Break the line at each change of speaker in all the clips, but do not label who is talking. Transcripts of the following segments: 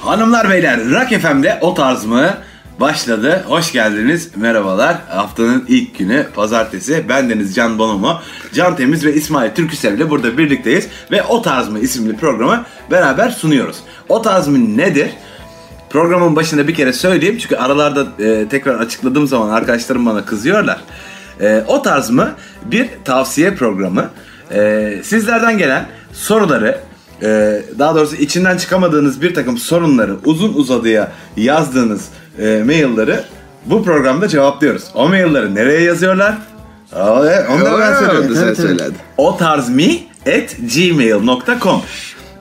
Hanımlar beyler Rock FM'de o tarz mı başladı. Hoş geldiniz. Merhabalar. Haftanın ilk günü pazartesi. Ben Deniz Can Bonomo, Can Temiz ve İsmail Türküsev ile burada birlikteyiz ve O Tarz mı isimli programı beraber sunuyoruz. O tarz mı nedir? Programın başında bir kere söyleyeyim çünkü aralarda e, tekrar açıkladığım zaman arkadaşlarım bana kızıyorlar. E, o tarz mı bir tavsiye programı. E, sizlerden gelen soruları, e, daha doğrusu içinden çıkamadığınız bir takım sorunları uzun uzadıya yazdığınız e, mailleri bu programda cevaplıyoruz. O mailleri nereye yazıyorlar? Aa, evet, Onu da ben söylüyorum.
sen
evet.
söyledin.
O tarz at gmail.com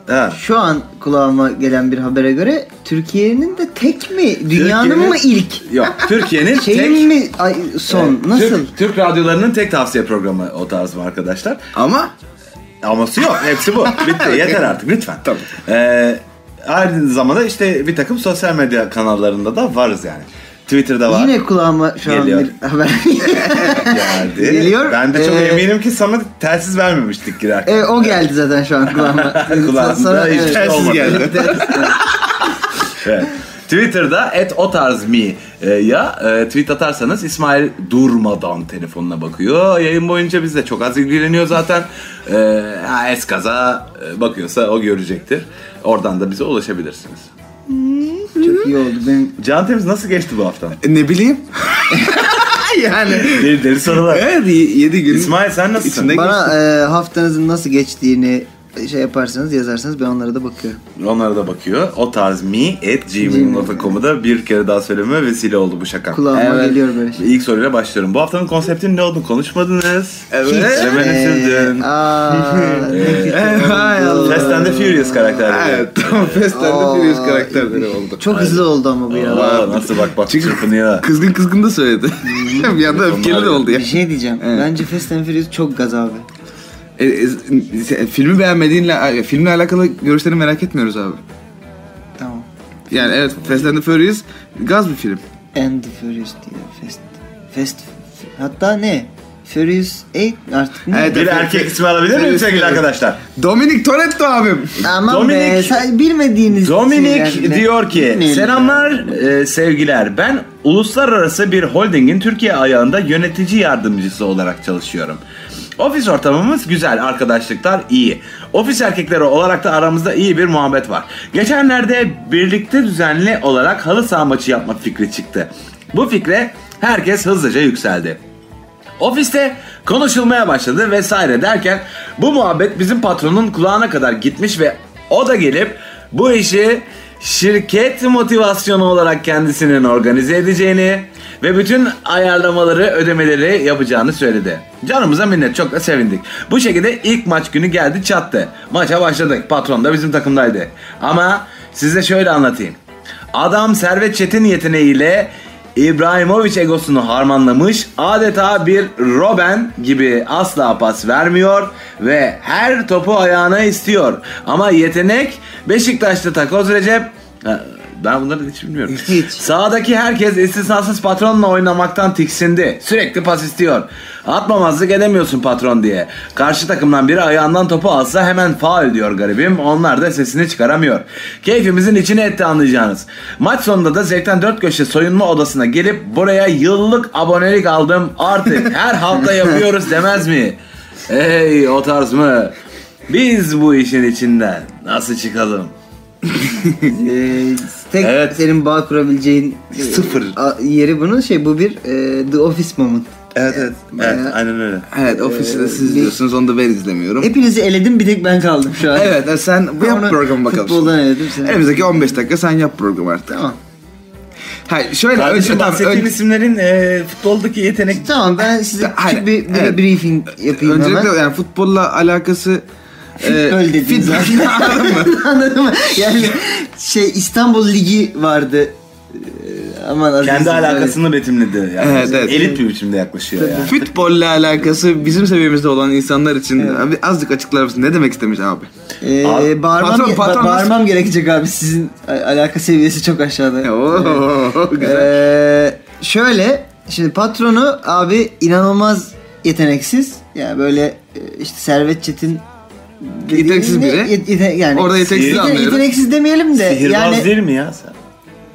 Ha.
Şu an kulağıma gelen bir habere göre Türkiye'nin de tek mi? Dünyanın
Türkiye'nin-
mı ilk?
Yok, Türkiye'nin
Şeyin
tek
mi ay, son?
Türk-
Nasıl?
Türk, radyolarının tek tavsiye programı o tarz mı arkadaşlar?
Ama
Aması yok. Hepsi bu. Bitti. Yeter artık lütfen.
Tamam.
Ee, aynı zamanda işte bir takım sosyal medya kanallarında da varız yani. Twitter'da var.
Yine kulağıma şu
Geliyor.
an bir haber.
geldi.
geliyor.
Ben de çok
Ee,
eminim ki sana telsiz vermemiştik girerken.
e, o geldi zaten şu an kulağıma.
Kulağında hiç
Hani telsiz
olmadı.
geldi.
Evet. Twitter'da et o tarz mi e, ya e, tweet atarsanız İsmail durmadan telefonuna bakıyor. Yayın boyunca bizle çok az ilgileniyor zaten. E, ha, eskaza e, bakıyorsa o görecektir. Oradan da bize ulaşabilirsiniz.
Çok iyi oldu. Benim
Can Temiz nasıl geçti bu haftan?
ne bileyim. yani.
Deli deli sorular.
Evet 7 gün.
İsmail sen nasılsın?
İçinde-
bana e, haftanızın nasıl geçtiğini şey yaparsanız yazarsanız ben onlara da bakıyorum.
Onlara da bakıyor. O tarz mi at gmail.com'u da bir kere daha söyleme vesile oldu bu şaka.
Kulağıma geliyor böyle şey.
İlk soruyla başlıyorum. Bu haftanın konseptinin ne olduğunu konuşmadınız.
Evet.
Hemen üzüldün.
Ee, aa, ne kötü oldu.
Hay Allah.
Fast and the Furious karakterleri.
Evet tamam Fast and
Aa,
the Furious karakterleri oldu.
Çok hızlı oldu ama bu ya.
Aa, nasıl bak bak
Çünkü-
çırpınıyor.
Kızgın kızgın da söyledi. bir anda öfkeli de oldu ya.
Bir şey diyeceğim. Bence Fast and Furious çok gaz abi.
E, e, sen filmi beğenmediğinle, filmle alakalı görüşlerini merak etmiyoruz abi.
Tamam.
Yani evet Fast and the Furious gaz bir film.
And the Furious diye Fast. Fast. Hatta ne? Furious 8 artık ne?
Evet.
Bir erkek ismi alabilir miyim sevgili arkadaşlar?
Dominic Toretto abim.
Aman be,
Dominic-
sen bilmediğiniz
Dominik
şeylerle-
diyor ki
Bilmeyelim
selamlar e, sevgiler ben uluslararası bir holdingin Türkiye ayağında yönetici yardımcısı olarak çalışıyorum. Ofis ortamımız güzel, arkadaşlıklar iyi. Ofis erkekleri olarak da aramızda iyi bir muhabbet var. Geçenlerde birlikte düzenli olarak halı saha maçı yapmak fikri çıktı. Bu fikre herkes hızlıca yükseldi. Ofiste konuşulmaya başladı vesaire derken bu muhabbet bizim patronun kulağına kadar gitmiş ve o da gelip bu işi şirket motivasyonu olarak kendisinin organize edeceğini ve bütün ayarlamaları, ödemeleri yapacağını söyledi. Canımıza minnet çok da sevindik. Bu şekilde ilk maç günü geldi çattı. Maça başladık. Patron da bizim takımdaydı. Ama size şöyle anlatayım. Adam Servet Çetin yeteneğiyle İbrahimovic egosunu harmanlamış adeta bir Robben gibi asla pas vermiyor ve her topu ayağına istiyor. Ama yetenek Beşiktaş'ta takoz Recep Ha, ben bunları hiç bilmiyorum.
Hiç.
Sağdaki herkes istisnasız patronla oynamaktan tiksindi. Sürekli pas istiyor. Atmamazlık edemiyorsun patron diye. Karşı takımdan biri ayağından topu alsa hemen faul diyor garibim. Onlar da sesini çıkaramıyor. Keyfimizin içine etti anlayacağınız. Maç sonunda da zevkten dört köşe soyunma odasına gelip buraya yıllık abonelik aldım artık her hafta yapıyoruz demez mi? Ey o tarz mı? Biz bu işin içinden nasıl çıkalım?
Ee, tek
Evet.
senin bağ kurabileceğin e,
Sıfır.
a- yeri bunun şey bu bir e, The Office moment.
Evet evet. Ee, Evet
Bayağı-
aynen öyle.
Evet ofiste de siz
bir-
diyorsunuz onu da ben izlemiyorum.
Hepinizi eledim bir tek ben kaldım şu an.
Evet e, sen bu yap
Onu
programı bakalım.
Futboldan eledim seni.
Elimizdeki 15 dakika sen yap programı artık.
Tamam.
Hayır şöyle
Kardeşim
tamam,
bahsettiğim isimlerin e, futboldaki yetenek
Tamam ben size
Hayır,
küçük bir, bir
evet.
briefing yapayım hemen.
Öncelikle yani futbolla alakası e,
Öyle dedin
fit-
zaten. Anladın mı? Yani şey İstanbul Ligi vardı. Ee, Aman adı
kendi
bizim-
alakasını betimledi. Yani
Evet, evet.
Elit bir biçimde yaklaşıyor yani.
Futbolla alakası bizim seviyemizde olan insanlar için
Evet.
abi azıcık açıklar mısın? Ne demek istemiş abi?
Ee,
Abi,
bağırmam,
patron,
ge- ba-
patron-
bağırmam gerekecek abi sizin a- alaka seviyesi çok aşağıda.
Oo, güzel.
Ee, şöyle şimdi patronu abi inanılmaz yeteneksiz. Yani böyle e, işte Servet Çetin
Yeteneksiz biri.
Yet- yete- yani,
Orada yeteneksiz
Sihir-
anlıyorum.
Yeteneksiz demeyelim de.
Sihirbaz
yani,
değil mi ya sen?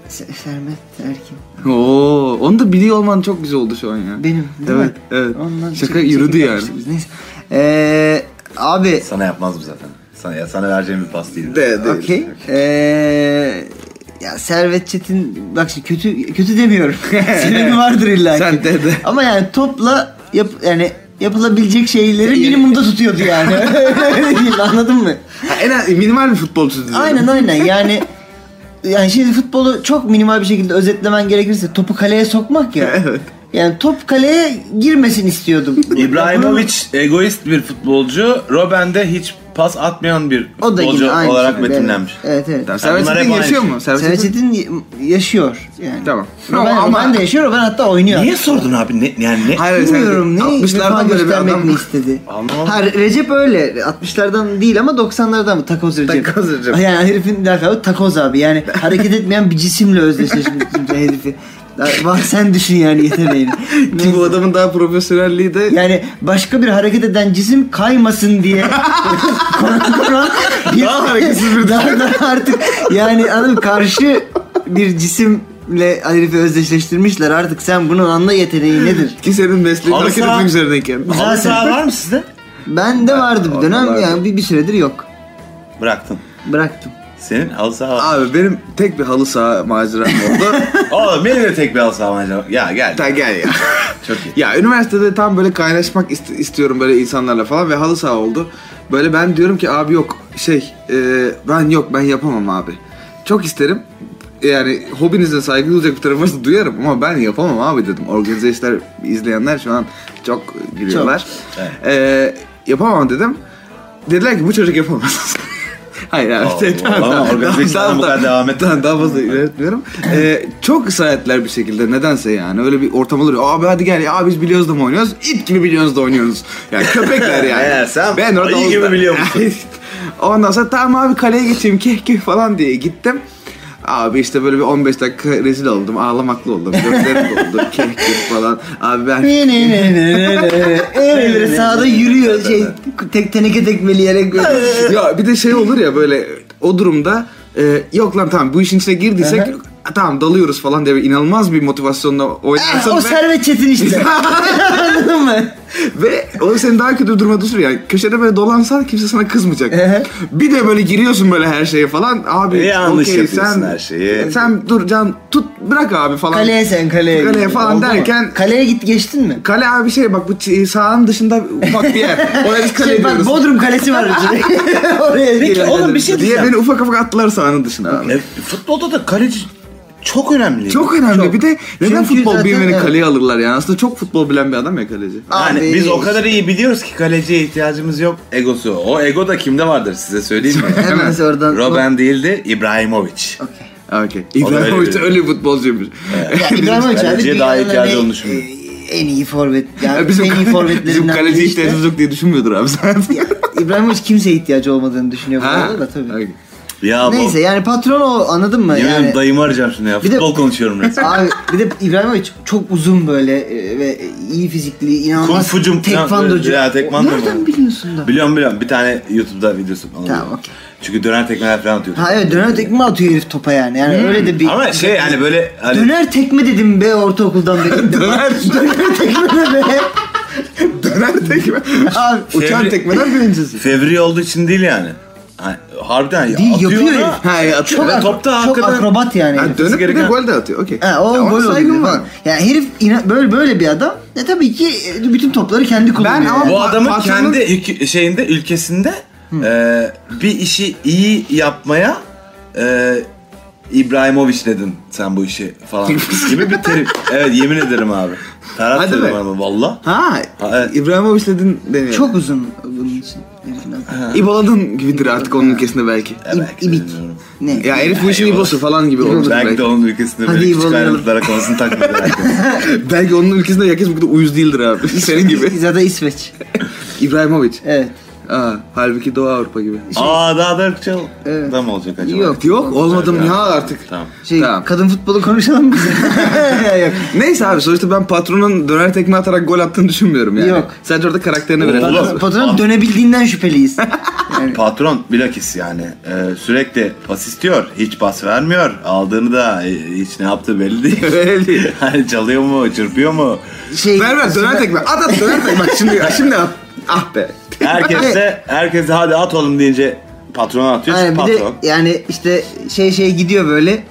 Se- Sermet Erkin.
Oo, onu da biliyor olman çok güzel oldu şu an ya.
Benim. Değil
Evet,
mi?
evet. Şaka
çekip-
yürüdü
çekip
yani.
yapmışız. Neyse. Ee, abi.
Sana yapmaz mı zaten? Sana, ya sana vereceğim bir pas değil.
De, de.
Okey. Ee, ya Servet Çetin bak şimdi kötü kötü demiyorum. Sebebi vardır illa ki.
Sen de de.
Ama yani topla yap yani yapılabilecek şeyleri minimumda tutuyordu yani. Öyle diyeyim, Anladın mı?
Ha, en az minimal bir futbolcu diyorum.
Aynen aynen yani yani şimdi futbolu çok minimal bir şekilde özetlemen gerekirse topu kaleye sokmak ya.
Evet.
Yani top kaleye girmesin istiyordum.
İbrahimovic egoist bir futbolcu. Robben de hiç pas atmayan bir
o da
futbolcu
yine aynı
olarak
şekilde,
metinlenmiş.
Evet evet.
Tamam, Servet
Bunlar
Çetin
hep aynı
yaşıyor
şey.
mu? Servet
Servet
Çetin-
Çetin y- yaşıyor yani.
Tamam.
Ama, ben,
Ama-
ben de yaşıyorum ben hatta oynuyor.
Niye sordun abi? Ne, yani ne?
Hayır, sen-
Bilmiyorum ne
60'lardan
vefa
böyle bir
göstermek
adam.
mi istedi?
Anlamadım.
Ha, Recep öyle 60'lardan değil ama 90'lardan mı takoz Recep?
Takoz Recep.
Yani herifin lakabı takoz abi yani hareket etmeyen bir cisimle özdeşleşmiş herifi. Var sen düşün yani yeteneğini.
Ki bu adamın daha profesyonelliği de
Yani başka bir hareket eden cisim kaymasın diye konan konan bir,
Daha hareketsiz bir-
daha, daha artık yani anladın mı? karşı bir cisimle herifi özdeşleştirmişler artık sen bunun anla yeteneği nedir?
ki senin mesleğin
Halı
hareket
saha-
etmek üzerineyken.
Güzel
Halı
sen-
saha var mı sizde?
Ben de vardı bir dönem
Oradalardı.
yani bir, bir süredir yok.
Bıraktım.
Bıraktım.
Senin halı saha var.
Abi benim tek bir halı saha maceram oldu.
Oğlum benim de tek bir halı saha var. acaba. Ya gel.
Ta gel ya.
Çok iyi.
Ya üniversitede tam böyle kaynaşmak ist- istiyorum böyle insanlarla falan ve halı saha oldu. Böyle ben diyorum ki abi yok şey e, ben yok ben yapamam abi. Çok isterim. Yani hobinize saygı duyacak bir tarafınızı duyarım ama ben yapamam abi dedim. Organize işler izleyenler şu an çok gülüyorlar.
Çok.
E, yapamam dedim. Dediler ki bu çocuk yapamaz. Hayır abi.
Allah
tamam,
Allah,
tamam.
organize
Tamam,
işlerden bu
tamam.
kadar devam et.
Tamam, daha fazla ilerletmiyorum. Ee, çok ısrar ettiler bir şekilde nedense yani. Öyle bir ortam olur. ya, Abi hadi gel ya biz biliyoruz da mı oynuyoruz? İt gibi biliyoruz da oynuyoruz. Yani köpekler yani.
Eğer sen iyi gibi
olsa-
biliyor musun?
Yani Ondan sonra tamam abi kaleye geçeyim keh keh falan diye gittim. Abi işte böyle bir 15 dakika rezil oldum. Ağlamaklı oldum. Gözlerim doldu. Keh keh falan. Abi ben
Öyle böyle sağda yürüyor şey tek teneke tekmeleyerek böyle.
ya bir de şey olur ya böyle o durumda e, yok lan tamam bu işin içine girdiysek "A, tamam dalıyoruz falan diye bir inanılmaz bir motivasyonla
Ah,
oynarsın
o
ve,
Servet Çetin işte. Anladın mı?
ve o seni daha kötü duruma düşürüyor. Yani köşede böyle dolansan kimse sana kızmayacak.
Ehe.
bir de böyle giriyorsun böyle her şeye falan abi
E, yanlış
okey,
yapıyorsun
sen,
her şeyi.
Sen dur can tut bırak abi falan.
Kaleye sen kaleye.
Kaleye
git.
falan
Oldu mu?
derken-
Kaleye git geçtin mi?
Kale abi şey bak bu ç- sahanın dışında ufak bir yer. Oraya biz kale
Şey, bak
diyoruz.
Bodrum Kalesi var içinde. Oraya
Peki
gir.
oğlum bir şey
diye
diyeceğim.
beni ufak ufak attılar sahanın dışına abi.
E, futbolda da kaleci çok önemli.
Çok önemli.
Çok.
Bir de neden
Çünkü
futbol
zaten-
bilmeyeni
evet.
kaleye alırlar yani? Aslında çok futbol bilen bir adam ya kaleci.
Yani
Abi.
biz o kadar iyi biliyoruz ki kaleciye ihtiyacımız yok egosu. O ego da kimde vardır size söyleyeyim mi?
Hemen oradan.
Robben değildi İbrahimovic.
Okey.
Okey. İbrahimovic
öyle
de
bir-
öyle bir futbolcuymuş.
Ya İbrahimovic abi
Kaleciye daha
dünyanın
ihtiyacı
en-
olduğunu düşünüyorum.
hani, e, En iyi forvet. Yani
bizim,
en iyi forvetlerinden
bizim kaleci
biri
ihtiyacımız yok diye düşünmüyordur abi zaten.
İbrahimovic kimseye ihtiyacı olmadığını düşünüyor bu arada da tabii.
okey.
Ya bu.
Neyse yani patron o anladın mı?
Yemin ederim
yani,
dayımı arayacağım şimdi ya.
Bir de-
Futbol konuşuyorum resmen.
Abi bir de İbrahimovic çok uzun böyle e, ve iyi fizikli, inanılmaz
Kung fucum falan
tekvandocu.
böyle, ya, tekvando
Nereden
mu?
biliyorsun da?
biliyorum biliyorum. Bir tane YouTube'da videosu.
Tamam, okey.
Çünkü döner tekmeler falan atıyor.
Ha evet döner tekme atıyor herif topa yani. Yani öyle de bir...
Ama şey yani böyle hani
Döner tekme dedim be ortaokuldan beri.
Döner.
döner tekme ne be?
Döner tekme.
Abi
Uçan
Fevri-
tekmeden birincisi.
fevri olduğu için değil yani. Ha, harbiden ya,
Değil,
atıyor
yapıyor
ona.
herif.
Ha ya atıyor.
çok,
Ve
akro-
topta
çok
hakikaten-
akrobat yani. herif.
Ha, dönüp bir de
gereken-
gol de atıyor. Okey.
Ha, o
Ya ona
gol
saygım
oldu.
var.
Var. Yani herif ina- böyle böyle bir adam. E tabii ki e, bütün topları kendi kullanıyor.
Ben ama-
yani.
Bu
Pa-
adamın
patronun-
kendi ülke- şeyinde ülkesinde e, bir işi iyi yapmaya e, İbrahimovic dedin sen bu işi falan gibi bir terim. Evet yemin ederim abi. Tarat
Hadi
dedim
be.
ama valla.
Ha,
Ha, evet.
İbrahimovic dedin deniyor.
çok uzun bunun için. herifin adı.
İboladın gibidir artık onun ülkesinde belki.
Ya belki de
İbit.
bilmiyorum.
Ne?
Ya herif bu işin
İbola.
İbosu falan gibi olur.
Belki de onun ülkesinde
Hadi
böyle küçük
eyvallah.
ayrıntılara konusunu takmadı herhalde.
Belki onun ülkesinde herkes bu kadar uyuz değildir abi. Senin gibi.
Zaten İsveç.
İbrahimovic.
Evet.
Aa, halbuki Doğu Avrupa gibi.
Aa daha da ırkçı
Evet.
da mı olacak acaba?
Yok,
Yok olmadım
Güzel
ya artık.
Tamam.
Şey,
Tamam.
kadın futbolu konuşalım mı? Yok.
Neyse abi sonuçta ben patronun döner tekme atarak gol attığını düşünmüyorum yani.
Yok.
Sadece orada karakterini
Oğlum.
verelim.
Patron, patron
Abi.
dönebildiğinden şüpheliyiz. Yani,
Patron bilakis yani e, sürekli pas istiyor, hiç pas vermiyor. Aldığını da e, hiç ne yaptığı belli değil.
Öyle değil.
Hani çalıyor mu, çırpıyor mu?
şey,
Ver ver döner tekme. At at döner tekme. Bak şimdi, şimdi at. Ah be.
Herkese, herkese hadi at oğlum deyince patrona atıyor.
Aynen, bir de
patron.
yani işte şey şey gidiyor böyle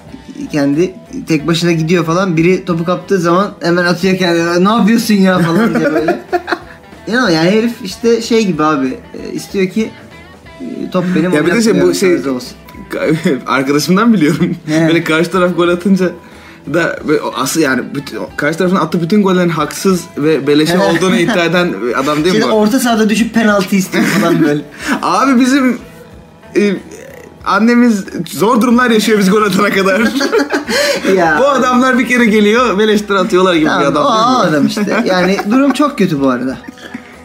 kendi tek başına gidiyor falan biri topu kaptığı zaman hemen atıyor kendine ne yapıyorsun ya falan diye böyle. İnan yani herif işte şey gibi abi e, istiyor ki e, top benim
Ya bir de şey,
oynatmıyorum,
bu şey-
tarzı olsun.
Arkadaşımdan biliyorum.
He.
Böyle karşı taraf gol atınca da böyle o asıl yani bütün, o karşı tarafın attığı bütün gollerin haksız ve beleşe
He.
olduğunu iddia eden adam değil
Şeyde
mi? bu?
orta sahada düşüp penaltı istiyor falan böyle.
Abi bizim e, annemiz zor durumlar yaşıyor biz gol atana kadar.
ya.
Bu adamlar bir kere geliyor beleştir atıyorlar gibi
Tamam,
bir adam.
o
değil mi?
adam işte. Yani durum çok kötü bu arada.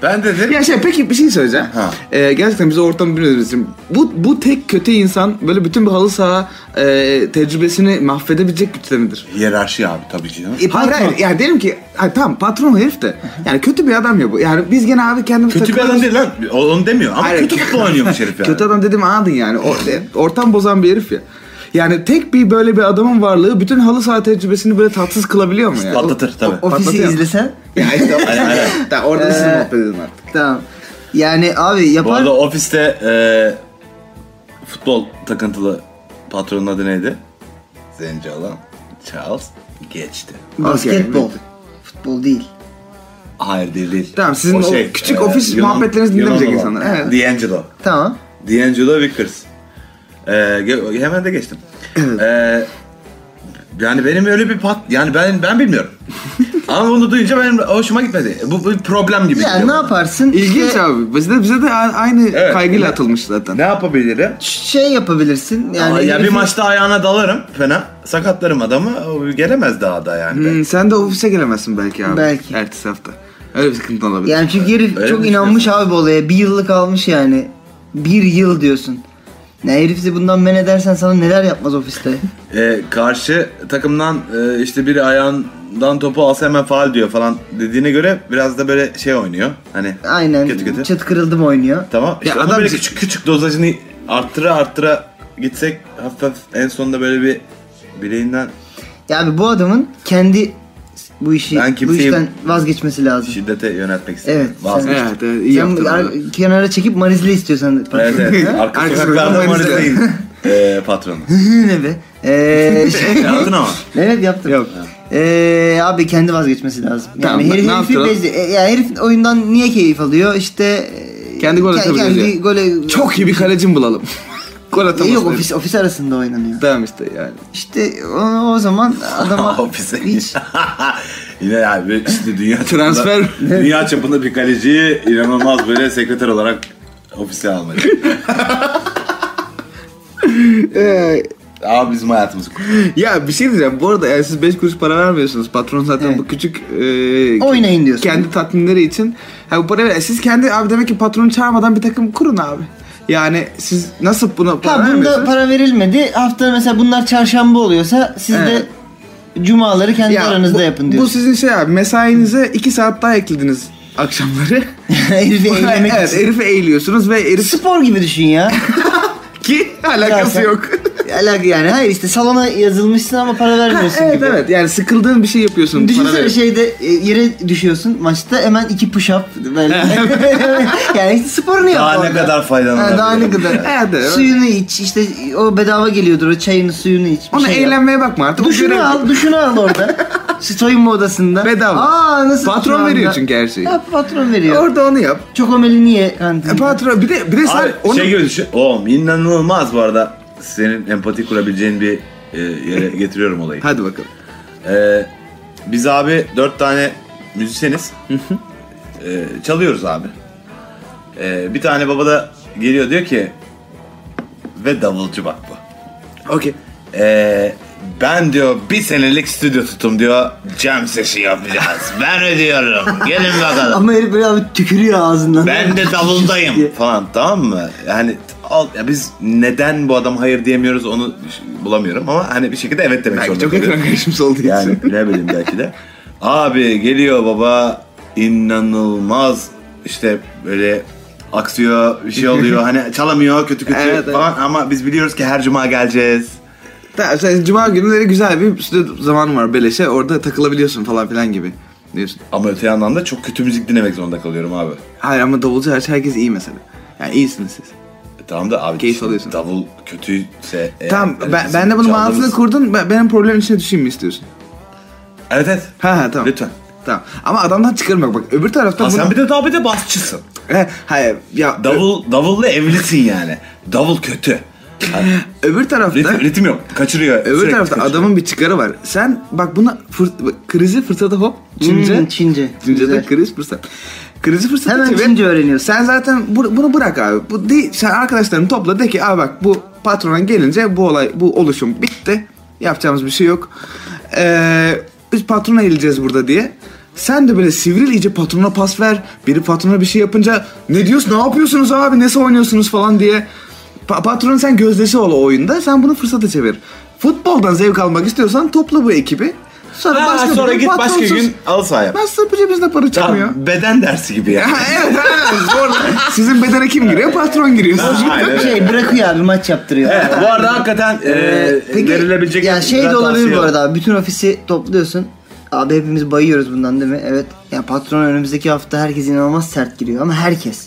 Ben dedim.
Ya şey peki bir şey söyleyeceğim.
Ha.
Ee, gerçekten biz o ortamı bilmiyoruz. Şimdi Bu, bu tek kötü insan böyle bütün bir halı saha e, tecrübesini mahvedebilecek güçte midir? E,
Hiyerarşi abi tabii ki. canım.
E,
Hayır
patron.
hayır yani derim ki ha, tamam patron herif de yani kötü bir adam ya bu. Yani biz gene abi kendimiz
Kötü bir
takılıyoruz.
adam değil lan. O- Onu demiyor ama
Hayır.
kötü futbol oynuyormuş herif yani.
Kötü adam dedim adın yani. O, e, ortam bozan bir herif ya. Yani tek bir böyle bir adamın varlığı bütün halı saha tecrübesini böyle tatsız kılabiliyor mu yani?
Patlatır tabii.
Ofisi
Patlatıyor.
izlesen.
Ya işte o-
Aynen, aynen.
Tamam, orada siz
Ee,
muhabbet edin artık.
Tamam. Yani abi
Bu
yapar.
arada ofiste e, futbol takıntılı patronun adı neydi? Zenci olan Charles geçti.
Basketbol.
Okey,
Futbol değil.
Hayır değil değil. şey, e,
Tamam, sizin o küçük ofis muhabbetlerinizi dinlemeyecek insanlar. Evet.
D'Angelo.
Tamam.
D'Angelo Vickers. Ee, ge- hemen de geçtim. Ee, yani benim öyle bir pat... Yani ben ben bilmiyorum. Ama bunu duyunca benim hoşuma gitmedi. Bu bir problem gibi.
Yani
geliyor
ne
bana.
yaparsın?
İlginç
İşte
abi. Bize de, bize de a- aynı
Evet.
kaygıyla atılmış zaten.
Ne yapabilirim?
Şey yapabilirsin. Yani
Ama ya bir
herifin-
maçta ayağına dalarım fena. Sakatlarım adamı. O gelemez daha da yani.
Hmm, sen de ofise gelemezsin belki abi.
Belki.
Ertesi hafta. Öyle bir sıkıntı olabilir.
Yani çünkü herif
Öyle
çok
mi
inanmış abi bu olaya. Bir yıllık almış yani. Bir yıl diyorsun. Ne herifi bundan men edersen sana neler yapmaz ofiste.
Ee, karşı takımdan e, işte biri ayağından topu alsa hemen faal diyor falan dediğine göre biraz da böyle şey oynuyor. Hani
Aynen.
Kötü kötü.
Çıt kırıldım oynuyor.
Tamam. İşte
Ya
onun
adam-
böyle küçük küçük dozajını arttıra arttıra gitsek hafif hafif en sonunda böyle bir bileğinden
Ya abi bu adamın kendi bu işi
Ben
bu
kimseyi-
işten vazgeçmesi lazım.
şiddete yöneltmek istedim.
Evet. sen-
Vazgeçtim.
Evet, evet, iyi
Sen
yaptın
ar-
abi.
kenara çekip Marizli istiyorsan.
Evet evet.
Arka
Arka sokaklarda
sokaklarda
Marisa'yız. Ee, patronu.
ne be? Ee, şey-
Yaptın ama.
Evet yaptım.
Yok.
Ee, abi kendi vazgeçmezi lazım.
Tamam,
yani
ne
herif, herifi
yaptıralım?
bezi- e, yani herif oyundan niye keyif alıyor? İşte e,
Kendi gol
ke-
atabiliyor
kendi
diye.
gole-
Çok iyi bir kalecim bulalım. Gol
E,
atamaz.
yok ofis ofis arasında oynanıyor.
Tamam işte yani.
İşte o, o zaman adama
Ofise.
hiç
Yine abi işte dünya çapında-
Transfer.
dünya çapında bir kaleciyi inanılmaz böyle sekreter olarak ofise almak. Abi bizim hayatımızı kurtardı.
Ya bir şey diyeceğim. Bu arada yani siz 5 kuruş para vermiyorsunuz. Patron zaten
Evet.
bu küçük... e,
Oynayın diyorsun.
Kendi tatminleri için. Ha bu para ver. Siz kendi abi demek ki patronu çağırmadan bir takım kurun abi. Yani siz nasıl buna para
Ha bunda
vermiyorsunuz?
para verilmedi. Hafta mesela bunlar çarşamba oluyorsa siz
Evet.
de cumaları kendi
Ya
aranızda
bu-
yapın
Bu
diyorsun.
sizin şey abi mesainize 2 saat daha eklediniz akşamları.
Herifi eğlenmek
evet,
için.
herife eğiliyorsunuz ve herif
Spor gibi düşün ya.
ki alakası
Zaten-
yok.
Alak yani hayır işte salona yazılmışsın ama para
Ha,
vermiyorsun
evet
gibi.
evet yani sıkıldığın bir şey yapıyorsun. para
Düşünsene
verip.
şeyde e, yere düşüyorsun maçta hemen iki push up böyle. yani işte sporunu yap.
Daha ne
orada.
kadar faydalanabilir.
Ha, daha ne
Evet,
kadar.
evet.
suyunu iç işte o bedava geliyordur o çayını suyunu iç. bir
Ona
şey yap.
eğlenmeye bakma artık. o görev-
Duşunu al, duşunu al orada. Şu soyunma odasında.
Bedava.
Aa nasıl?
Patron
şu anda-
veriyor çünkü her şeyi.
Ha, patron veriyor.
Orada onu yap.
Çokomeli niye
E,
kantinde?
patron bir de bir de sen
Abi,
onu
şey gibi düşün. Oğlum inanılmaz bu arada. Senin empati kurabileceğin bir e, yere getiriyorum olayı.
Hadi bakalım.
Ee, biz abi dört tane müzisyeniz. Ee, çalıyoruz abi. Ee, bir tane baba da geliyor diyor ki ve davulcu bak bu.
Okey.
Ee, Ben diyor bir senelik stüdyo tutum diyor. Cam sesi yapacağız. Ben ödüyorum. Gelin bakalım.
Ama herif böyle abi tükürüyor ağzından.
Ben de davuldayım falan tamam mı? Yani al, ya biz neden bu adam hayır diyemiyoruz onu düş- bulamıyorum ama hani bir şekilde evet demek
Belki
zorunda
çok
kalıyoruz.
ekran karışımız olduğu için.
Yani ne bileyim belki de. Abi geliyor baba inanılmaz işte böyle aksıyor bir şey oluyor hani çalamıyor kötü kötü
Evet, evet.
falan ama biz biliyoruz ki her cuma geleceğiz.
Tamam, sen Cuma günleri güzel bir stüdyo zamanın var beleşe. Orada takılabiliyorsun falan filan gibi diyorsun.
Ama öte yandan da çok kötü müzik dinlemek zorunda kalıyorum abi.
Hayır ama davulcu her şey, herkes iyi mesela. Yani iyisiniz siz.
E, tamam da abi
Keyif alıyorsun.
davul kötüyse eğer-
tamam
yani
ben,
bizim
ben de bunun
çaldığımız-
mantığını kurdun. Ben, benim problemin içine düşeyim mi istiyorsun?
Evet evet.
Ha ha tamam.
Lütfen.
Tamam. Ama adamdan çıkarmak bak. Öbür tarafta
Ha, sen
bunu-
bir de daha bir de basçısın.
He, hayır ya Davul.
Davul, davulla evlisin yani. Davul kötü. Yani
öbür tarafta
ritim, ritim yok. Kaçırıyor.
öbür
sürekli
tarafta
kaçırıyor.
adamın bir çıkarı var. Sen bak buna fır- bak, krizi fırsatı hop Çince.
Hmm, Çince.
Çince'de
Güzel.
kriz fırsat. Krizi fırsatı
Hemen
çevir.
Çince öğreniyorsun.
Sen zaten bu- bunu bırak abi. Bu değil, sen arkadaşlarını topla de ki abi bak bu patrona gelince bu olay bu oluşum bitti. Yapacağımız bir şey yok. Ee, biz patrona eğileceğiz burada diye. Sen de böyle sivril iyice patrona pas ver. Biri patrona bir şey yapınca ne diyorsun ne yapıyorsunuz abi nesi oynuyorsunuz falan diye. Pa- patron sen gözdesi ol o oyunda. Sen bunu fırsata çevir. Futboldan zevk almak istiyorsan topla bu ekibi. Sonra,
Ha,
başka bir
sonra
gün
git başka
patronsuz-
gün al sahaya.
Nasıl cebimizde para çıkmıyor?
Tam beden dersi gibi yani.
Ha, evet aynen zorla. Sizin bedene kim giriyor? Patron giriyor.
Aynen.
Şey bırakıyor abi maç yaptırıyor.
Evet, bu arada hakikaten e,
Ee,
verilebilecek
ya şey
güzel
de olabilir
tavsiye
bu
var.
arada abi. Bütün ofisi topluyorsun. Abi hepimiz bayıyoruz bundan değil mi? Evet. Ya patron önümüzdeki hafta herkes inanılmaz sert giriyor ama herkes.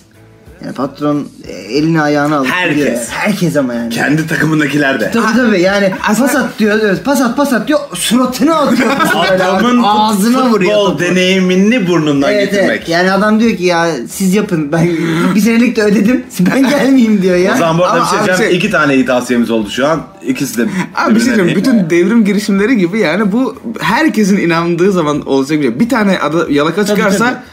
Yani patron e, elini ayağını alıp
Herkes.
gidiyor. Herkes ama yani.
Kendi takımındakiler de.
Tabii tabii yani
Aslında-
pas at diyor diyoruz. Pas at pas at diyor. Suratına atıyor. Böyle
Adamın
ağzına vuruyor.
futbol
topu.
deneyimini burnundan
Evet,
getirmek.
evet. Yani adam diyor ki ya siz yapın ben bir senelik de ödedim ben gelmeyeyim diyor ya.
O zaman bu arada
Ama
bir şey
abi
diyeceğim.
şey-
İki tane iyi tavsiyemiz oldu şu an. İkisi de
Abi bir şey
birbirine
diyeyim,
değil.
bütün devrim girişimleri gibi yani bu herkesin inandığı zaman olacak bir şey. Bir tane ada, yalaka
Tabii,
çıkarsa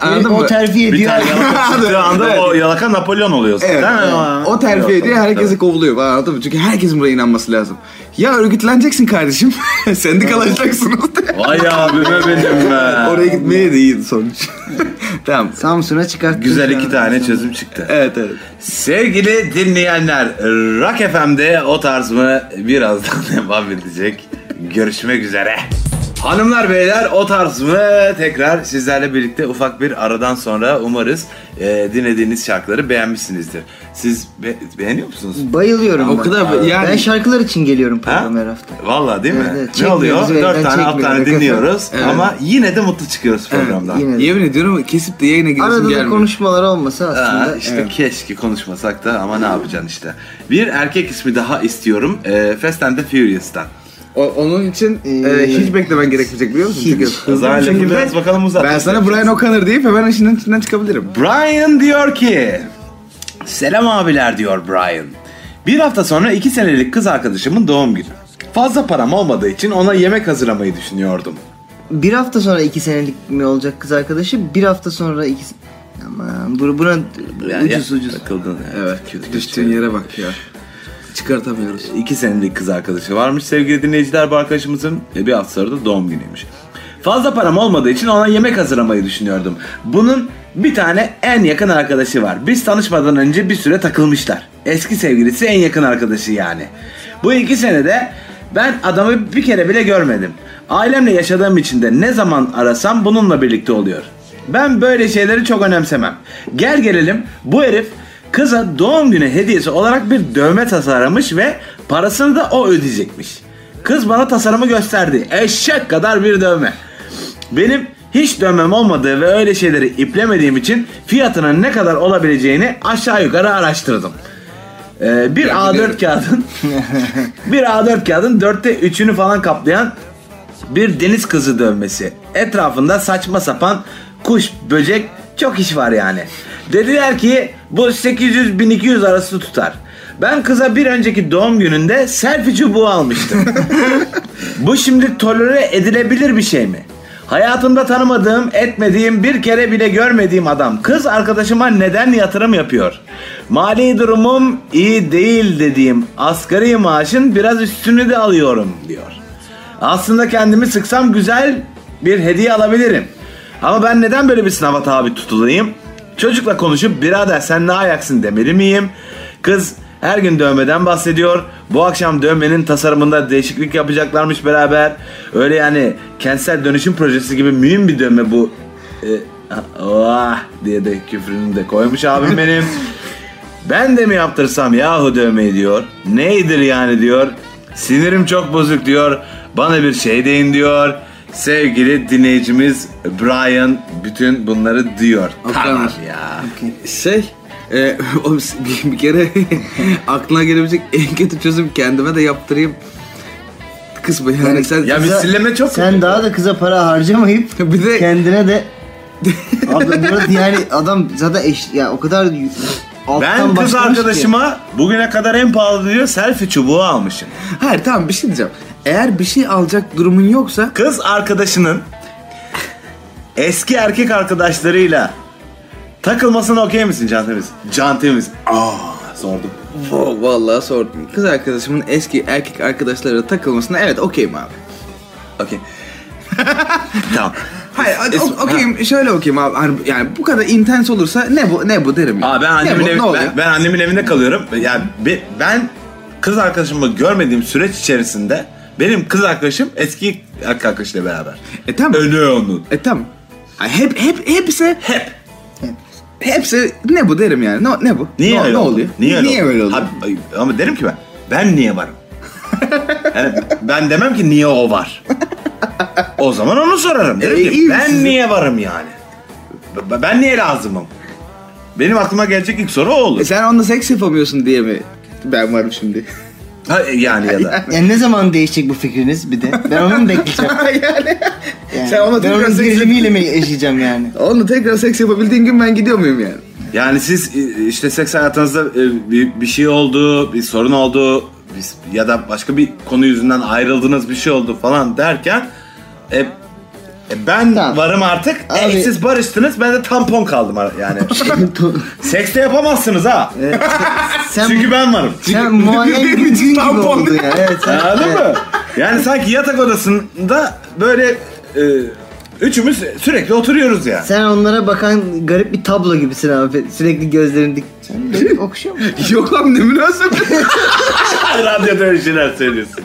anladın
o
mı?
terfi
bir
ediyor.
tane yalaka çıktığı anda
Evet.
o yalaka Napolyon oluyor zaten.
Evet.
Ama-
O terfi
Yok,
ediyor
tamam,
herkesi kovuluyor falan, anladın mı? Çünkü herkesin buraya inanması lazım. Ya örgütleneceksin kardeşim. Sendikalaşacaksınız.
tamam. Vay abime benim be.
Oraya gitmeye de iyiydi sonuç. tamam.
Samsun'a çıkarttı.
Güzel
şu
iki
an.
tane çözüm çıktı.
Evet evet.
Sevgili dinleyenler, Rock FM'de o tarz mı birazdan devam edecek. Görüşmek üzere. Hanımlar beyler o tarz mı tekrar sizlerle birlikte ufak bir aradan sonra umarız e, dinlediğiniz şarkıları beğenmişsinizdir. Siz be- beğeniyor musunuz?
Bayılıyorum.
O
ben.
kadar- yani-
Ben şarkılar için geliyorum
Ha?
programa her hafta.
Vallahi değil mi?
Evet, evet.
ne
Çekmiyoruz,
oluyor?
elden
Dört tane alt tane
çekmiyoruz.
dinliyoruz
Evet.
ama yine de mutlu çıkıyoruz programdan.
yine de.
Yemin ediyorum kesip de yayına giresim
Arada da
gelmiyor.
konuşmalar olmasa
Ha,
aslında.
işte keşke konuşmasak da ama ne yapacaksın işte. Bir erkek ismi daha istiyorum. E, Fast and the Furious'tan.
O- onun için e, hiç beklemen gerekmeyecek biliyor musun?
hiç.
Çünkü
O
hızlı
zaman
bir
lafı
şekilde
biraz bakalım uzat.
ben sana Brian O'Connor deyip hemen işinden içinden çıkabilirim.
Brian diyor ki... Selam abiler diyor Brian. Bir hafta sonra iki senelik kız arkadaşımın doğum günü. Fazla param olmadığı için ona yemek hazırlamayı düşünüyordum.
Bir hafta sonra iki senelik mi olacak kız arkadaşı? Bir hafta sonra iki se- Aman bu- buna ucuz
ya-
ucuz.
Takıldın. Kötü
Düştüğün yere bak ya. Çıkartamıyoruz.
İki senelik kız arkadaşı varmış sevgili dinleyiciler bu arkadaşımızın. E, bir hafta sonra da doğum günüymüş. Fazla param olmadığı için ona yemek hazırlamayı düşünüyordum. Bunun bir tane en yakın arkadaşı var. Biz tanışmadan önce bir süre takılmışlar. Eski sevgilisi en yakın arkadaşı yani. Bu iki senede ben adamı bir kere bile görmedim. Ailemle yaşadığım için de ne zaman arasam bununla birlikte oluyor. Ben böyle şeyleri çok önemsemem. Gel gelelim bu herif Kıza doğum günü hediyesi olarak bir dövme tasarlamış ve parasını da o ödeyecekmiş. Kız bana tasarımı gösterdi. Eşek kadar bir dövme. Benim hiç dövmem olmadığı ve öyle şeyleri iplemediğim için fiyatının ne kadar olabileceğini aşağı yukarı araştırdım. Ee, bir
Ben biliyorum.
A4 kağıdın bir A4 kağıdın dörtte üçünü falan kaplayan bir deniz kızı dövmesi. Etrafında saçma sapan kuş, böcek çok iş var yani. Dediler ki bu 800-1200 arası tutar. Ben kıza bir önceki doğum gününde selfie çubuğu almıştım. bu şimdi tolere edilebilir bir şey mi? Hayatımda tanımadığım, etmediğim, bir kere bile görmediğim adam. Kız arkadaşıma neden yatırım yapıyor? Mali durumum iyi değil dediğim asgari maaşın biraz üstünü de alıyorum diyor. Aslında kendimi sıksam güzel bir hediye alabilirim. Ama ben neden böyle bir sınava tabi tutulayım? Çocukla konuşup birader sen ne ayaksın demeli miyim? Kız her gün dövmeden bahsediyor. Bu akşam dövmenin tasarımında değişiklik yapacaklarmış beraber. Öyle yani kentsel dönüşüm projesi gibi mühim bir dövme bu. Ee, ah diye de küfrünü de koymuş abim benim. Ben de mi yaptırsam yahu dövmeyi diyor. Neydir yani diyor. Sinirim çok bozuk diyor. Bana bir şey deyin diyor. Sevgili dinleyicimiz Brian bütün bunları diyor.
O
Tamam
kadar.
ya.
Şey, e, oğlum s- bir, bir kere aklına gelebilecek en kötü çözüm kendime de yaptırayım kısmı. Yani,
Yani-
sen
Ya
Kıza-
misilleme çok
Sen daha da kıza para harcamayıp
Bir de-
kendine de Abi burada yani adam zaten eş ya o kadar y- alttan
Ben kız
başlamış ki.
arkadaşıma bugüne kadar en pahalı diyor selfie çubuğu almışım.
Hayır tamam bir şey diyeceğim. Eğer bir şey alacak durumun yoksa
Kız arkadaşının eski erkek arkadaşlarıyla takılmasına okey misin Can Temiz? Can Temiz. Aa sordum.
Wow, vallahi sordum. Kız arkadaşımın eski erkek arkadaşlarıyla takılmasına evet okeyim abi. Okey.
Tamam.
Hayır hadi
Es-
o- okeyim şöyle okeyim abi. Hani Yani bu kadar intens olursa ne bu ne bu derim. ya.
Aa ben annemin
ne bu, ne
evi-
oluyor?
ben, ben annemin evinde kalıyorum. Yani be- ben kız arkadaşımı görmediğim süreç içerisinde benim kız arkadaşım eski erkek arkadaşıyla beraber.
E tamam.
Önü onun.
E tamam. Ay, hep hep hepsi
Hep.
hepsi ne bu derim yani. Ne, ne bu?
Niye
ne,
öyle
ne
oldu?
oluyor?
Niye öyle, oldu?
böyle oluyor?
Abi, ay, ama derim ki ben. Ben niye varım? Yani ben demem ki niye o var. o zaman onu sorarım. Derim
E,
ki
iyi
ben
sizin-
niye varım yani? B- Ben niye lazımım? Benim aklıma gelecek ilk soru o
E
olur.
sen onunla seks yapamıyorsun diye mi? Ben varım şimdi.
Ha, yani ya da.
Yani ne zaman değişecek bu fikriniz bir de? Ben onu mu bekleyeceğim?
yani.
Yani
Sen
ben
onunla tekrar
onun
seks yap-
gerilimiyle mi yaşayacağım yani?
Onunla tekrar seks yapabildiğin gün ben gidiyor muyum yani?
Yani siz e, işte seks hayatınızda e, bir, bir şey oldu, bir sorun oldu biz- ya da başka bir konu yüzünden ayrıldınız bir şey oldu falan derken e, e, ben
Tamam.
varım artık. E,
Abi-
siz barıştınız ben de tampon kaldım ara- yani. Seks de yapamazsınız ha.
E, sen
Çünkü ben varım.
sen muayyen bir gün gibi
Tampon.
oldu ya. Evet. sen-
Anladın
evet.
mı? Yani sanki yatak odasında böyle e, üçümüz sürekli oturuyoruz yani.
Sen onlara bakan garip bir tablo gibisin abi. Sürekli gözlerini dik. Sen böyle okşuyor musun?
Yok abi ne münasebet.
Radyoda öyle şeyler söylüyorsun.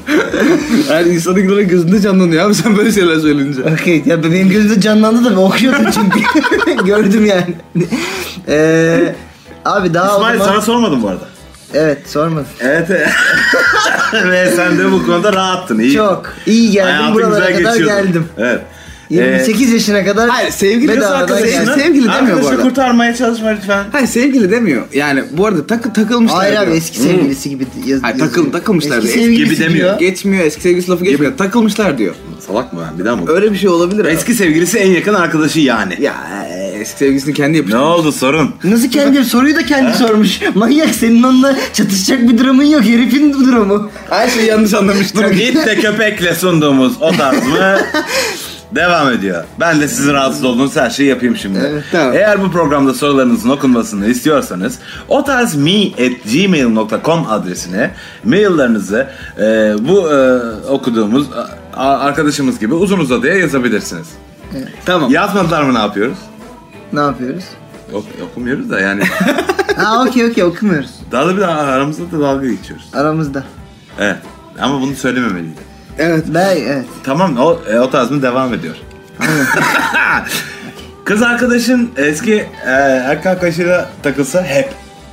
Yani insanın gidene gözünde canlanıyor abi sen böyle şeyler söyleyince.
Okey. Ya benim gözümde canlandı da ben okuyordum çünkü. Gördüm yani. Ee, abi daha o
İsmail
zaman...
sana sormadım bu arada.
Evet sormadım.
Evet. evet. Ve sen de bu konuda rahattın. iyi.
Çok. iyi geldim.
Hayatın
Buralara
güzel
kadar
geçiyordu. Ee,
geldim.
Evet.
28 yaşına kadar
Hayır, sevgili kız
bedavadan
arkadaşı-
geldim.
Sev- sevgili demiyor bu
Arkadaşı
arada.
kurtarmaya çalışma lütfen.
Hayır sevgili demiyor. Yani bu arada takı takılmışlar.
Hayır abi
diyor.
eski sevgilisi gibi yaz,
Hayır,
yazıyor.
takıl- takılmışlar
Eski
diye. Eski
sevgilisi
gibi
gibi
demiyor.
demiyor.
Geçmiyor eski sevgilisi lafı geçmiyor. Takılmışlar diyor.
Salak mı ben? Bir daha mı?
Öyle bir şey olabilir abi.
Eski sevgilisi en yakın arkadaşı yani.
Ya e, eski sevgilisini kendi
Ne
yapıyor.
oldu sorun?
Nasıl kendi soruyu da kendi sormuş. Manyak senin onunla çatışacak bir durumun yok. Herifin bu durumu.
Her şeyi yanlış anlamıştır.
Git de köpekle sunduğumuz o tarz mı? Devam ediyor. Ben de sizin rahatsız olduğunuz her şeyi yapayım şimdi.
Evet, tamam.
Eğer bu programda sorularınızın okunmasını istiyorsanız o tarz me at gmail.com adresine maillerinizi e, bu e, okuduğumuz a- arkadaşımız gibi uzun uzadıya yazabilirsiniz.
tamam.
Yazmadılar mı ne yapıyoruz?
Ne yapıyoruz?
Yok, okumuyoruz da yani.
Ha okey okey okumuyoruz.
daha da bir daha aramızda da dalga geçiyoruz.
Aramızda.
Evet. Ama bunu söylememeliydi.
Evet.
Ben evet.
Tamam o, e, o tarz mı devam ediyor. Kız arkadaşın eski e, erkek arkadaşıyla takılsa hep.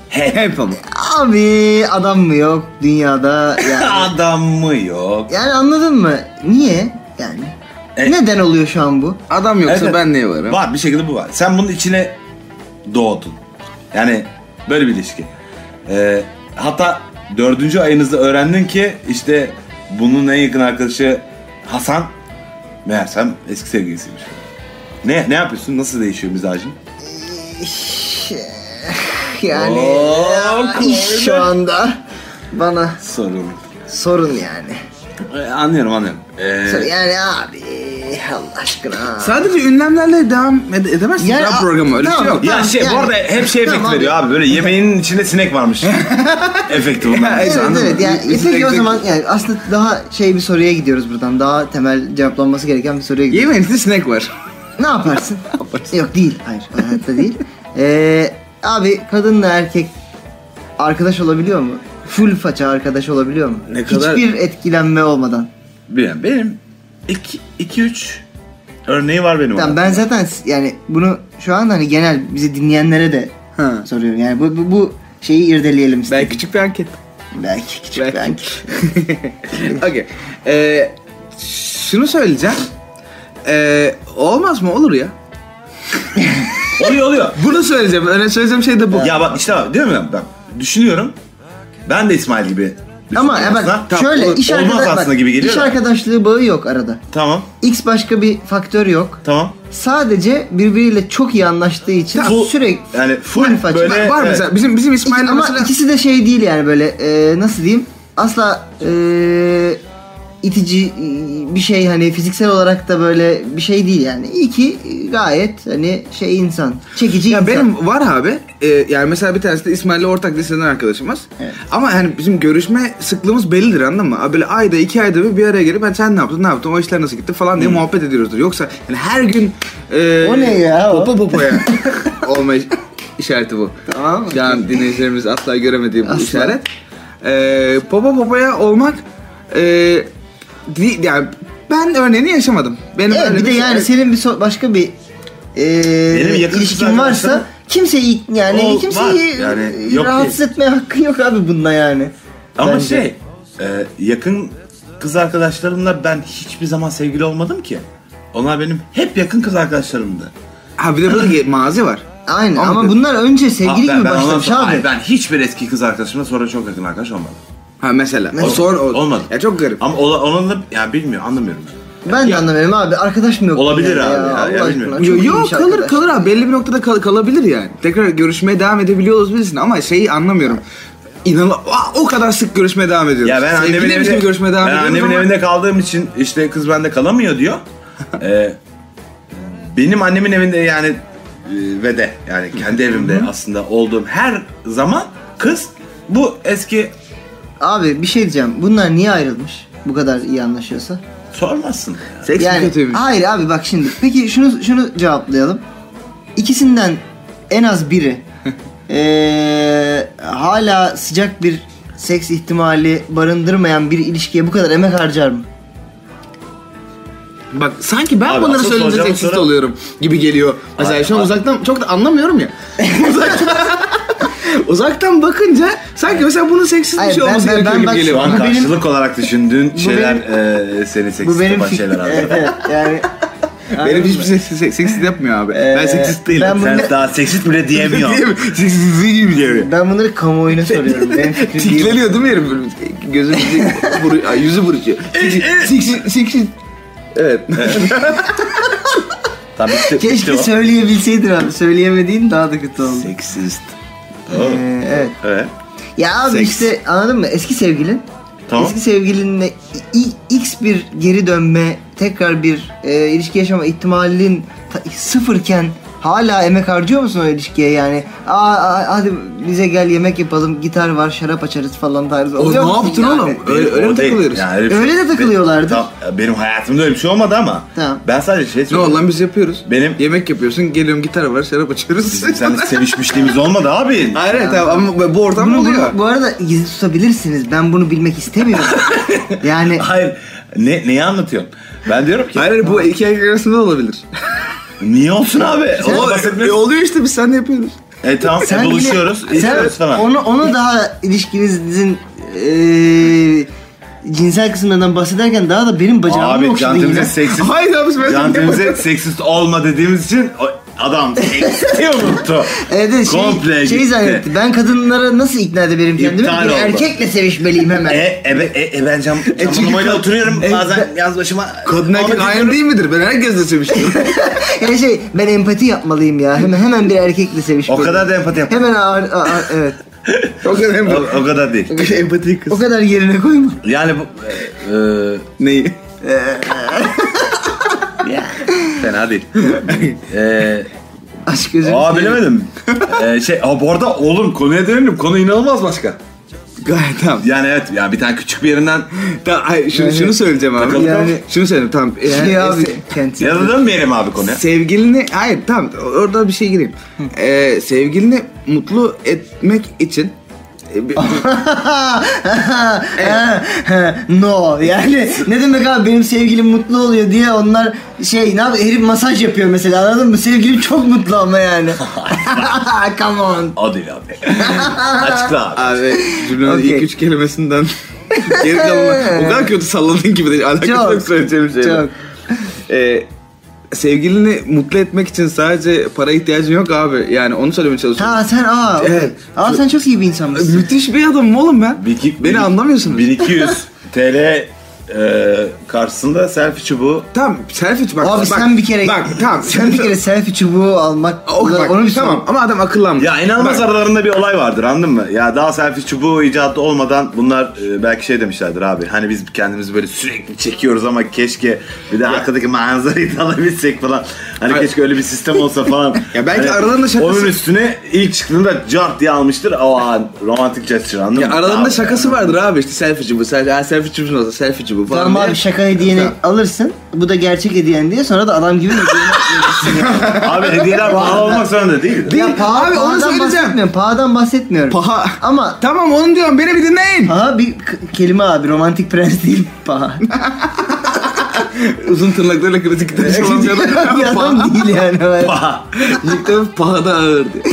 Hep.
Hep ama.
Abi adam mı yok dünyada yani.
Adam mı yok?
yani anladın mı? Niye? Yani.
E-
Neden oluyor şu an bu?
Adam yoksa
Evet.
ben neye varım?
Var bir şekilde bu var. Sen bunun içine doğdun. Yani böyle bir ilişki. E, hatta dördüncü ayınızda öğrendin ki işte bunun en yakın arkadaşı Hasan. Meğersem eski sevgilisiymiş. Ne ne yapıyorsun? Nasıl değişiyor mizacın?
Yani
Oo,
iş şu
koydu.
anda bana
Sorun.
sorun yani.
E, anlıyorum anlıyorum. E,
Yani abi Allah aşkına.
Sadece ünlemlerle devam ede- edemezsin
Yani-
daha programı öyle bir şey
Tamam.
yok.
Ya şey bu
yani-
arada hep şey efekti
Tamam abi.
veriyor abi. Böyle yemeğinin içinde sinek varmış. efekti bunlar.
Ya,
Evet
Anladım.
evet yani
Biz-
peki o
biz-
zaman yani aslında daha şey bir soruya gidiyoruz buradan. Daha temel cevaplanması gereken bir soruya gidiyoruz.
Yemeğin içinde sinek var.
Ne yaparsın? Yok değil. Hayır. Hayatta değil. Ee, abi kadınla erkek arkadaş olabiliyor mu? Full faça arkadaş olabiliyor mu?
Ne kadar-
Hiçbir etkilenme olmadan.
Bilmiyorum, benim 2-3 örneği var benim.
Tamam,
orada.
ben zaten s- yani bunu şu an hani genel bizi dinleyenlere de
Ha.
soruyorum. Yani bu, bu, bu şeyi irdeleyelim istedim.
Belki küçük bir anket.
Belki küçük
Belki.
belki.
Okey. Ee, şunu söyleyeceğim. Ee, olmaz mı? Olur ya.
Oluyor oluyor.
Bunu söyleyeceğim. Öyle söyleyeceğim şey de bu.
Ya bak işte bak, değil mi? Bak düşünüyorum. Ben de İsmail gibi.
Ama ya
düşünüyorum aslında.
bak
Tamam,
şöyle
olur.
iş,
Olmaz
arkadaş,
aslında
bak,
gibi geliyor
iş
da.
arkadaşlığı bağı yok arada.
Tamam.
X başka bir faktör yok.
Tamam.
Sadece birbiriyle çok iyi anlaştığı için
Full-
sürekli
yani full
faça.
böyle-
Var
Evet.
mesela bizim bizim
İki-
İsmail'le
ama
mesela
ikisi de şey değil yani böyle e, nasıl diyeyim asla e, itici e, bir şey hani fiziksel olarak da böyle bir şey değil yani. İyi ki e, gayet hani şey insan. Çekici
ya
insan.
benim var abi. Ee, yani mesela bir tanesi de İsmail'le ortak liseden arkadaşımız.
Evet.
Ama yani bizim görüşme sıklığımız bellidir anladın mı? Abi Böyle ayda iki ayda bir, bir araya gelip ben sen ne yaptın ne yaptın o işler nasıl gitti falan diye muhabbet ediyoruzdur. Yoksa yani her gün e,
Hmm. O ne ya o?
Popo popoya olma iş- işareti bu.
Tamam mı?
Şu an dinleyicilerimiz asla göremediği bu
Asla.
işaret. Ee, popo popoya olmak e, di- yani ben örneğini yaşamadım. Benim
Evet,
öyle şey
bir de yani senin bir so- başka bir e,
şey- Benim yakın
ilişkin
kız
varsa
arkadaşım-
kimseyi yani
O
kimseyi
var, yani yok
rahatsız etmeye hakkın yok abi bunda yani.
Ama
Bence.
şey e, yakın kız arkadaşlarımla ben hiçbir zaman sevgili olmadım ki. Onlar benim hep yakın kız arkadaşlarımdı.
Ha bir de burada ge- mazi var.
Aynen ama,
Ama-
bunlar önce
Ha,
sevgili
Ah, ben-
gibi
ben ondan
başlamış
sonra-
abi.
Hayır, ben hiçbir eski kız arkadaşımla sonra çok yakın arkadaş olmadım.
Ha mesela. O
Mesela.
sonra o-
Olmadı.
Ya çok garip.
Ama ola- onun da yani bilmiyorum anlamıyorum.
Ben de anlamıyorum abi. Arkadaş mı yok?
Olabilir
yani
abi ya, ya
Allah
bilmiyorum.
aşkına, çok
Yok
iyiymiş
kalır
arkadaş.
kalır abi belli bir noktada kal- kalabilir yani. Tekrar görüşmeye devam edebiliyor olabilirsin ama şeyi anlamıyorum. İnan o kadar sık görüşmeye devam ediyoruz.
Ya ben annemin
Sevgiliymiş gibi
evinde,
görüşmeye devam
ben
ediyoruz
annemin
ama-
evinde kaldığım için işte kız bende kalamıyor diyor. Ee, benim annemin evinde yani e, ve de yani kendi evimde aslında olduğum her zaman kız bu eski
Abi bir şey diyeceğim. Bunlar niye ayrılmış? Bu kadar iyi anlaşıyorsa.
sormazsın. ya.
Seks mi kötüymüş?
hayır abi bak şimdi. Peki şunu şunu cevaplayalım. İkisinden en az biri eee, hala sıcak bir seks ihtimali barındırmayan bir ilişkiye bu kadar emek harcar mı?
Bak sanki ben
Abi,
bunları
asıl
söylediğimde
soracağım
seksist
soru-
oluyorum gibi geliyor. Mesela
Ay,
şu an
ay.
uzaktan çok da anlamıyorum ya. uzaktan, uzaktan bakınca sanki mesela bunun seksist bir
Hayır,
şey
ben-
olması
ben-
gerekiyor
ben
gibi
bak-
Şu
geliyor.
an
Bu benim-
karşılık olarak düşündüğün şeyler e, seni
Bu
seksist
benim
yapan
fikrim.
şeyler
Evet,
abi. şey-
evet, yani
Benim hiçbir seks- seks- seksist yapmıyor abi. ben
Ee,
seksist değilim.
ben
Sen
bunu-
daha seksist bile diyemiyorsun.
Seksist değilim diyor.
ben bunları kamuoyuna soruyorum. Benim fikrim değil.
Tikleniyor değil mi herif? Böyle Gözü vuru, ay, yüzü burucu. Siksi, siksi. Evet.
Tabii işte, işte
Keşke
o.
söyleyebilseydin abi. Söyleyemediğin daha da kötü oldu.
Seksist.
Oo.
Ee, evet.
Evet.
Ya abi
Seks.
işte anladın mı? Eski sevgilin.
Tamam.
Eski sevgilinle i- i- x bir geri dönme, tekrar bir e, ilişki yaşama ihtimalin ta- sıfırken hala emek harcıyor musun o ilişkiye yani? Aa, aa, hadi bize gel yemek yapalım, gitar var, şarap açarız falan tarzı.
O
oluyor
ne
musun
yaptın
yani?
oğlum? Öyle, öyle mi
O değil.
takılıyoruz?
Yani öyle bir şey-
Öyle de takılıyorlardı.
Tam- benim hayatımda öyle bir şey olmadı ama.
Tamam.
Ben sadece şey
Ne
söyleyeyim.
olur lan biz yapıyoruz.
Benim-
Yemek yapıyorsun, geliyorum gitar var, şarap açıyoruz.
Bizim seninle sevişmişliğimiz olmadı abi.
Hayır evet abi ama bu ortam
Bunu,
oluyor.
bunu- bu arada gizli tutabilirsiniz. Ben bunu bilmek istemiyorum. yani
Hayır. Ne, neyi anlatıyorsun? Ben diyorum ki
Hayır hayır, bu iki erkek arasında da olabilir.
niye olsun abi? Ona
O- e,
bahsetmiyoruz.
oluyor işte biz sen de yapıyoruz.
E tamam e,
bile-
buluşuyoruz.
sen
içiyoruz falan.
Onu, onu daha ilişkinizin e, cinsel kısımlarından bahsederken daha da benim bacağımı
Abi
okşadın
cantimize
yine.
seksist.
Hayır abi biz
Cantimize seksist olma dediğimiz için o adam seksisti unuttu.
Evet, evet, şey,
Komple
şey
gitti.
zannetti. Ben kadınlara nasıl ikna edebilirim kendimi?
İptal
Bir
oldu.
erkekle sevişmeliyim hemen.
E, e, e, e ben cam, cam
çünkü
numarayla
kad-
oturuyorum
e,
bazen yaz başıma.
Kadın erkek aynı değil midir? Ben herkesle seviştim.
yani şey ben empati yapmalıyım ya. Hemen hemen bir erkekle
O
sevişmeliyim.
kadar da empati yap.
Hemen ağır, ağır- ağır- evet.
o kadar
O,
empati.
o kadar değil.
O kadar empati kız.
O kadar yerine koyma.
Yani bu... e, e,
Neyi?
yani Fena değil. Ee,
Aşk gözüm.
aa bilemedim. Ee, şey, aa, bu arada oğlum konuya dönelim. Konu inanılmaz başka.
Gayet tamam.
Yani evet ya bir tane küçük bir yerinden
tamam hayır, şunu, şunu söyleyeceğim abi.
Takıldım.
Yani, şunu söyleyeyim tamam. Yani, e,
Şey abi.
se-
Kent.
ya da dönmeyelim abi konuya.
Sevgilini, hayır tamam orada bir şey gireyim. Ee, sevgilini mutlu etmek için e, bir-
no yani ne demek abi benim sevgilim mutlu oluyor diye onlar şey ne yapıyor herif masaj yapıyor mesela anladın mı sevgilim çok mutlu ama yani come on
Adil abi. Açıkla abi.
abi cümlenin
Okey.
ilk üç kelimesinden geri kalanı o kadar kötü salladın ki bir de alakası
Çok,
yok söyleyeceğim şeyle.
çok.
Ee, sevgilini mutlu etmek için sadece para ihtiyacın yok abi. Yani onu söylemeye çalışıyorum.
ha sen aa okey.
Evet.
aa sen çok iyi bir insanmışsın
Müthiş bir adamım oğlum ben.
Bir iki-
Beni
bir-
anlamıyorsunuz.
1200 TL e, karşısında selfie çubuğu.
Tamam selfie bak.
abi
bak,
sen bir kere
Bak tamam.
sen bir kere selfie çubuğu almak
Oh, bak,
onu bir
tamam
sorun.
ama adam akıllanmış.
Ya inanılmaz
Bak,
aralarında bir olay vardır anladın mı? Ya daha selfie çubuğu icadı olmadan bunlar e, belki şey demişlerdir abi. Hani biz kendimizi böyle sürekli çekiyoruz ama keşke bir de arkadaki manzarayı da alabilsek falan. Hani
Ay-
keşke öyle bir sistem olsa falan.
Ya belki
Hani
aralarında şakası-
Onun üstüne ilk çıktığında cart diye almıştır. O an romantik gesture anladın
Ya
mı?
aralarında
Abi,
şakası vardır abi işte selfieci bu, selfie, ha, selfieci bu, selfieci bu falan
Tamam
diye.
abi şaka hediyeni
Tamam.
alırsın. Bu da gerçek hediyen diye sonra da adam gibi hediyeni
Abi hediyeler pahalı olmak zorunda değil.
Değil. Abi, onu
pahadan
söyleyeceğim.
bahsetmiyorum. Pahadan bahsetmiyorum.
Paha.
Ama
Tamam onu diyorum beni bir dinleyin.
paha bir k- kelime abi. Romantik prens değil paha.
Uzun tırnaklarıyla klasik gitar çalan bir adam.
bir adam değil yani.
Paha.
Yüklem pahada ağır diye.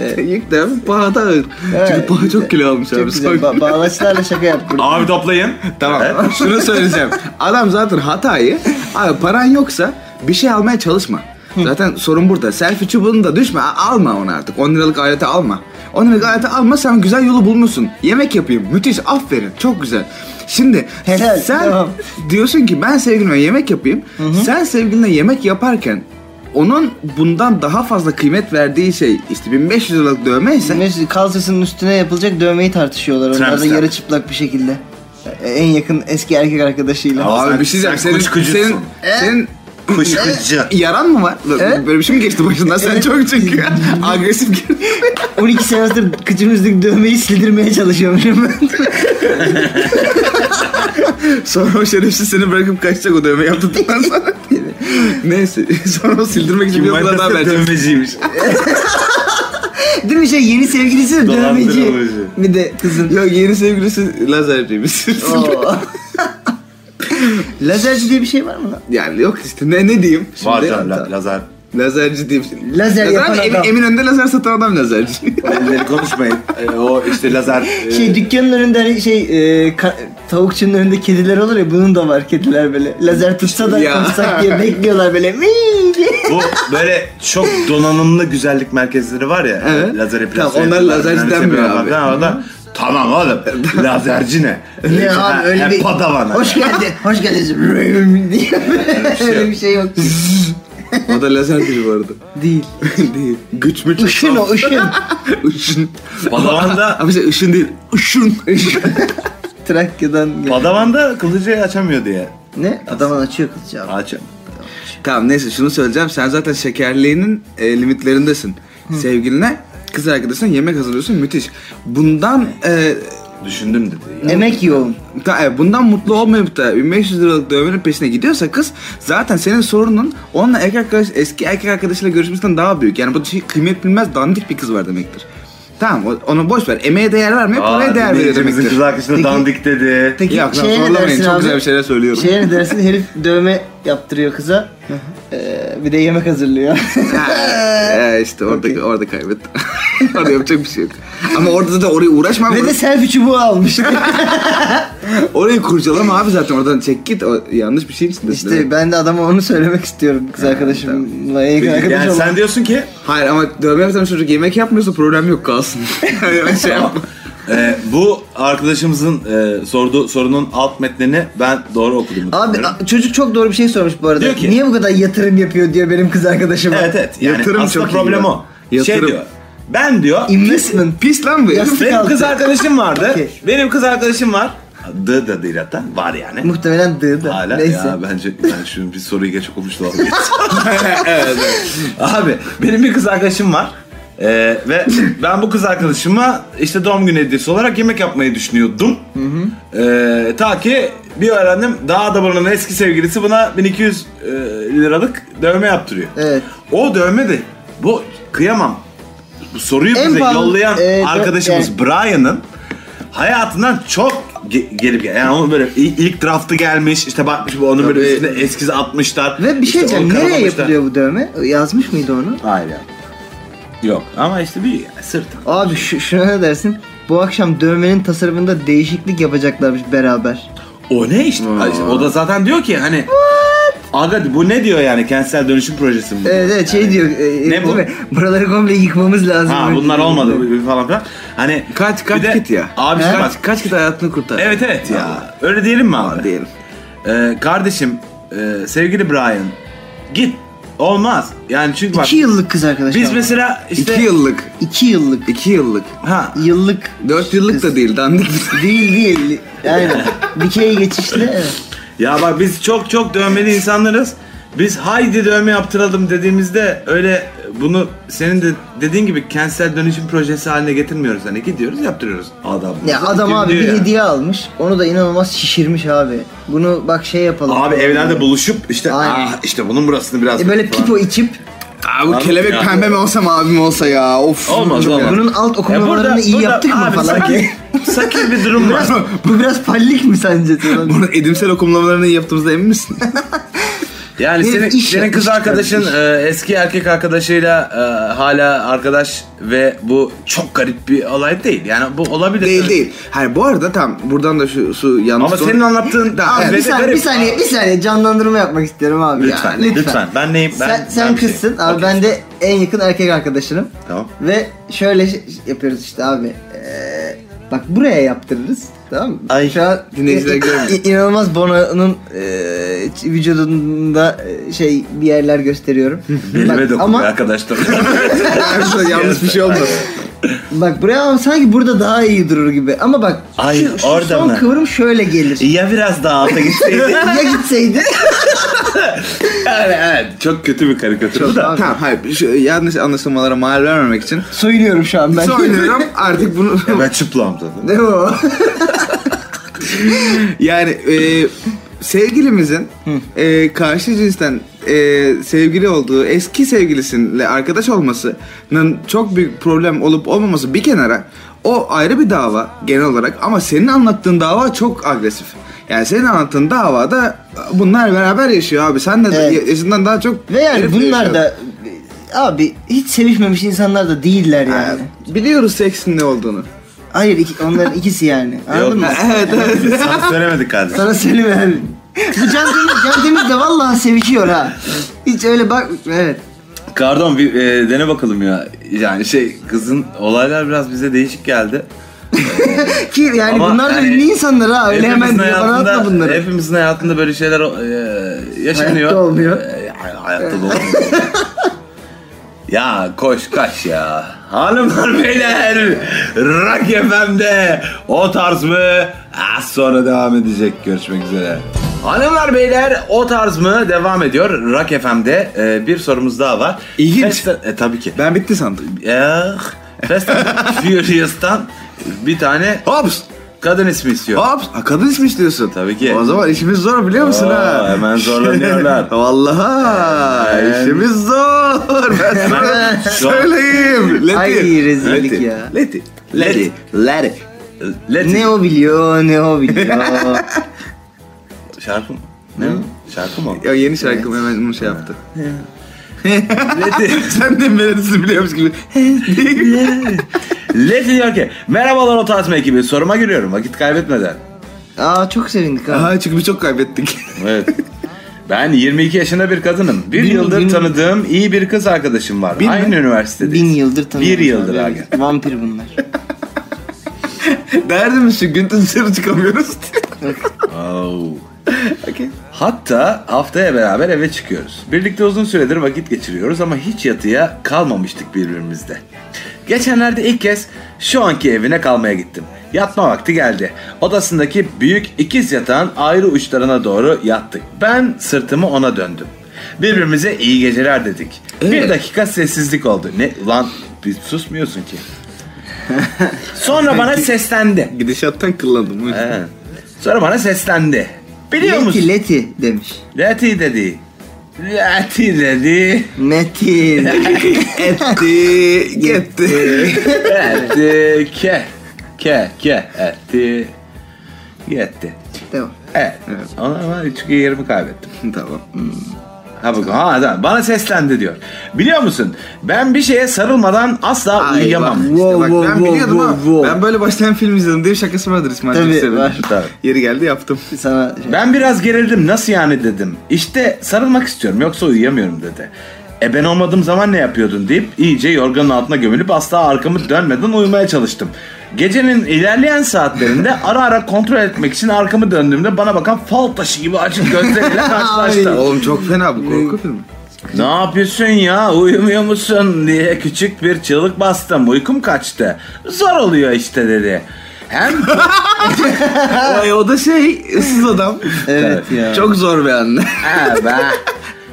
Yüklem- Yüklem pahada ağır. Çünkü paha çok kilo almış abi.
Çok güzel.
Son-
Ba- bağlaçlarla şaka yap burada.
Abi toplayın.
Tamam şunu söyleyeceğim. Adam zaten hatayı abi paran yoksa bir şey almaya çalışma. Zaten sorun burada. Selfie çubuğunu da düşme. a- Alma onu artık. 10 liralık aleti alma. 10 liralık aleti alma sen güzel yolu bulmuşsun. Yemek yapayım. Müthiş. Aferin. Çok güzel. Şimdi
Helal,
sen
tamam.
diyorsun ki ben sevgilime yemek yapayım. Sen sevgiline yemek yaparken onun bundan daha fazla kıymet verdiği şey işte 1500 liralık dövme ise
Neyse, kalçasının üstüne yapılacak dövmeyi tartışıyorlar. Onlar da
Tramster.
yarı çıplak bir şekilde. E, En yakın eski erkek arkadaşıyla.
Aa,
Abi
Sen-
bir şey diyeceğim.
sen
Senin,
kuşkucusun.
senin,
E?
senin e,
Kuşkucu.
Yaran mı var?
Evet.
Böyle bir şey mi geçti başından? Sen
Evet.
çok çünkü agresif girdin.
12 senedir kıçımın üstündeki dövmeyi sildirmeye çalışıyorum.
Sonra o şerefsiz seni bırakıp kaçacak o dövme yaptırdıktan sonra. Neyse sonra o sildirmek için bir
Kim
okula daha
var?
verecek.
Dövmeciymiş.
Değil mi şey yeni sevgilisi de dövmeci.
Dolandırılmacı.
Bir de kızın.
Yok yeni sevgilisi lazerciymiş.
Oo. Lazerci diye bir şey var mı lan?
yani yok işte ne ne diyeyim? Şimdi
Var canım
tamam.
la- lazer.
Lazerci diyeyim. şimdi.
Lazer yapan
abi, Emin-
adam.
Eminönü'nde lazer satan adam lazerci.
Elleri konuşmayın. Ee, o işte lazer. e,
Şey dükkanın önünde hani şey e, ka- tavukçunun önünde kediler olur ya bunun da var kediler böyle. Lazer tutsa da
Ya.
konuşsak diye bekliyorlar böyle. "Mii" diye.
bu böyle çok donanımlı güzellik merkezleri var ya.
Evet.
Lazer epilasyon.
Tamam, onlar
yapıyorlar,
lazerci
mühendis
denmiyor
yapıyorlar falan.
abi.
O da, tamam oğlum. Lazerci ne? Şey,
Ne abi
Ha,
öyle
ha,
bir...
Padavana.
Hoş geldin. Hoş geldin. diye.
şey yok.
öyle bir şey yok.
o da lazer değil bu arada.
Değil.
değil. Güç mü?
Işın o ışın.
Işın.
Padavanda,
Abi şey ışın değil. Işın.
Trakya'dan gel.
Padavanda kılıcı açamıyor diye.
Ne? Adamın açıyor kılıcı abi.
Açam.
Tamam neyse şunu söyleyeceğim. Sen zaten şekerliğinin e, limitlerindesin. Sevgiline, kız arkadaşına yemek hazırlıyorsun. Müthiş. Bundan e,
Düşündüm dedi. ya.
Emek yoğun.
ta- e, bundan mutlu olmayıp da 1500 liralık dövmenin peşine gidiyorsa kız zaten senin sorunun onunla erkek arkadaş, eski erkek arkadaşıyla görüşmesinden daha büyük. Yani bu şey kıymet bilmez dandik bir kız var demektir. Tamam o- onu boş ver. Emeğe değer vermiyor,
Aa,
paraya değer veriyor
dinleyicimizin
demektir.
kız arkadaşına
Peki-
dandik dedi.
Peki
Yok lan
şeye ne
zorlamayın.
dersin
Çok
abi?
güzel bir şeyler söylüyorum.
Şeye ne dersin? Herif dövme yaptırıyor kıza. Ee, bir de yemek hazırlıyor.
Ha, e, işte orada,
Okey.
orada kaybettim. orada yapacak bir şey yok. Ama orada da oraya uğraşmam.
Ve de selfie çubuğu almış.
Orayı kurcalama abi zaten oradan çek git. O, yanlış bir şeyin içindesin.
işte ben de adama onu söylemek istiyorum kız arkadaşımla. en yakın arkadaş
Yani
olan.
sen diyorsun ki
Hayır ama dövme yaptan çocuk yemek yapmıyorsa problem yok kalsın. Öyle şey yapma.
e, bu arkadaşımızın e, sorduğu sorunun alt metnini ben doğru okudum.
Abi a- çocuk çok doğru bir şey sormuş bu arada.
Diyor ki-
Niye bu kadar yatırım yapıyor diyor benim kız arkadaşıma.
Evet evet. Yani
Yatırım
aslında
çok iyi
problem
ya.
o. Şey
Yatırım.
diyor. Ben diyor
Investment.
Pis lan bu.
Yastık
benim
altı.
kız arkadaşım vardı.
Okey.
Benim kız arkadaşım var. D da değil hatta. Var yani.
Muhtemelen dı da.
Hala
Neyse.
ya bence ben şunu bir soruyu geç okumuş da olabilir. Abi benim bir kız arkadaşım var. Ee, ve ben bu kız arkadaşıma işte doğum günü hediyesi olarak yemek yapmayı düşünüyordum. Ee, ta ki bir öğrendim daha da bunun eski sevgilisi buna 1200 e, liralık dövme yaptırıyor.
Evet.
O dövme de bu kıyamam. Bu soruyu
En
bize
pahalı,
yollayan
e, dö-
arkadaşımız Brian'ın hayatından çok ge- gelip gel. Yani onun böyle i- ilk draftı gelmiş işte bakmış bu onun böyle
Tabii.
üstüne eskizi atmışlar.
Ve bir
İşte
şey diyeceğim.
onu
Nereye
karalamışlar.
yapılıyor bu dövme? Yazmış mıydı onu?
Hayır ya. Yok ama işte bir yani sırt.
Abi şu, şuna ne dersin? Bu akşam dövmenin tasarımında değişiklik yapacaklarmış beraber.
O ne işte?
Hmm.
Aa.
Ha işte O da zaten diyor ki hani Aga bu ne diyor yani kentsel dönüşüm projesi mi? bu?"
Evet evet şey
Yani,
diyor. e, e,
ne bu?
değil mi? Buraları komple yıkmamız lazım.
Ha bunlar olmadı falan filan. Hani
Kaç kaç
bir de-
git ya.
Abi
He?
kaç
Kaç, kaç git hayatını kurtar.
Evet evet ya.
Vallahi.
Öyle diyelim mi abi?
Diyelim.
Ee, kardeşim, e, sevgili Brian, git. Olmaz. Yani çünkü bak
İki yıllık kız arkadaş.
biz mesela işte
İki yıllık.
İki yıllık.
iki yıllık.
ha
Yıllık.
Dört yıllık da değil dandik.
Değil değil. Aynen. Dikey geçişli. evet.
ya bak biz çok çok dövmeli insanlarız. Biz haydi dövme yaptıralım dediğimizde öyle bunu senin de dediğin gibi kentsel dönüşüm projesi haline getirmiyoruz. Hani gidiyoruz yaptırıyoruz adam.
Ya adam
Kim
abi
diyor
bir
ya?
hediye almış. Onu da inanılmaz şişirmiş abi. Bunu bak şey yapalım.
Abi evlerde buluşup işte
Aynen.
ah işte bunun burasını biraz
E böyle
falan."
pipo içip
Abi bu
Abi
kelebek
ya.
pembe mi olsa mavi mi olsa ya of.
Olmaz,
Çok
olmaz.
ya.
bunun alt
Ya
okumalarını iyi yaptık mı
abi
falan.
Sakin, sakin bir durum var.
Bu biraz pallik mi sence? Turan?
Bunu edimsel okumlamalarını yaptığımızda emin misin?
Yani
Herif
senin,
iş
senin
yapmış
kız arkadaşın
kardeş.
e, eski erkek arkadaşıyla e, hala arkadaş ve bu çok garip bir olay değil. Yani bu olabilir.
değil değil. Hayır bu arada tam buradan da şu su yanlış.
Ama
son-
senin anlattığın
Daha-
Abi
Evet,
bir saniye,
garip.
bir saniye, bir saniye canlandırma yapmak istiyorum abi. ya.
Lütfen, lütfen. Ben neyim? Ben,
sen sen
ben bir şeyim.
kızsın abi
Okey.
ben de en yakın erkek arkadaşınım.
Tamam.
Ve şöyle şey- yapıyoruz işte abi. Ee, bak buraya yaptırırız. Tamam mı?
Ay,
Şu an
dinleyiciler
i- i-
görmüyor.
İnanılmaz Bono'nun ee, vücudunda ee, şey bir yerler gösteriyorum. Bak,
Belime dokundu
ama
arkadaşlar.
Yanlış- yanlış bir şey oldu.
bak buraya ama sanki burada daha iyi durur gibi. Ama bak
Ay,
şu, şu
orada
son
mı?
kıvrım şöyle gelir.
ya biraz daha alta gitseydi.
ya gitseydi?
evet, evet. Çok kötü bir karikatür. bu da.
Abi.
Tamam hayır şu yanlış anlaşılmalara mal vermemek için.
Soyunuyorum şu an ben.
Söylüyorum artık bunu
Ya ben çıplağım zaten.
Değil mi o?
yani e, sevgilimizin e, karşı cinsten e, sevgili olduğu eski sevgilisinle arkadaş olmasının çok büyük problem olup olmaması bir kenara o ayrı bir dava genel olarak ama senin anlattığın dava çok agresif. Yani senin anlattığın davada bunlar beraber yaşıyor abi. Sen de
Evet.
yaşından daha çok
Ve yani
herifle
bunlar
yaşıyor.
da abi hiç sevişmemiş insanlar da değiller yani.
biliyoruz seksin ne olduğunu.
Hayır iki- onların ikisi yani. Anladın mı?
Yok.
evet evet.
Biz sana söylemedik kardeşim.
Sana söyleyeyim abi. Bu Can Temiz, Can Temiz de vallahi sevişiyor ha. Hiç öyle bak evet.
Pardon bir e, dene bakalım ya. Yani şey kızın olaylar biraz bize değişik geldi.
Ki yani
Ama
bunlar da
yani
ünlü insanlar ha. Öyle hemen diye bana atma bunları.
Hepimizin hayatında böyle şeyler e, yaşanıyor.
Hayatta olmuyor.
E, hay- hayatta da olmuyor. ya koş kaç ya. Hanımlar beyler Rock FM'de o tarz mı? Az sonra devam edecek. Görüşmek üzere. Hanımlar beyler o tarz mı devam ediyor. Rock FM'de e, bir sorumuz daha var.
İlginç.
Festa- e, tabii ki.
Ben bitti sandım.
Eh, Fast and Furious'tan bir tane
Hops!
kadın ismi istiyor.
Hops! Ha, kadın ismi istiyorsun.
Tabii ki.
O zaman işimiz zor biliyor musun
Oo,
ha?
hemen zorlanıyorlar.
Vallahi
Hemen.
işimiz zor. Ben
Hemen.
sana söyleyeyim. Leti.
Ay, rezillik
Leti.
ya.
Leti.
Leti.
Leti. Leti.
Let
Ne
it.
o biliyor, ne o biliyor.
Şarkı mı? Ne? o? Şarkı mı?
Ya yeni şarkım hemen bunu şey yaptı.
Let it.
Sen de melodisini biliyormuş gibi.
Let it diyor ki merhabalar o tartma ekibi soruma giriyorum vakit kaybetmeden.
Aa çok sevindik ha.
Aha çünkü biz çok kaybettik.
Evet. Ben 22 yaşında bir kadınım. Bir
Bin-
yıldır
bin-
tanıdığım iyi bir kız arkadaşım var.
Bin mi?
Aynı üniversitede.
Bin yıldır tanıyorum.
Bir yıldır
abi.
abi.
Vampir bunlar.
Derdimiz şu gündüz dışarı çıkamıyoruz.
Oh.
okay.
Hatta haftaya beraber eve çıkıyoruz. Birlikte uzun süredir vakit geçiriyoruz ama hiç yatıya kalmamıştık birbirimizde. Geçenlerde ilk kez şu anki evine kalmaya gittim. Yatma vakti geldi. Odasındaki büyük ikiz yatağın ayrı uçlarına doğru yattık. Ben sırtımı ona döndüm. Birbirimize iyi geceler dedik. Bir
Evet.
dakika sessizlik oldu. Ne lan bir susmuyorsun ki. Sonra bana seslendi.
Gidişattan kıllandım. o yüzden.
He. Sonra bana seslendi. Biliyor
Leti
musun?
Leti demiş.
Leti dedi. Leti dedi.
Metin.
Gitti. Gitti.
Etti. Ke. Ke. Ke. Etti. Yetti.
tamam.
Evet. Ona ama 3 yerimi kaybettim.
tamam.
Ha bak ha adam bana seslendi diyor. Biliyor musun? Ben bir şeye sarılmadan asla
Ay,
uyuyamam.
bak, işte
Wow,
bak,
wow,
ben
wow,
biliyordum
wow,
ama
wow.
ben böyle başlayan film izledim diye bir şakası vardır İsmail
Tabii,
Türksever'in.
var.
Tabii.
Yeri geldi yaptım.
Sana şey,
Ben biraz gerildim. Nasıl yani dedim. İşte sarılmak istiyorum yoksa uyuyamıyorum dedi. E ben olmadığım zaman ne yapıyordun deyip iyice yorganın altına gömülüp asla arkamı dönmeden uyumaya çalıştım. Gecenin ilerleyen saatlerinde ara ara kontrol etmek için arkamı döndüğümde bana bakan fal taşı gibi açık gözleriyle karşılaştım.
Oğlum çok fena bu korku filmi.
Ne yapıyorsun ya uyumuyor musun diye küçük bir çığlık bastım uykum kaçtı. Zor oluyor işte dedi. Hem
Ay o da şey ıssız adam.
Evet ya.
Çok zor bir anne.
Ha be.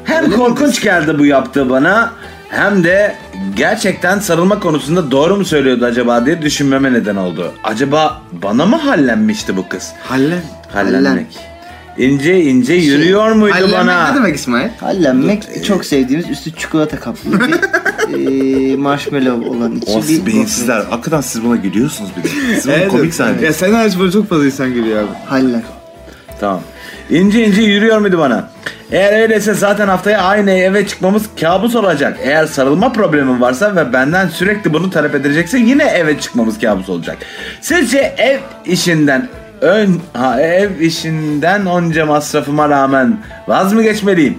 Hem korkunç geldi bu yaptığı bana hem de gerçekten sarılma konusunda doğru mu söylüyordu acaba diye düşünmeme neden oldu. Acaba bana mı hallenmişti bu kız?
Halle.
Hallenmek. İnce ince yürüyor muydu bana?
Şey, ne demek İsmail?
e,
Hallenmek çok sevdiğimiz üstü çikolata kaplı bir e, marshmallow olan içi
O
Şey,
bir
beyinsizler. Hakikaten siz buna gülüyorsunuz bir de. Siz buna komik sahne.
Ya sen hariç böyle çok fazla insan gülüyor abi.
Hallen.
Tamam. İnce ince yürüyor muydu bana? Eğer öyleyse zaten haftaya aynı eve çıkmamız kabus olacak. Eğer sarılma problemim varsa ve benden sürekli bunu talep edecekse yine eve çıkmamız kabus olacak. Sizce ev işinden ön ha, ev işinden onca masrafıma rağmen vaz mı geçmeliyim?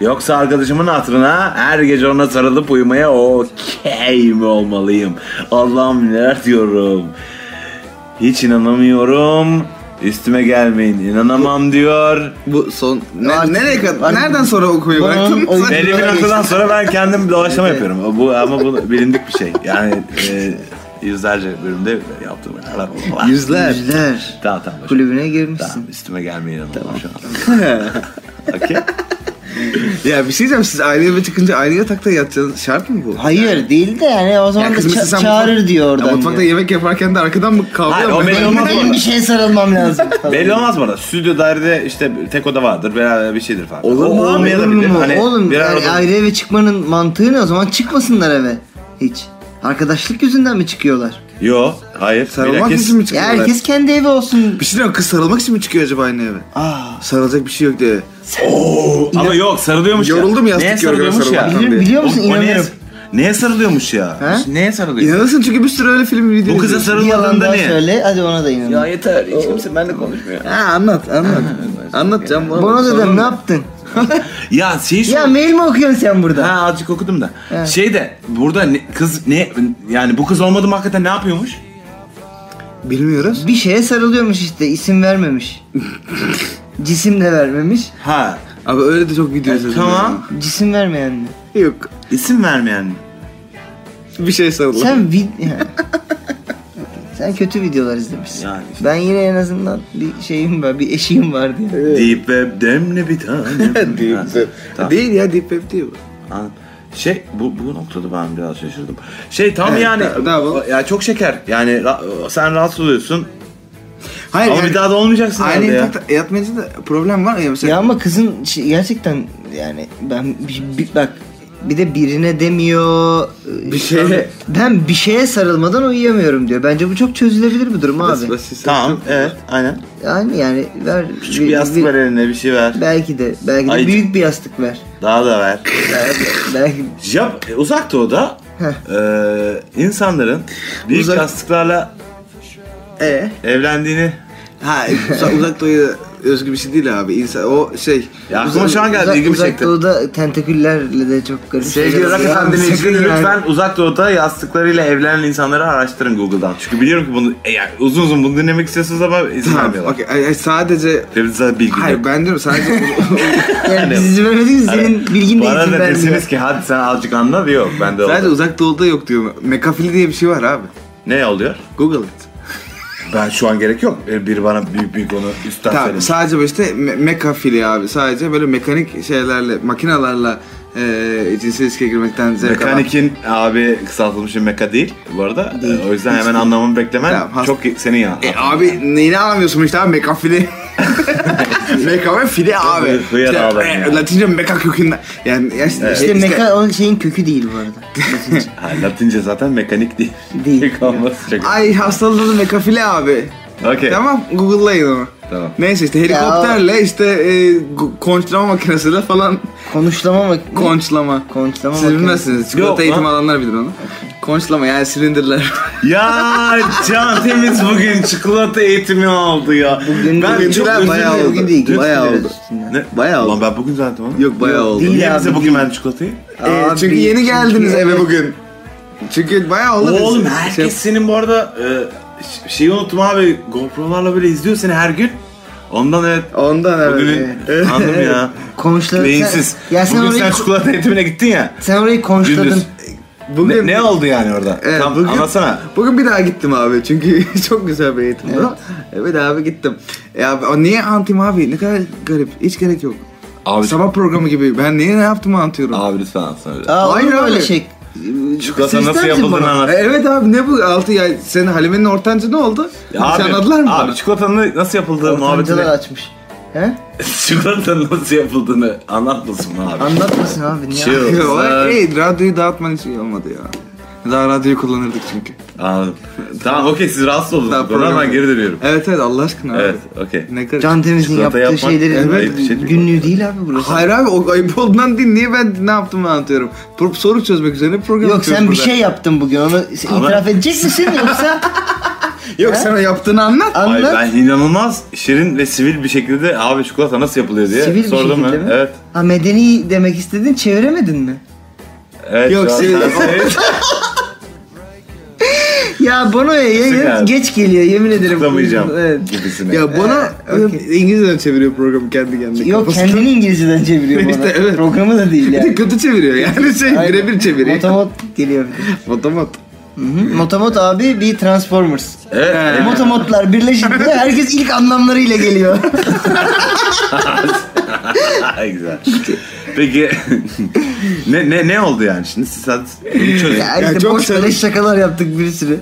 Yoksa arkadaşımın hatırına her gece ona sarılıp uyumaya okey mi olmalıyım? Allah'ım neler diyorum. Hiç inanamıyorum. Üstüme gelmeyin. İnanamam diyor.
Bu son... Ne,
Artık-
nereye kadar?
artık-
Nereden sonra okumayı
Bunun
bıraktın?
oyun-
Sen-
Belli bir noktadan sonra ben kendim doğaçlama yapıyorum. Bu ama bu bilindik bir şey. Yani e, yüzlerce bölümde yaptığım.
Yüzler.
Ah, Yüzler.
Tamam tamam. boş ver.
Kulübüne girmişsin.
Tamam üstüme gelmeyin inanamam şu an. Okey.
ya bir şey diyeceğim siz ayrı eve çıkınca ayrı yatakta yatacaksınız. Şart mı bu?
Hayır değil de yani o zaman
Ya
da
kız mesela
ça-
sen
çağırır
mutfak-
diyor
Ya
oradan.
mutfakta
diyor.
yemek yaparken de arkadan mı kavga
Hayır, o
yapmayın?
benim olmaz
Benim
mı?
bir şeye sarılmam lazım. falan.
Belli olmaz bu arada. Stüdyo dairede işte tek oda vardır. Beraber bir şeydir falan.
Olur mu
O-
abi,
Olmayabilir.
olur mu?
Hani
Oğlum
birer
yani
oda-
ayrı eve çıkmanın mantığı ne o zaman çıkmasınlar eve hiç. Arkadaşlık yüzünden mi çıkıyorlar?
Yo, hayır.
Sarılmak
Bilakis-
için mi
Ya
çıkıyorlar?
herkes kendi evi olsun.
Bir şey diyeceğim kız sarılmak için mi çıkıyor acaba aynı eve?
Aa,
Sarılacak bir şey yok diye.
Ama yok sarılıyormuş ya.
Yoruldum yastık
Neye
yorganı
sarılıyormuş ya?
sarılmaktan.
biliyor,
bir-
biliyor
O-
musun
o neye,
inanıyorum.
neye sarılıyormuş ya?
He?
Neye sarılıyor?
İnanırsın çünkü bir sürü öyle film video
Bu kıza
izliyorsun.
Bir yalan
sarılmadığında
daha
ne?
söyle hadi ona da inanıyorum.
yeter. Hiç kimse benimle konuşmuyor.
Ha anlat anlat. Anlatacağım.
Bana da dedim ne yaptın?
Ya şey şu.
ya mail mi okuyorsun sen burada?
ha azıcık okudum da.
Evet.
Şey de burada ne- kız ne yani bu kız olmadı mı hakikaten ne yapıyormuş?
Bilmiyoruz.
Bir şeye sarılıyormuş işte isim vermemiş. Cisim de vermemiş.
Ha
Abi öyle de çok video
E,
izledim.
tamam.
Cisim vermeyen mi?
ya. Yok.
isim vermeyen mi?
Bir şey sarılır.
Sen vid... Ha. Sen kötü videolar izlemişsin.
Yani işte.
Ben yine en azından bir şeyim var, bir eşiğim var diye.
Deyip ve demle bir tane.
değil,
Ha,
sen-
tamam.
değil ya Deep Web değil bu.
Anladım. Şey bu, bu noktada ben biraz şaşırdım. Şey tam
Evet,
yani
ne- ne yapalım?
ya çok şeker. Yani ra- sen rahatsız oluyorsun.
Hayır
Ama
yani
bir daha da olmayacaksın
aynı
herhalde ya.
yatakta yatmayınca da problem var ya mesela.
Ya ama kızın şey- gerçekten yani ben bir, bir- bak bir de birine demiyor.
Bir şeye-
Ben bir şeye sarılmadan uyuyamıyorum diyor. Bence bu çok çözülebilir bir durum
Bas-
abi.
bas- bas-
Tamam
bas-
evet aynen.
Yani yani ver.
Küçük bir yastık ver eline bir şey ver.
Belki de belki de
Ay-
büyük bir yastık ver.
Daha da ver.
belki, belki
Jap uzak doğuda
Heh.
eee insanların büyük
Uzak-
yastıklarla
e
evlendiğini
Ha uzak doğuya özgü bir şey değil abi. İnsan, o şey.
Ya aklıma şu an geldi ilgimi
uzak
çekti. Şey
Doğu'da tentaküllerle de çok garip
Sevgili
şeyler
Rock
oluyor.
FM
Sakın
dinleyicileri
yani.
lütfen uzak doğuda yastıklarıyla evlenen insanları araştırın Google'dan. Çünkü biliyorum ki bunu e, yani uzun uzun bunu dinlemek istiyorsunuz ama izin
Tamam,
vermiyorlar.
okey. Ay- ay, sadece
Tabii zaten bilgi
Hayır
yok.
ben diyorum sadece
Hani
Yani biz izin vermedik mi? Senin bilgin
Bu
de izin
arada
vermiyor.
desiniz ki hadi sen azıcık anla diyor. Ben de
sadece
oldu.
uzak doğuda yok diyorum. Mekafili diye bir şey var abi.
Ne oluyor?
Google it.
Ben şu an gerek yok. E, Biri bana büyük büyük onu üstten
Tamam,
söylemiş.
sadece böyle işte me- mekafili abi. Sadece böyle mekanik şeylerle, makinalarla e, cinsel ilişkiye girmekten zevk alan.
Mekanikin abi kısaltılmışı meka değil bu arada. E,
Değil.
O yüzden hemen anlamamı beklemen
Tamam, has-
çok senin ya.
E abi neyini anlamıyorsun işte abi mekafili. Mekafili abi.
Bu- bu yer
İşte,
ağlar
e,
yani.
Latince meka kökünden. Yani ya
e,
işte,
İşte meka o şeyin kökü değil bu arada. Latince.
Ha, Latince zaten mekanik değil.
Değil.
Mekanik olması çok.
Ay hastalığı mekafili abi.
Okey.
Tamam Google'layın onu.
Tamam.
Neyse işte helikopterle işte e, gu- konçlama makinesiyle falan
Konuşlama mı?
konçlama.
Konçlama
Siz
makinesi.
bilmezsiniz. Çikolata
Yok lan.
eğitimi alanlar bilir onu. Konçlama yani silindirler.
Ya Can Temiz bugün çikolata eğitimi aldı ya.
Bugün-
ben
bugün
çok
değil,
özür
bayağı
diliyorum.
Bugün değil,
Dün-
bayağı
sinirlendim.
oldu.
Ne?
Bayağı oldu.
Lan ben bugün zannettim ama.
Yok bayağı
Yok,
oldu.
değil.
Niye
abi,
bize bugün verdi çikolatayı?
E,
Abi,
çünkü yeni geldiniz
çünkü-
eve bugün. Çünkü bayağı oldu.
Oğlum
Şey-
herkes senin bu arada e, ş- şeyi unuttum abi. GoPro'larla böyle izliyor seni her gün. Ondan evet.
Ondan evet.
Bugün
Evet.
anladım ya.
Konuşladın.
Beyinsiz.
Sen, ya sen
bugün
orayı,
sen
sen,
çikolata eğitimine gittin ya.
orayı konuşladın.
Gündüz. Ne, ne oldu yani orada?
Evet,
Tam
bugün-
anlatsana.
Bugün bir daha gittim abi çünkü çok güzel bir eğitim E, evet. Evet abi gittim. Ya o niye antim abi? Ne kadar garip. Hiç gerek yok.
Abi,
Sabah programı gibi. Ben niye ne yaptığımı anlatıyorum.
abi lütfen anlatsana. biraz.
Aa,
Hayır
Hayır öyle
abi.
şey.
Çikolata
Siz
nasıl
ister misin
yapıldığını
bana?
anlat.
E, Evet abi ne bu altı ya senin Halime'nin ortancı ne oldu?
Ya
Abi, anladılar mı?
Abi
bana?
çikolatanın nasıl yapıldığı muhabbetini...
Ortancalar açmış. He?
Çikolatanın nasıl yapıldığını anlatmasın mı abi?
Anlatmasın abi niye?
Chill.
Yok,
Sen-
hey, radyoyu dağıtman hiç iyi olmadı ya. Daha radyoyu kullanırdık çünkü.
Anladım. Tamam okey siz rahatsız
Daha
oldunuz. Buna
program-
ben geri dönüyorum.
Evet evet Allah aşkına abi.
Evet okey.
Ne kadar...
Can Temiz'in
Çikolata
yaptığı
yapmak
şeyleri
ayıp bir şey değil.
günlüğü değil abi burası.
Hayır abi o ayıp olduğundan değil. Niye ben ne yaptığımı anlatıyorum. Pro- soru çözmek üzerine program
Yok
yapıyoruz
sen bir
burada.
şey yaptın bugün onu se-
Ama-
itiraf edecek misin yoksa şey-
Yok sen o yaptığını anlat.
Ay,
anlat.
ben inanılmaz şirin ve sivil bir şekilde abi çikolata nasıl yapılıyor diye
Sivil bir
sordum
şekilde
ben.
mi?
Evet.
Ha medeni demek istedin çeviremedin mi?
Evet.
Yok,
şu an
sivil-
sen-
Ya Bono'ya yayın
abi.
geç geliyor yemin ederim.
Tıklamayacağım
Evet.
gibisine.
Ya bana
Ee, okey.
İngilizceden çeviriyor programı kendi kendine.
Yok
Kafası-
kendini İngilizceden çeviriyor Bono.
İşte evet.
Programı da değil
Bir de
yani.
kötü çeviriyor yani şey
Aynen.
birebir çeviriyor.
Motomot geliyor bir de.
Motomot.
Hı hı. Motomot abi bir Transformers.
Evet.
Motomotlar birleşince herkes ilk anlamlarıyla geliyor.
Ay, güzel. Peki ne ne ne oldu yani şimdi siz hadi bunu çözün.
ya işte
çok
boş beleş şakalar yaptık bir sürü.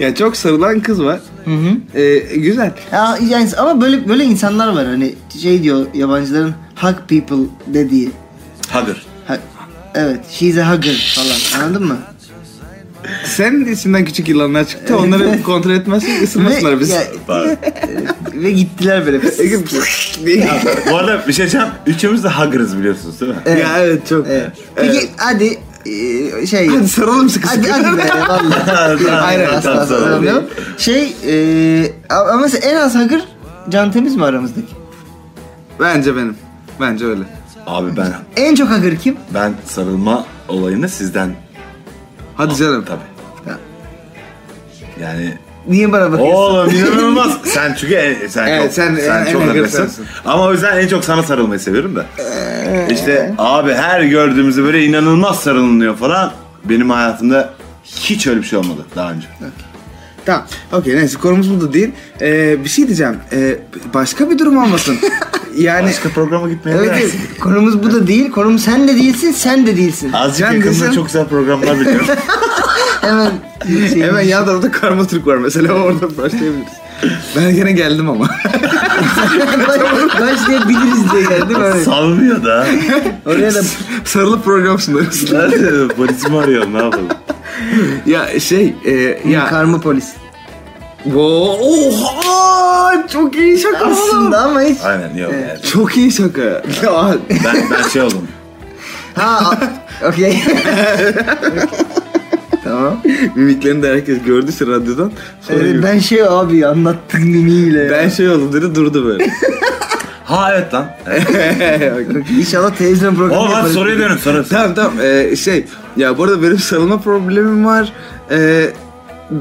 ya çok sarılan kız var.
Hı hı.
Ee, güzel.
Ya, yani, ama böyle böyle insanlar var hani şey diyor yabancıların hug people dediği.
Hadır.
Ha- evet she's a hugger falan anladın mı?
Sen içinden küçük yılanlar çıktı. Onları kontrol etmezsin ısınmasınlar biz.
ya,
Pardon.
ve gittiler böyle.
Ege- ya,
bu arada bir şey diyeceğim. Üçümüz de hagırız biliyorsunuz değil mi?
evet çok.
Evet. Peki hadi e, şey.
Hadi saralım sıkı
Hadi
sıkı.
hadi be vallahi. Hayır
Tamam,
asla
tamam,
sarılmıyorum. Şey e, ama mesela en az hakır Can Temiz mi aramızdaki?
Bence benim. Bence öyle.
Abi ben
En çok hakır kim?
ben sarılma olayını sizden
Hadi canım.
tabii.
Ya.
Yani
Niye bana bakıyorsun?
Oğlum inanılmaz. sen çünkü en- sen
Evet,
çok, sen,
sen en-
çok
en
agresifsin.
agresifsin.
Ama o yüzden en çok sana sarılmayı seviyorum da.
Ee.
işte abi her gördüğümüzde böyle inanılmaz sarılınıyor falan. Benim hayatımda hiç öyle bir şey olmadı daha önce.
Tamam. Okey neyse konumuz burada değil. Ee, bir şey diyeceğim. Ee, başka bir durum olmasın. yani
Başka programa gitmeye
Evet,
değersin.
evet. konumuz bu da değil. Konum sen de değilsin, sen de değilsin.
Azıcık
Sen
yakında
desen-
çok güzel programlar biliyorum.
Hemen şey,
hemen yan tarafta karma Türk var mesela oradan başlayabiliriz. Ben gene geldim ama.
başlayabiliriz diye geldim öyle.
Salmıyor da.
Oraya da
Sarılıp program sunarız.
Nerede? Polisi mi arıyorum ne yapalım?
ya şey e,
ya.
ya.
karma polis.
Wow, Oha! Çok iyi şaka oğlum.
Aslında ama hiç.
Aynen yok yani.
Çok iyi şaka. Ya,
Ben, ben şey oldum.
Ha, a- okey. Tamam.
Mimiklerini de herkes gördüyse radyodan. Sonra
Evet,
gibi. ben,
ben şey abi anlattığın mimiyle ya.
şey oldum dedi durdu böyle.
Ha evet lan.
İnşallah televizyon programı
Oğlum hadi
yaparız.
soruya dönün soru.
tamam tamam Ee, şey ya bu arada benim sarılma problemim var. Ee,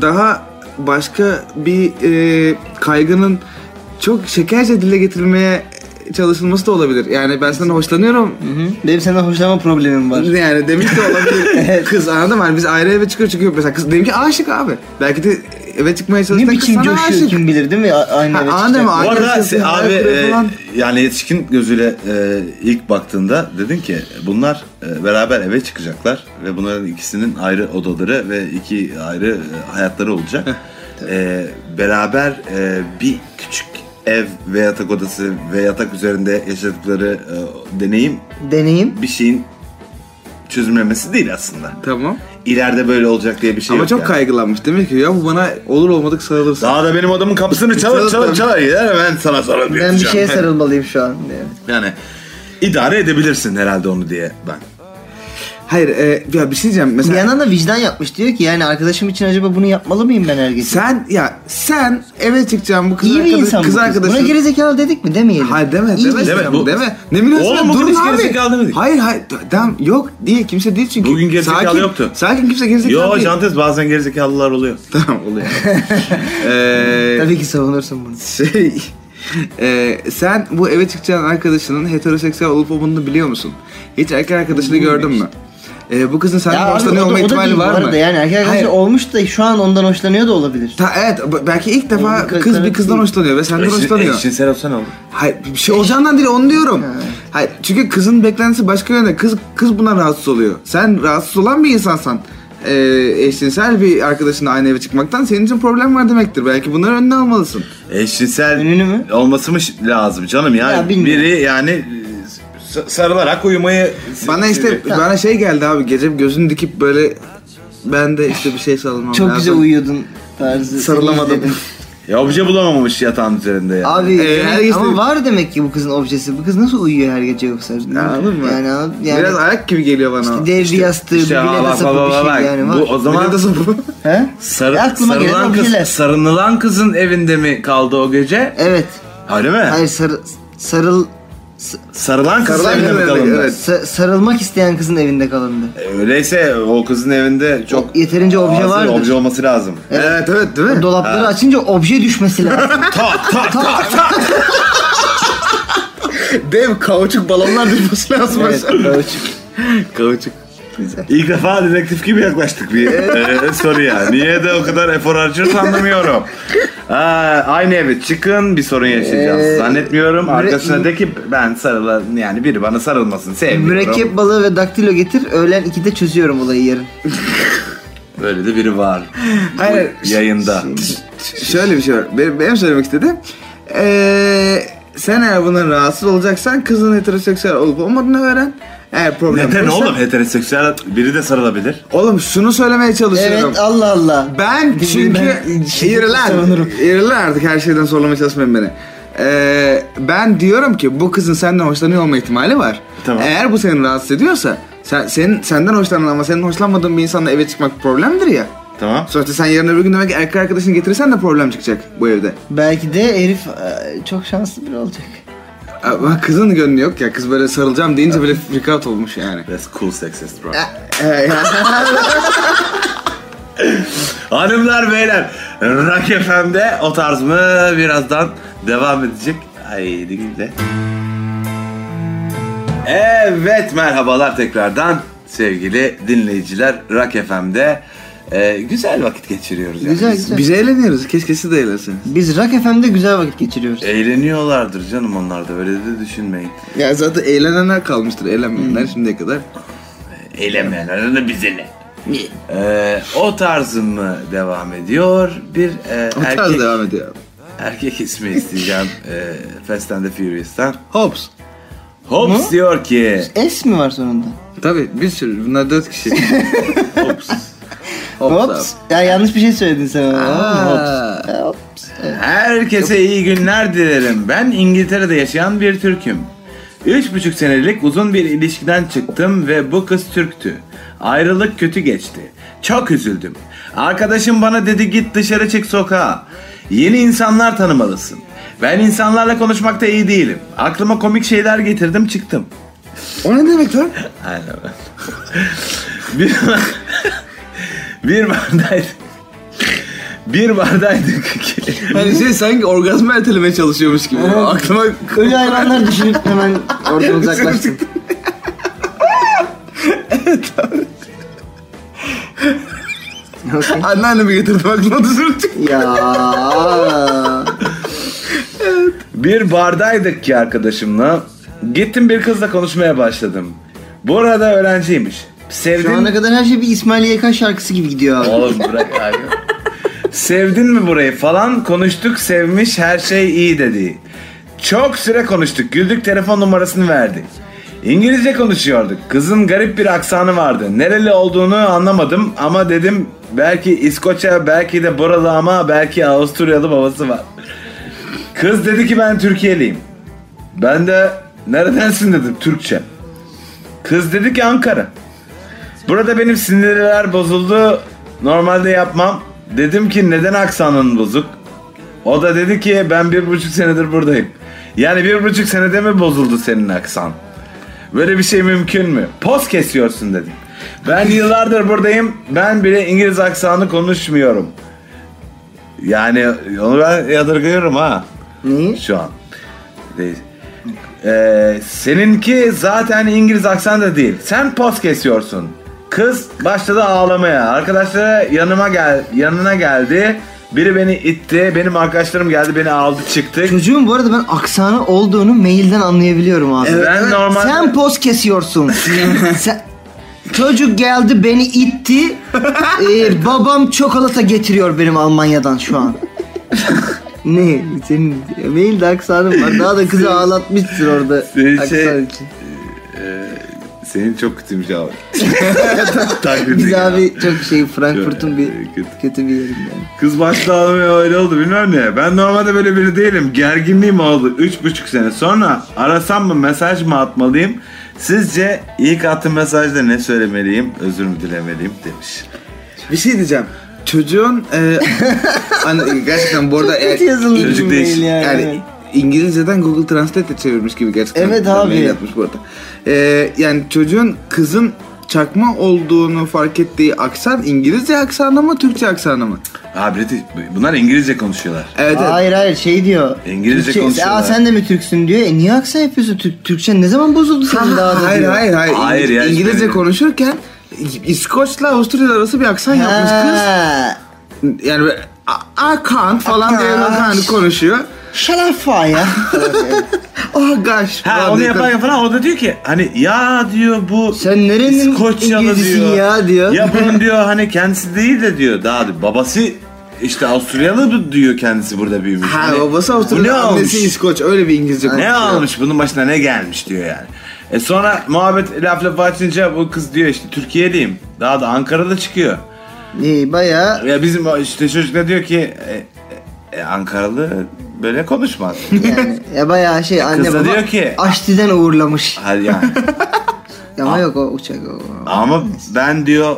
daha başka bir e, kaygının çok şekerce dile getirilmeye çalışılması da olabilir. Yani ben sana hoşlanıyorum
Hı hı. Benim senden hoşlanma problemim var.
Yani demiş de olabilir. kız anladın mı? Yani biz ayrı eve çıkıyor çünkü mesela kız dedim ki aşık abi. Belki de eve çıkmaya
Ne
çalıştığında kız
biçim
sana
coşuyor
aşık.
kim bilir değil mi? A- Aynı
Ha,
eve
anladın
çıkacak.
mı?
Bu arada
Arkadaşlar,
se-
hayal
abi
kırıklığı
e,
falan.
yani yetişkin gözüyle e, ilk baktığında dedin ki bunlar e, beraber eve çıkacaklar ve bunların ikisinin ayrı odaları ve iki ayrı e, hayatları olacak. E, beraber e, bir küçük ev ve yatak odası ve yatak üzerinde yaşadıkları e, deneyim
Deneyim.
bir şeyin çözümlemesi değil aslında.
Tamam.
İleride böyle olacak diye bir şey
Ama
yok
çok
yani.
kaygılanmış. Demiş ki ya bu bana olur olmadık sarılırsın.
Daha da benim odamın kapısını çalıp
Çalıp
çalıp
da-
çalar gider ben şey sana sarılıp
Ben bir
yatacağım.
şeye sarılmalıyım şu an. diye.
Yani idare edebilirsin herhalde onu diye ben.
Hayır e, ya bir şey diyeceğim.
Bir
Mesela
yandan da vicdan yapmış diyor ki yani arkadaşım için acaba bunu yapmalı mıyım ben her gece?
sen ya sen eve çıkacağım bu kız
İyi bir
arkadaş-
insan
kız
bu kız. Buna
arkadaşın.
gerizekalı dedik mi demeyelim.
Hayır deme
İyi
deme
bir
Deme,
deme,
bu-
deme. Ne biliyorsun
Oğlum,
sen
bu
durun
kız
abi.
gerizekalı dedik.
Hayır hayır tamam yok değil kimse değil çünkü.
Bugün gerizekalı
Sakin-
yoktu.
Sakin kimse gerizekalı
Yo
değil.
Cantes bazen gerizekalılar oluyor.
Tamam oluyor. Eee
Tabii ki savunursun bunu.
Şey, e, sen bu eve çıkacağın arkadaşının heteroseksüel olup olmadığını biliyor musun? Hiç erkek arkadaşını gördün mü? E, bu kızın
Ya
senden
abi,
hoşlanıyor
o da-
olma
o da
ihtimali
değil bu
var mı?
arada Yani erkek
Hayır.
arkadaşı olmuş da şu an ondan hoşlanıyor da olabilir.
Ta, evet b- belki ilk defa
Oğlum, kız-
kız bir
evet,
kızdan
değil.
hoşlanıyor ve senden hoşlanıyor.
Eşcinsel olsan olur.
Hayır bir şey olacağından değil onu diyorum.
Evet.
Hayır çünkü kızın beklentisi başka yönde. Kız kız buna rahatsız oluyor. Sen rahatsız olan bir insansan e, eşcinsel bir arkadaşınla aynı eve çıkmaktan senin için problem var demektir. Belki bunları önüne almalısın.
Eşcinsel
Ünlü mü?
olması mı ş- lazım canım ya?
Ya, bilmiyorum.
Biri yani e, s- sarılarak uyumayı...
Bana işte bana şey geldi abi gece gözünü dikip böyle ben de işte bir şey sallamam
Çok
lazım.
güzel uyuyordun tarzı.
Sarılamadım.
Seni izledim.
Ya obje bulamamış yatağın üzerinde ya.
Abi
Ee,
yani-
her gece-
ama var demek ki bu kızın objesi. Bu kız nasıl uyuyor her gece yoksa?
Anladın mı?
Yani, yani
Biraz ayak gibi geliyor bana.
işte devri yastığı,
işte
bir
ha,
bile
bak,
sapı
bak,
bir
bak,
şey yani
bu
var.
o zaman-
bu?
He?
Sarı,
E, aklıma gelen
sarılan
objeler.
kız, sarınılan kızın evinde mi kaldı o gece?
Evet.
Öyle mi?
Hayır sarı, sarıl
Sarılan kızın
Sarılan
evinde mi
kızın
kalındı?
evinde, evet.
sa- sarılmak isteyen kızın evinde kalındı.
E, Öyleyse o kızın evinde çok...
Yeterince obje
Hazır
vardır.
Obje olması lazım.
evet evet değil mi?
Dolapları açınca obje düşmesi lazım.
tak tak tak tak.
Dev kauçuk balonlar düşmesi lazım.
evet, ölçü-
kauçuk.
İlk defa dedektif gibi yaklaştık bir e, soruya. Niye de o kadar efor harcıyoruz anlamıyorum. Aa, aynı eve çıkın bir sorun yaşayacağız.
Ee,
Zannetmiyorum.
müre-
Arkasına de ki ben sarıla yani biri bana sarılmasın sevmiyorum.
Mürekkep balığı ve daktilo getir. Öğlen 2'de çözüyorum olayı yarın.
Böyle de biri var.
Hayır.
Yayında.
Şöyle bir şey var. Benim, benim söylemek istediğim eee sen eğer bundan rahatsız olacaksan kızın heteroseksüel olup olmadığını öğren. Eğer problem
Neden
yoksa-
oğlum heteroseksüel biri de sarılabilir.
Oğlum şunu söylemeye çalışıyorum.
Evet Allah Allah.
Ben
Bilmiyorum,
çünkü
ben şiddetle
yürü lan.
savunurum.
Yürü lan artık her şeyden sorlamaya çalışmayın beni. Ee, ben diyorum ki bu kızın senden hoşlanıyor olma ihtimali var.
Tamam.
Eğer bu seni rahatsız ediyorsa sen, senin, senden hoşlanan ama senin hoşlanmadığın bir insanla eve çıkmak problemdir ya.
Tamam.
Sonuçta sen yarın öbür gün demek ki erkek arkadaşını getirirsen de problem çıkacak bu evde.
Belki de herif e, çok şanslı biri olacak.
Ama kızın gönlü yok ya. Kız böyle sarılacağım deyince böyle freak out olmuş yani.
That's cool sexist bro.
Ee,
Hanımlar beyler Rock FM'de o tarz mı birazdan devam edecek. Haydi güle. Evet merhabalar tekrardan sevgili dinleyiciler Rock FM'de e, güzel vakit geçiriyoruz. Yani.
Güzel
Biz-
güzel.
Biz eğleniyoruz. Keşke siz de eğlenseniz.
Biz Rock FM'de güzel vakit
E,
geçiriyoruz.
Eğleniyorlardır canım onlar da öyle de düşünmeyin.
Ya zaten eğlenenler kalmıştır. Eğlenmeyenler şimdiye kadar.
Eğlenmeyenler de bize ne? E, o tarz mı devam ediyor bir e,
O tarz
erkek,
devam ediyor.
erkek ismi isteyeceğim e, Fast and the Furious'tan.
Hops.
Hobbs
Mu?
diyor ki
S mi var sonunda?
Tabii bir sürü. Bunlar dört kişi.
Hobbs.
Hops.
Hops. Ya yanlış bir şey söyledin sen ona.
Aa.
Hops. E, Hops. Evet.
Herkese iyi günler dilerim. Ben İngiltere'de yaşayan bir Türk'üm. Üç buçuk senelik uzun bir ilişkiden çıktım ve bu kız Türktü. Ayrılık kötü geçti. Çok üzüldüm. Arkadaşım bana dedi git dışarı çık sokağa. Yeni insanlar tanımalısın. Ben insanlarla konuşmakta iyi değilim. Aklıma komik şeyler getirdim çıktım.
O ne demek lan?
Aynen. bir bir bardaydı. Bir bardaydık ki.
Hani şey sanki orgazmı ertelemeye çalışıyormuş gibi.
Evet.
Aklıma
Ölü hayvanlar düşünüp hemen oradan uzaklaştım. evet abi.
anneannemi getirdim aklıma dışarı çıktı.
ya.
Bir bardaydık ki arkadaşımla. Gittim bir kızla konuşmaya başladım. Bu arada öğrenciymiş. Sevdin
Şu ana kadar her şey bir İsmail YK şarkısı gibi gidiyor abi.
Oğlum bırak abi. Sevdin mi burayı falan konuştuk sevmiş her şey iyi dedi. Çok süre konuştuk güldük telefon numarasını verdi. İngilizce konuşuyorduk. Kızın garip bir aksanı vardı. Nereli olduğunu anlamadım ama dedim belki İskoçya belki de buralı ama belki Avusturyalı babası var. Kız dedi ki ben Türkiye'liyim. Ben de neredensin dedim Türkçe. Kız dedi ki Ankara. Burada benim sinirler bozuldu. Normalde yapmam. Dedim ki neden aksanın bozuk? O da dedi ki ben bir buçuk senedir buradayım. Yani bir buçuk senede mi bozuldu senin aksan? Böyle bir şey mümkün mü? Poz kesiyorsun dedim. Ben yıllardır buradayım. Ben bile İngiliz aksanı konuşmuyorum. Yani onu ben yadırgıyorum ha
Neyi?
şu an. Değil. Ee, seninki zaten İngiliz aksan da değil. Sen poz kesiyorsun. Kız başladı ağlamaya. Arkadaşları yanıma gel, yanına geldi. Biri beni itti. Benim arkadaşlarım geldi beni aldı çıktık.
Çocuğun bu arada ben aksanı olduğunu mailden anlayabiliyorum abi.
Evet, ben normalde-
Sen poz kesiyorsun. Sen... Çocuk geldi beni itti. Ee, babam çikolata getiriyor benim Almanya'dan şu an. ne? Senin mailde aksanın var. Daha da kızı ağlatmışsın orada.
Senin
Aksan
şey-
için.
Senin çok kötüymüş abi. Taklit
Biz
ediyorum.
abi çok şey Frankfurt'un bir
Kötü.
kötü bir yerim yani.
Kız başta ağlamaya öyle oldu bilmem ne. Ben normalde böyle biri değilim. Gerginliğim oldu 3,5 sene. Sonra arasam mı mesaj mı atmalıyım? Sizce ilk attığım mesajda ne söylemeliyim? Özür mü dilemeliyim demiş.
Bir şey diyeceğim. Çocuğun e, hani gerçekten bu arada eğer-
Kötü yazılmış bir
Çocuk
mail
değişik.
yani.
yani İngilizceden Google Translate'e çevirmiş gibi gerçekten.
Evet
bir
abi.
mail Yapmış bu arada. E, yani çocuğun kızın çakma olduğunu fark ettiği aksan İngilizce aksanı mı Türkçe aksanı mı?
Abi bunlar İngilizce konuşuyorlar.
Evet, evet.
Hayır hayır şey diyor.
İngilizce konuşuyorlar.
Aa sen de mi Türksün diyor. E niye aksan yapıyorsun? Türk, Türkçe ne zaman bozuldu senin daha da
hayır,
diyor.
hayır hayır
Hayır ya, hiç
İngilizce
benim-
konuşurken İskoçla Avusturya arası bir aksan yapmış kız.
Ha,
Yani böyle, I, I can't falan
I
diye
can't.
hani konuşuyor.
Shut up fire. ya.
Oh gosh.
Ha
falan
onu
diye
yaparken falan o da diyor ki hani ya diyor bu
Sen nerenin
İskoçyalı
İngilizcesin
diyor.
ya diyor.
Ya bunun diyor hani kendisi değil de diyor daha diyor, babası işte Avustralyalı bu- diyor kendisi burada büyümüş.
Ha
Hani,
babası
bu ne
Avusturya, annesi
olmuş?
İskoç. Öyle bir İngilizce
Ne
konuşuyor.
almış bunun başına ne gelmiş diyor yani. E sonra muhabbet laf lafı açınca bu kız diyor işte Türkiye'liyim. Daha da Ankara'da çıkıyor.
İyi bayağı.
Ya bizim o işte çocuk da diyor ki e, e, e, Ankaralı böyle konuşmaz.
Yani, ya bayağı şey anne
Kız da
baba
diyor ki-
Aşti'den uğurlamış.
Hadi yani.
Ama yok o uçak o.
Ama ben diyor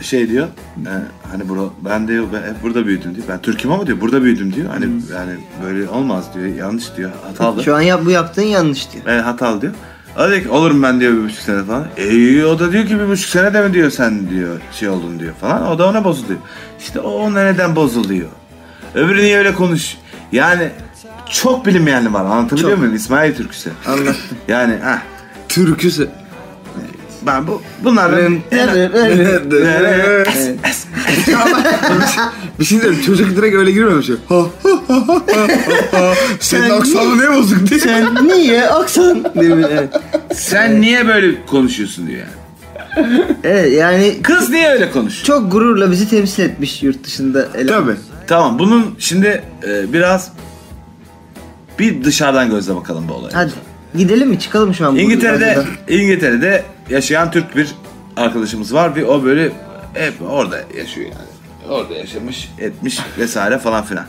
şey diyor e, hani bro ben diyor ben hep burada büyüdüm diyor. Ben Türk'üm ama diyor burada büyüdüm diyor. Hani yani böyle olmaz diyor. Yanlış diyor. Hatalı.
Şu an yap, bu yaptığın yanlış diyor.
E, hatalı diyor. O da diyor ki olurum ben diyor bir buçuk sene falan. E, o da diyor ki bir buçuk sene de mi diyor sen diyor şey oldun diyor falan. O da ona bozuluyor. İşte o ona neden bozuluyor. Öbürü niye öyle konuş. Yani çok bilinmeyenli var anlatabiliyor muyum İsmail Türküsü.
Anlattım.
Yani ha
Türküsü.
ben bu bunların
Evet. bir şey diyeyim çocuk direkt öyle girmemiş. ya. Ha, ha, ha, ha, ha, ha. Senin aksanı ne bozuk diye.
Sen niye aksan? diyor böyle, evet.
sen niye böyle konuşuyorsun diyor yani.
evet yani
Kız niye öyle konuşuyor?
çok gururla bizi temsil etmiş yurt dışında. eleman.
Tabii.
Tamam bunun şimdi e, biraz bir dışarıdan gözle bakalım bu olaya.
Hadi gidelim mi çıkalım şu an? bu
İngiltere'de
radyodan.
İngiltere'de yaşayan Türk bir arkadaşımız var ve o böyle hep orada yaşıyor yani. Orada yaşamış, etmiş vesaire falan filan.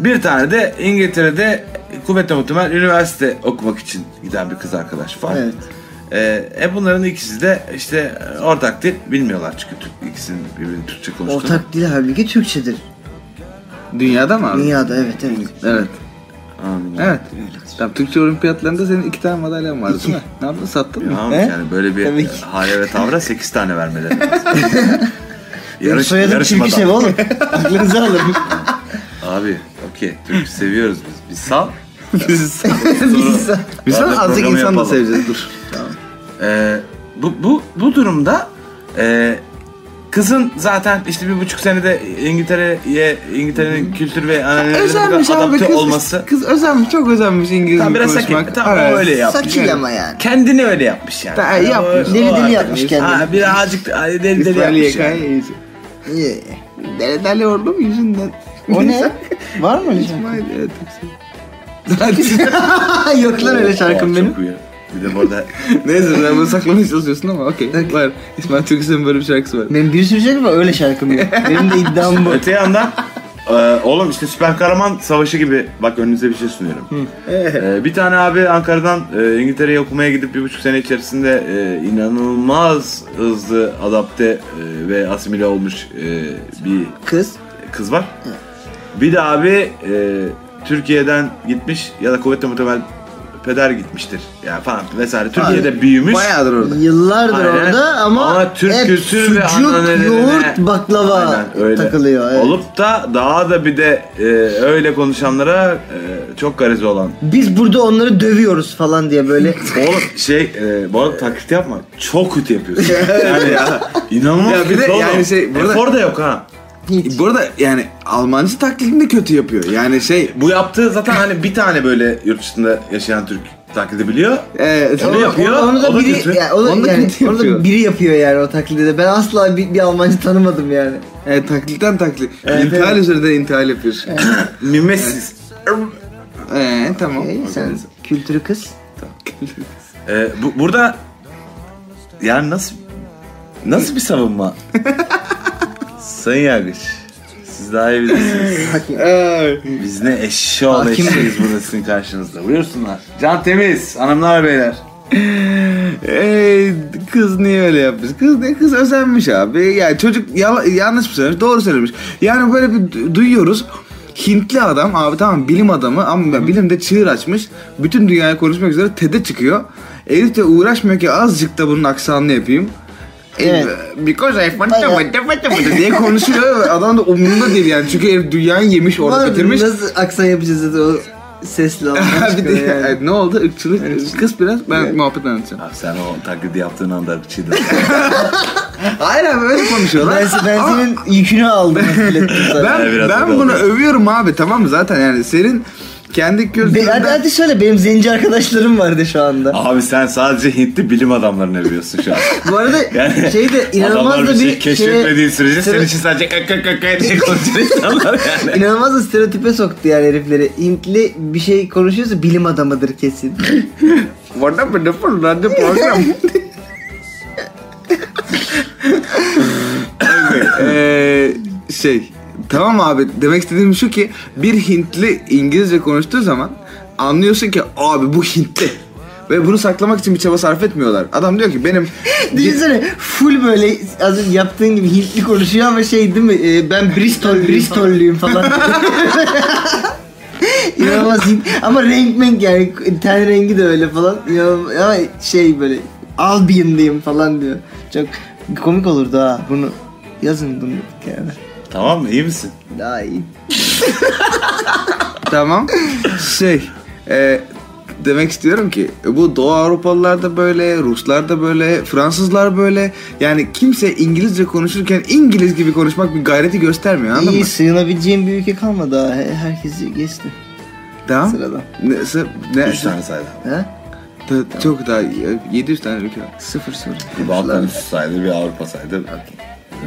Bir tane de İngiltere'de kuvvetle muhtemel üniversite okumak için giden bir kız arkadaş var.
Evet.
Ee, e bunların ikisi de işte ortak dil bilmiyorlar çünkü Türk, ikisinin birbirini Türkçe konuştuğunu.
Ortak dil halbuki Türkçedir.
Dünyada mı abi?
Dünyada evet evet.
Evet.
Amin.
Evet. Tamam, Türkçe olimpiyatlarında senin iki tane madalyan vardı değil mi? Ne yaptın sattın mı?
Tamam
He?
yani böyle bir
Tabii
e,
ki.
hale ve tavra 8 tane vermeleri lazım.
Benim
Yarış,
soyadım
yarışmadan.
Çirkişev oğlum. Aklınızı alın.
Abi okey Türk seviyoruz biz. Biz sal.
Biz
Biz
biz
Radyo
azıcık
programı
insan da
yapalım.
seveceğiz dur.
Ee, bu, bu, bu durumda e, kızın zaten işte bir buçuk senede İngiltere'ye İngiltere'nin kültür ve annelerine bu
Özenmiş
kadar
abi
adapte
kız.
olması.
Kız özenmiş çok özenmiş İngilizce
Tam biraz sakin.
konuşmak.
Tam o
Evet.
öyle yapmış.
Sakil ama yani.
Kendini öyle yapmış yani.
Ta-
Yani
yapmış.
o-
Deli
o
deli
artık-
yapmış kendini.
Ha, birazcık deli deli,
İsmail
yapmış. yani.
YK'ya iyice.
İyi.
Deli deli oldum yüzünden.
O ne? Var mı öyle şey? şarkı?
İsmail evet. Zaten-
Yok lan öyle şarkım
Oha,
benim.
Çok iyi. Bir de burada
Neyse sen bunu saklamaya çalışıyorsun ama okey. Var. İsmail Türküs'ün böyle bir şarkısı var.
Benim bir sürü şarkı var öyle şarkım yok. Benim de iddiam bu.
öte yandan e, oğlum işte süper kahraman savaşı gibi bak önünüze bir şey sunuyorum. E, bir tane abi Ankara'dan e, İngiltere'ye okumaya gidip bir buçuk sene içerisinde e, inanılmaz hızlı adapte e, ve asimile olmuş e, bir
Kız.
kız var. Bir de abi e, Türkiye'den gitmiş ya da kuvvetle muhtemel peder gitmiştir ya falan vesaire. Türkiye'de büyümüş.
Bayağıdır orada.
Yıllardır
Aynen.
orada ama,
Ama Türk
hep
kültürü ve
sucuk,
ananelerine-
yoğurt, baklava
Aynen, öyle.
takılıyor. evet.
Olup da daha da bir de e, öyle konuşanlara e, çok gariz olan.
Biz burada onları dövüyoruz falan diye böyle.
Oğlum şey e, bu arada taklit yapma. Çok kötü yapıyorsun. yani ya inanılmaz
Ya bir de
kötü oğlum.
yani şey, bu arada-
Efor da yok ha.
Hiç.
E, Bu arada yani Almancı taklidini de kötü yapıyor. Yani şey
Bu yaptığı zaten hani bir tane böyle yurt dışında yaşayan Türk taklit edebiliyor.
e,
Onu yapıyor.
Onu da
o da
biri,
kötü.
yani onu,
Onu da
yani,
kötü
onu da
yapıyor.
biri yapıyor yani o taklidi de. Ben asla bir, bir Almancı tanımadım yani.
e, taklitten taklit.
Evet,
intihal
evet.
üzerinde intihal yapıyor.
Mimesiz.
Eee E, tamam.
Ee, sen kültürü kız.
E, bu, burada yani nasıl nasıl bir savunma? Sayın Yargıç. Siz daha iyi bilirsiniz.
Ay.
Biz ne eşşoğlu
Hakim
eşeğiz burada sizin karşınızda. Buyursunlar. Can temiz hanımlar beyler.
Ee, kız niye öyle yapmış? Kız ne? Kız özenmiş abi. Yani çocuk yala- yanlış mı söylemiş? Doğru söylemiş. Yani böyle bir du- duyuyoruz. Hintli adam abi tamam bilim adamı ama ben bilimde çığır açmış. Bütün dünyaya konuşmak üzere TED'e çıkıyor. Elif de uğraşmıyor ki azıcık da bunun aksanını yapayım.
Evet.
Ee, Because I want to- want to- want to- want to diye konuşuyor ve adam da umurunda değil yani. Çünkü herif dünyayı yemiş orada
Ulan
bitirmiş.
Nasıl aksan yapacağız dedi o sesli Alman
bir de
çıkıyor yani.
ne oldu? Irkçılık. Kız biraz ben muhabbet anlatacağım.
Abi sen o taklidi yaptığın anda ırkçıydın.
Hayır abi öyle konuşuyorlar.
Ben, ben senin yükünü aldım. hafiflettim sana.
Ben,
Evet, biraz
ben
öyle
bunu
oldu.
övüyorum abi tamam mı zaten yani senin kendi
Be- hadi,
kültüründen
hadi söyle benim zenci arkadaşlarım vardı şu anda.
Abi sen sadece Hintli bilim adamlarını övüyorsun şu an.
Bu arada
Yani
şey de inanılmaz
Adamlar
da
bir
bir
şey keşfetmediği
şeye-
sürece
Stere-
senin için sadece kık kık kık kık diye konuşan insanlar yani.
İnanılmaz da stereotipe soktu yani herifleri. Hintli bir şey konuşuyorsa bilim adamıdır kesin.
What a wonderful radyo program. Okay, eee, şey tamam abi demek istediğim şu ki bir Hintli İngilizce konuştuğu zaman anlıyorsun ki abi bu Hintli. Ve bunu saklamak için bir çaba sarf etmiyorlar. Adam diyor ki benim
Düşünsene full böyle az önce yaptığın gibi Hintli konuşuyor ama şey değil mi? e, ben Bristol Bristollüyüm falan. İnanılmaz Hint. Ama renk menk yani ten rengi de öyle falan. İnanılmaz- Ama şey böyle Albion'luyum falan diyor. Çok komik olurdu ha bunu. Yazın bunu bir kere.
tamam mı iyi misin?
Daha iyi.
Tamam. Şey, e, demek istiyorum ki bu Doğu Avrupalılar da böyle, Ruslar da böyle, Fransızlar böyle. Yani kimse İngilizce konuşurken İngiliz gibi konuşmak bir gayreti göstermiyor anladın
iyi
mı?
sığınabileceğim bir ülke kalmadı ha. He- Herkesi geçti
Tamam.
sırada.
Ne, sı- ne,
3 tane saydı.
He?
Da- çok daha iyi. 700 tane ülke var.
Sıfır soru.
Bir Balkan üstü saydı bir Avrupa saydı.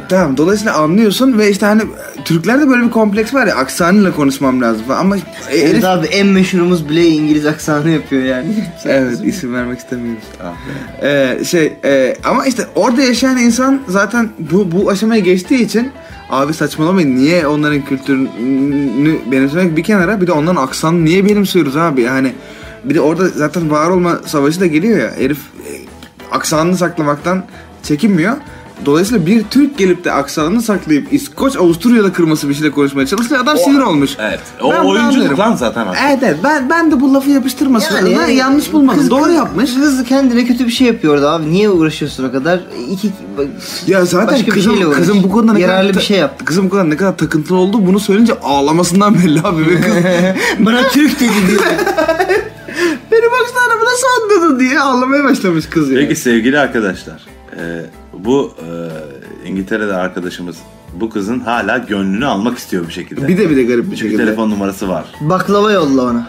Tamam dolayısıyla anlıyorsun ve işte hani Türklerde böyle bir kompleks var ya aksanıyla konuşmam lazım falan. ama e,
Evet
herif-
abi en meşhurumuz bile İngiliz aksanı yapıyor yani.
Evet isim vermek istemiyoruz.
Ah be.
Ee, şey e, ama işte orada yaşayan insan zaten bu bu aşamaya geçtiği için Abi saçmalamayın niye onların kültürünü benimsemek bir kenara bir de onların aksanını niye benimsiyoruz abi yani. Bir de orada zaten var olma savaşı da geliyor ya herif e, aksanını saklamaktan çekinmiyor. Dolayısıyla bir Türk gelip de aksanını saklayıp İskoç Avusturya'da kırması bir şeyle konuşmaya çalışsa adam sinir olmuş.
Evet. O
Ben- ben
oyunculuk
anlarım.
lan zaten aslında.
Evet evet ben, ben de bu lafı yapıştırmasın. adına yanlış bulmadım
e, hani kız-
doğru
kız-
yapmış.
Kız kendine kötü bir şey yapıyordu abi. Niye uğraşıyorsun o kadar? İki, bak-
Ya zaten
başka bir
kızım,
şeyle uğraş.
kızım bu konuda ne
Yararlı
kadar
bir şey yaptı.
Kızım bu konuda ne kadar takıntılı oldu bunu söyleyince ağlamasından belli abi ve kız bana Türk dedi diye. Benim aksanımı nasıl anladın diye ağlamaya başlamış kız ya.
Peki sevgili arkadaşlar, e, bu e, İngiltere'de arkadaşımız bu kızın hala gönlünü almak istiyor bir şekilde.
Bir de bir de garip bir
Çünkü
şekilde.
telefon numarası var.
Baklava yolla ona.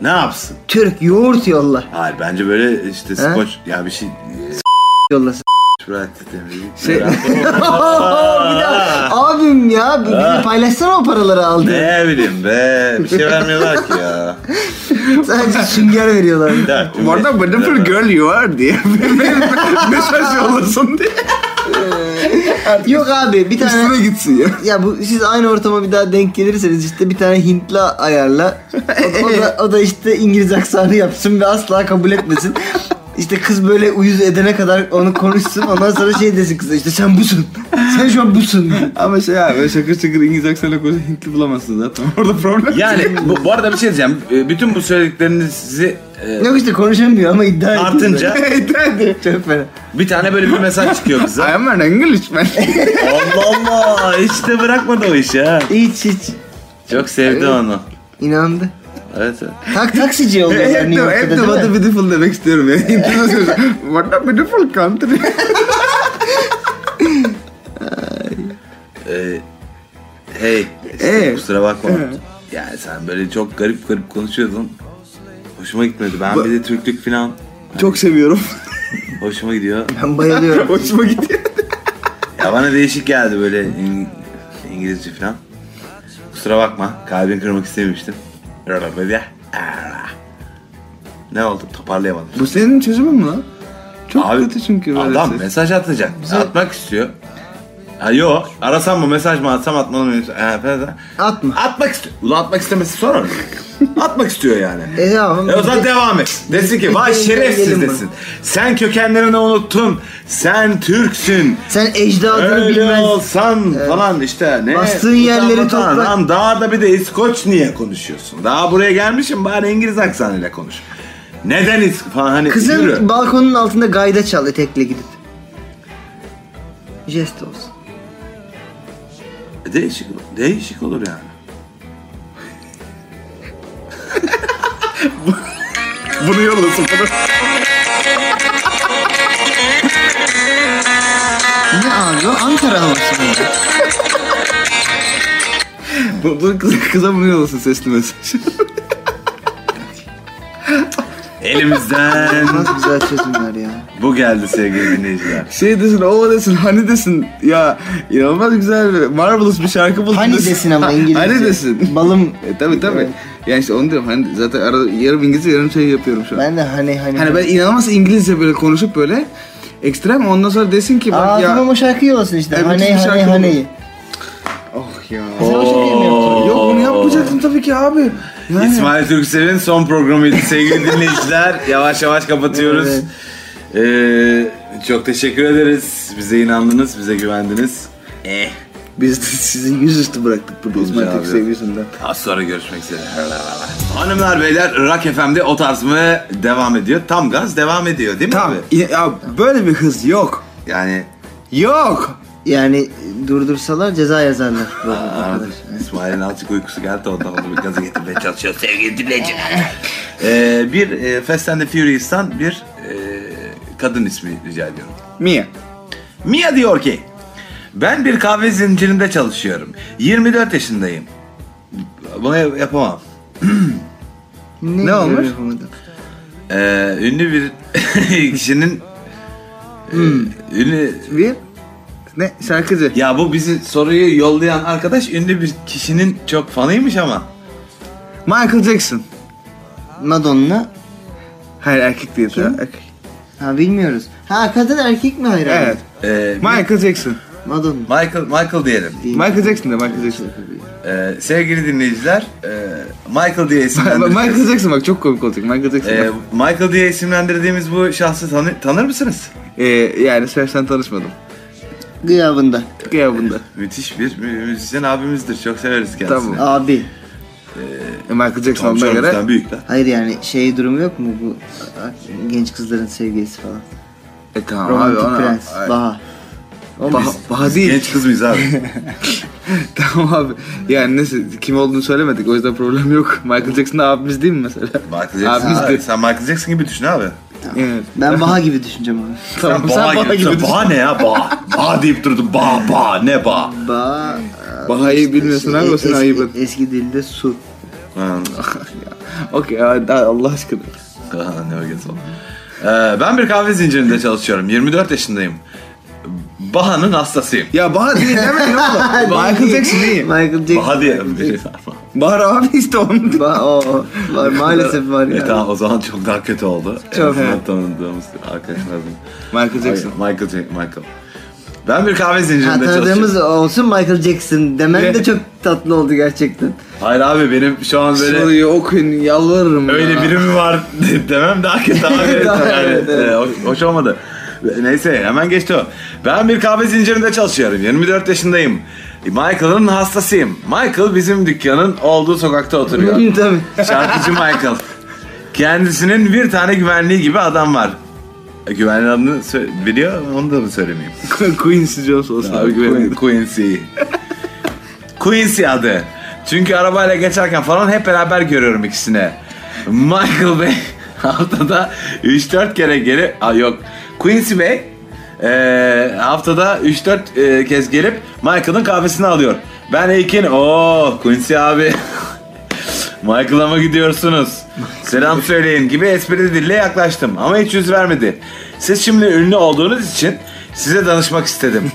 Ne yapsın?
Türk yoğurt yolla.
Hayır bence böyle işte skoç ya bir şey
Yollasın.
Şurat demeyi-
Şey-
bir daha. Abim ya bir- bizi paylaşsana o paraları aldı.
ne bileyim be bir şey vermiyorlar ki ya.
Sadece sünger veriyorlar.
Bir dakika, cümle-
Bu arada wonderful girl you are diye mesaj yollasın diye.
Yok abi bir tane
Üstüne gitsin ya.
Ya bu siz aynı ortama bir daha denk gelirseniz işte bir tane Hintli ayarla. O, o da, o da işte İngiliz aksanı yapsın ve asla kabul etmesin. İşte kız böyle uyuz edene kadar onu konuşsun. Ondan sonra şey desin kıza işte sen busun. Sen şu an busun.
Ama şey abi böyle şakır şakır İngiliz aksanıyla konuşan Hintli bulamazsın zaten. Orada problem.
Yani bu, bu arada bir şey diyeceğim. E, Bütün bu söylediklerinizi e,
Yok işte konuşamıyor ama iddia ediyor.
artınca
Çok fena.
bir tane böyle bir mesaj çıkıyor
I
bize.
am an Englishman.
Allah Allah hiç de bırakmadı o işi ha.
Hiç hiç.
Çok sevdi onu.
İnandı.
Evet evet.
Tak taksici oluyor.
hep
New
de,
York'ta
hep de
değil
what a
mi?
beautiful demek istiyorum ya. İngilizce söylüyorum. What a beautiful country.
Ee, hey, işte
Ee?
kusura bakma.
Ee?
Yani sen böyle çok garip garip konuşuyordun. Hoşuma gitmedi. Ben
Ba-
bir de Türklük falan
Çok seviyorum.
hoşuma gidiyor.
Ben bayılıyorum.
Hoşuma gidiyor.
Ya bana değişik geldi böyle İng- İngilizce falan. Kusura bakma. Kalbini kırmak istememiştim. Ne oldu? Toparlayamadım.
Bu senin çözümün mü lan? Çok
Abi,
kötü çünkü böyle
Adam
ses.
mesaj atacak. Atmak istiyor. Ha yo arasam mı mesaj mı atsam atmalı mı? Ha, falan.
Atma.
Atmak istiyor. Ulan atmak istemesi sonra mı? atmak istiyor yani.
E tamam.
E o zaman devam et. Desin ki vay şerefsiz
Engelleyelim
desin. Sen kökenlerini unuttun. Sen Türksün.
Sen ecdadını
Öyle
bilmez.
olsan falan işte ne?
Bastığın yerleri
Utanmadan
toprak-
Lan daha da bir de İskoç niye konuşuyorsun? Daha buraya gelmişim bari İngiliz aksanıyla konuş. Neden İskoç falan hani
Kızın
yürü.
balkonun altında gayda çal etekle gidip. Jest olsun.
Değişik, değişik olur yani.
Bunu yollasın. Bunu.
Ne abi? O Ankara havası bu.
Bu, bu kıza, kıza bunu yollasın sesli mesaj.
Elimizden
Nasıl güzel çözümler ya.
bu geldi sevgili dinleyiciler.
şey desin, o desin, hani desin. Ya inanılmaz güzel, bir, marvelous bir şarkı buldun
Hani desin ama İngilizce.
Hani desin.
Balım.
E, tabii tabii.
Evet.
Yani işte onu diyorum. Hani zaten arada yarım İngilizce yarım şey yapıyorum şu an.
Ben de hani hani.
Hani ben inanılmaz İngilizce böyle konuşup böyle ekstrem ondan sonra desin ki bak
Aa
ya.
tamam o şarkıyı olsun işte.
Evet,
hani
bütün şarkı
hani
bu.
hani.
Oh ya.
Sen o şarkıyı mı yapacaksın?
Yok bunu yapmayacaktım tabii ki abi. Yani.
İsmail Türksel'in son programıydı sevgili dinleyiciler. Yavaş yavaş kapatıyoruz.
Evet.
Ee, çok teşekkür ederiz. Bize inandınız, bize güvendiniz. Eh.
Biz de sizi yüzüstü bıraktık burada İsmail
abi.
Türksel yüzünden.
Az sonra görüşmek üzere. Hanımlar beyler Rock FM'de o tarz mı devam ediyor? Tam gaz devam ediyor değil mi
Tamam.
abi?
Ya böyle bir hız yok.
Yani
Yok.
Yani durdursalar ceza yazarlar. Bu kadar.
İsmail'in azıcık uykusu geldi ondan onu bir gaza getirmeye çalışıyor sevgili dinleyiciler. Ee, bir e, Fast and the Furious'tan bir e, kadın ismi rica ediyorum.
Mia.
Mia diyor ki ben bir kahve zincirinde çalışıyorum. 24 yaşındayım. Bunu yap- yapamam.
Ne olmuş?
böyle yapamadım.
Ee, ünlü bir kişinin e,
Hmm.
ünlü
Bir. Ne? Şarkıcı.
ya bu bizi soruyu yollayan arkadaş ünlü bir kişinin çok fanıymış ama
Michael Jackson.
Madonna.
Hayır erkek değil.
Kim?
Erkek.
Ha bilmiyoruz. Ha kadın erkek mi hayran?
Evet.
e,
Michael Jackson.
Madonna.
Michael Michael diyelim.
Michael Jackson da Michael Jackson.
Ee, sevgili dinleyiciler, e, Michael diye isimlendirdiğimiz,
Michael Jackson bak çok komik olacak. Michael Jackson.
Ee, Michael diye isimlendirdiğimiz bu şahsı tanı- tanır mısınız?
Ee, yani sen tanışmadım.
Gıyabında.
Kıyabında.
Müthiş bir mü- müzisyen abimizdir. Çok severiz kendisini.
Tamam.
Abi.
E, Michael Jackson
Tom
olduğuna göre.
Jones'tan büyük lan.
Hayır yani şey durumu yok mu bu a- a- genç kızların sevgilisi falan.
E tamam abi
Romantik
ona.
prens.
Ay,
Baha.
Bah- Baha değil.
Genç kız mıyız abi?
tamam abi. Yani neyse kim olduğunu söylemedik o yüzden problem yok. Michael Jackson da abimiz değil mi mesela?
Michael Jackson.
Abimizdir.
Abi, sen Michael Jackson gibi düşün abi.
Evet.
Ben Baha gibi düşüneceğim abi.
Sen
Tamam sen
bağ
Baha gibi.
gibi. Sen
düşün.
bağ ne ya bağ? bağ deyip durdun. Bağ bağ ne bağ?
Baha.
Baha'yı bilmiyorsun abi, o senin ayıbın.
Eski, eski dilde su.
Hmm.
Okey hadi Allah aşkına.
Aha, ne öyle son. Ee, ben bir kahve zincirinde çalışıyorum. 24 yaşındayım. Baha'nın hastasıyım.
Ya Bahar değil demeyin oğlum. Michael Jackson değil.
Michael Jackson.
Baha diyelim. bir şey var.
Bahar abi işte onun.
Baha. o- o. Var maalesef var ya.
E tamam o zaman çok daha kötü oldu.
Çok.
en azından tanıdığımız arkadaşlarımız.
Michael
Hayır,
Jackson.
Michael Jack, Michael. Ben bir kahve
Ha,
zincirinde
tanıdığımız
çalışıyorum.
olsun Michael Jackson demen de
Evet.
çok tatlı oldu gerçekten.
Hayır abi benim şu an böyle
Soruyu okuyun yalvarırım
öyle
ya.
biri mi var demem daha kötü abi.
Daha-
yani,
evet,
e, hoş- hoş olmadı. Neyse hemen geçti o. Ben bir kahve zincirinde çalışıyorum. 24 yaşındayım. Michael'ın hastasıyım. Michael bizim dükkanın olduğu sokakta oturuyor.
Tabii.
Şarkıcı Michael. Kendisinin bir tane güvenliği gibi adam var. E, Güvenliğin adını sö- biliyor onu da mı söylemeyeyim?
Quincy Jones olsun.
Abi
Abi
güvenliğin
güvenli.
Quincy. Quincy adı. Çünkü arabayla geçerken falan hep beraber görüyorum ikisini. Michael Bey haftada 3-4 kere geri... Aa, yok. Quincy Bey eee, haftada 3-4 eee, kez gelip Michael'ın kahvesini alıyor. Ben Ekin. Oo Quincy abi. Michael'a mı gidiyorsunuz? Selam söyleyin gibi esprili dille yaklaştım ama hiç yüz vermedi. Siz şimdi ünlü olduğunuz için size danışmak istedim.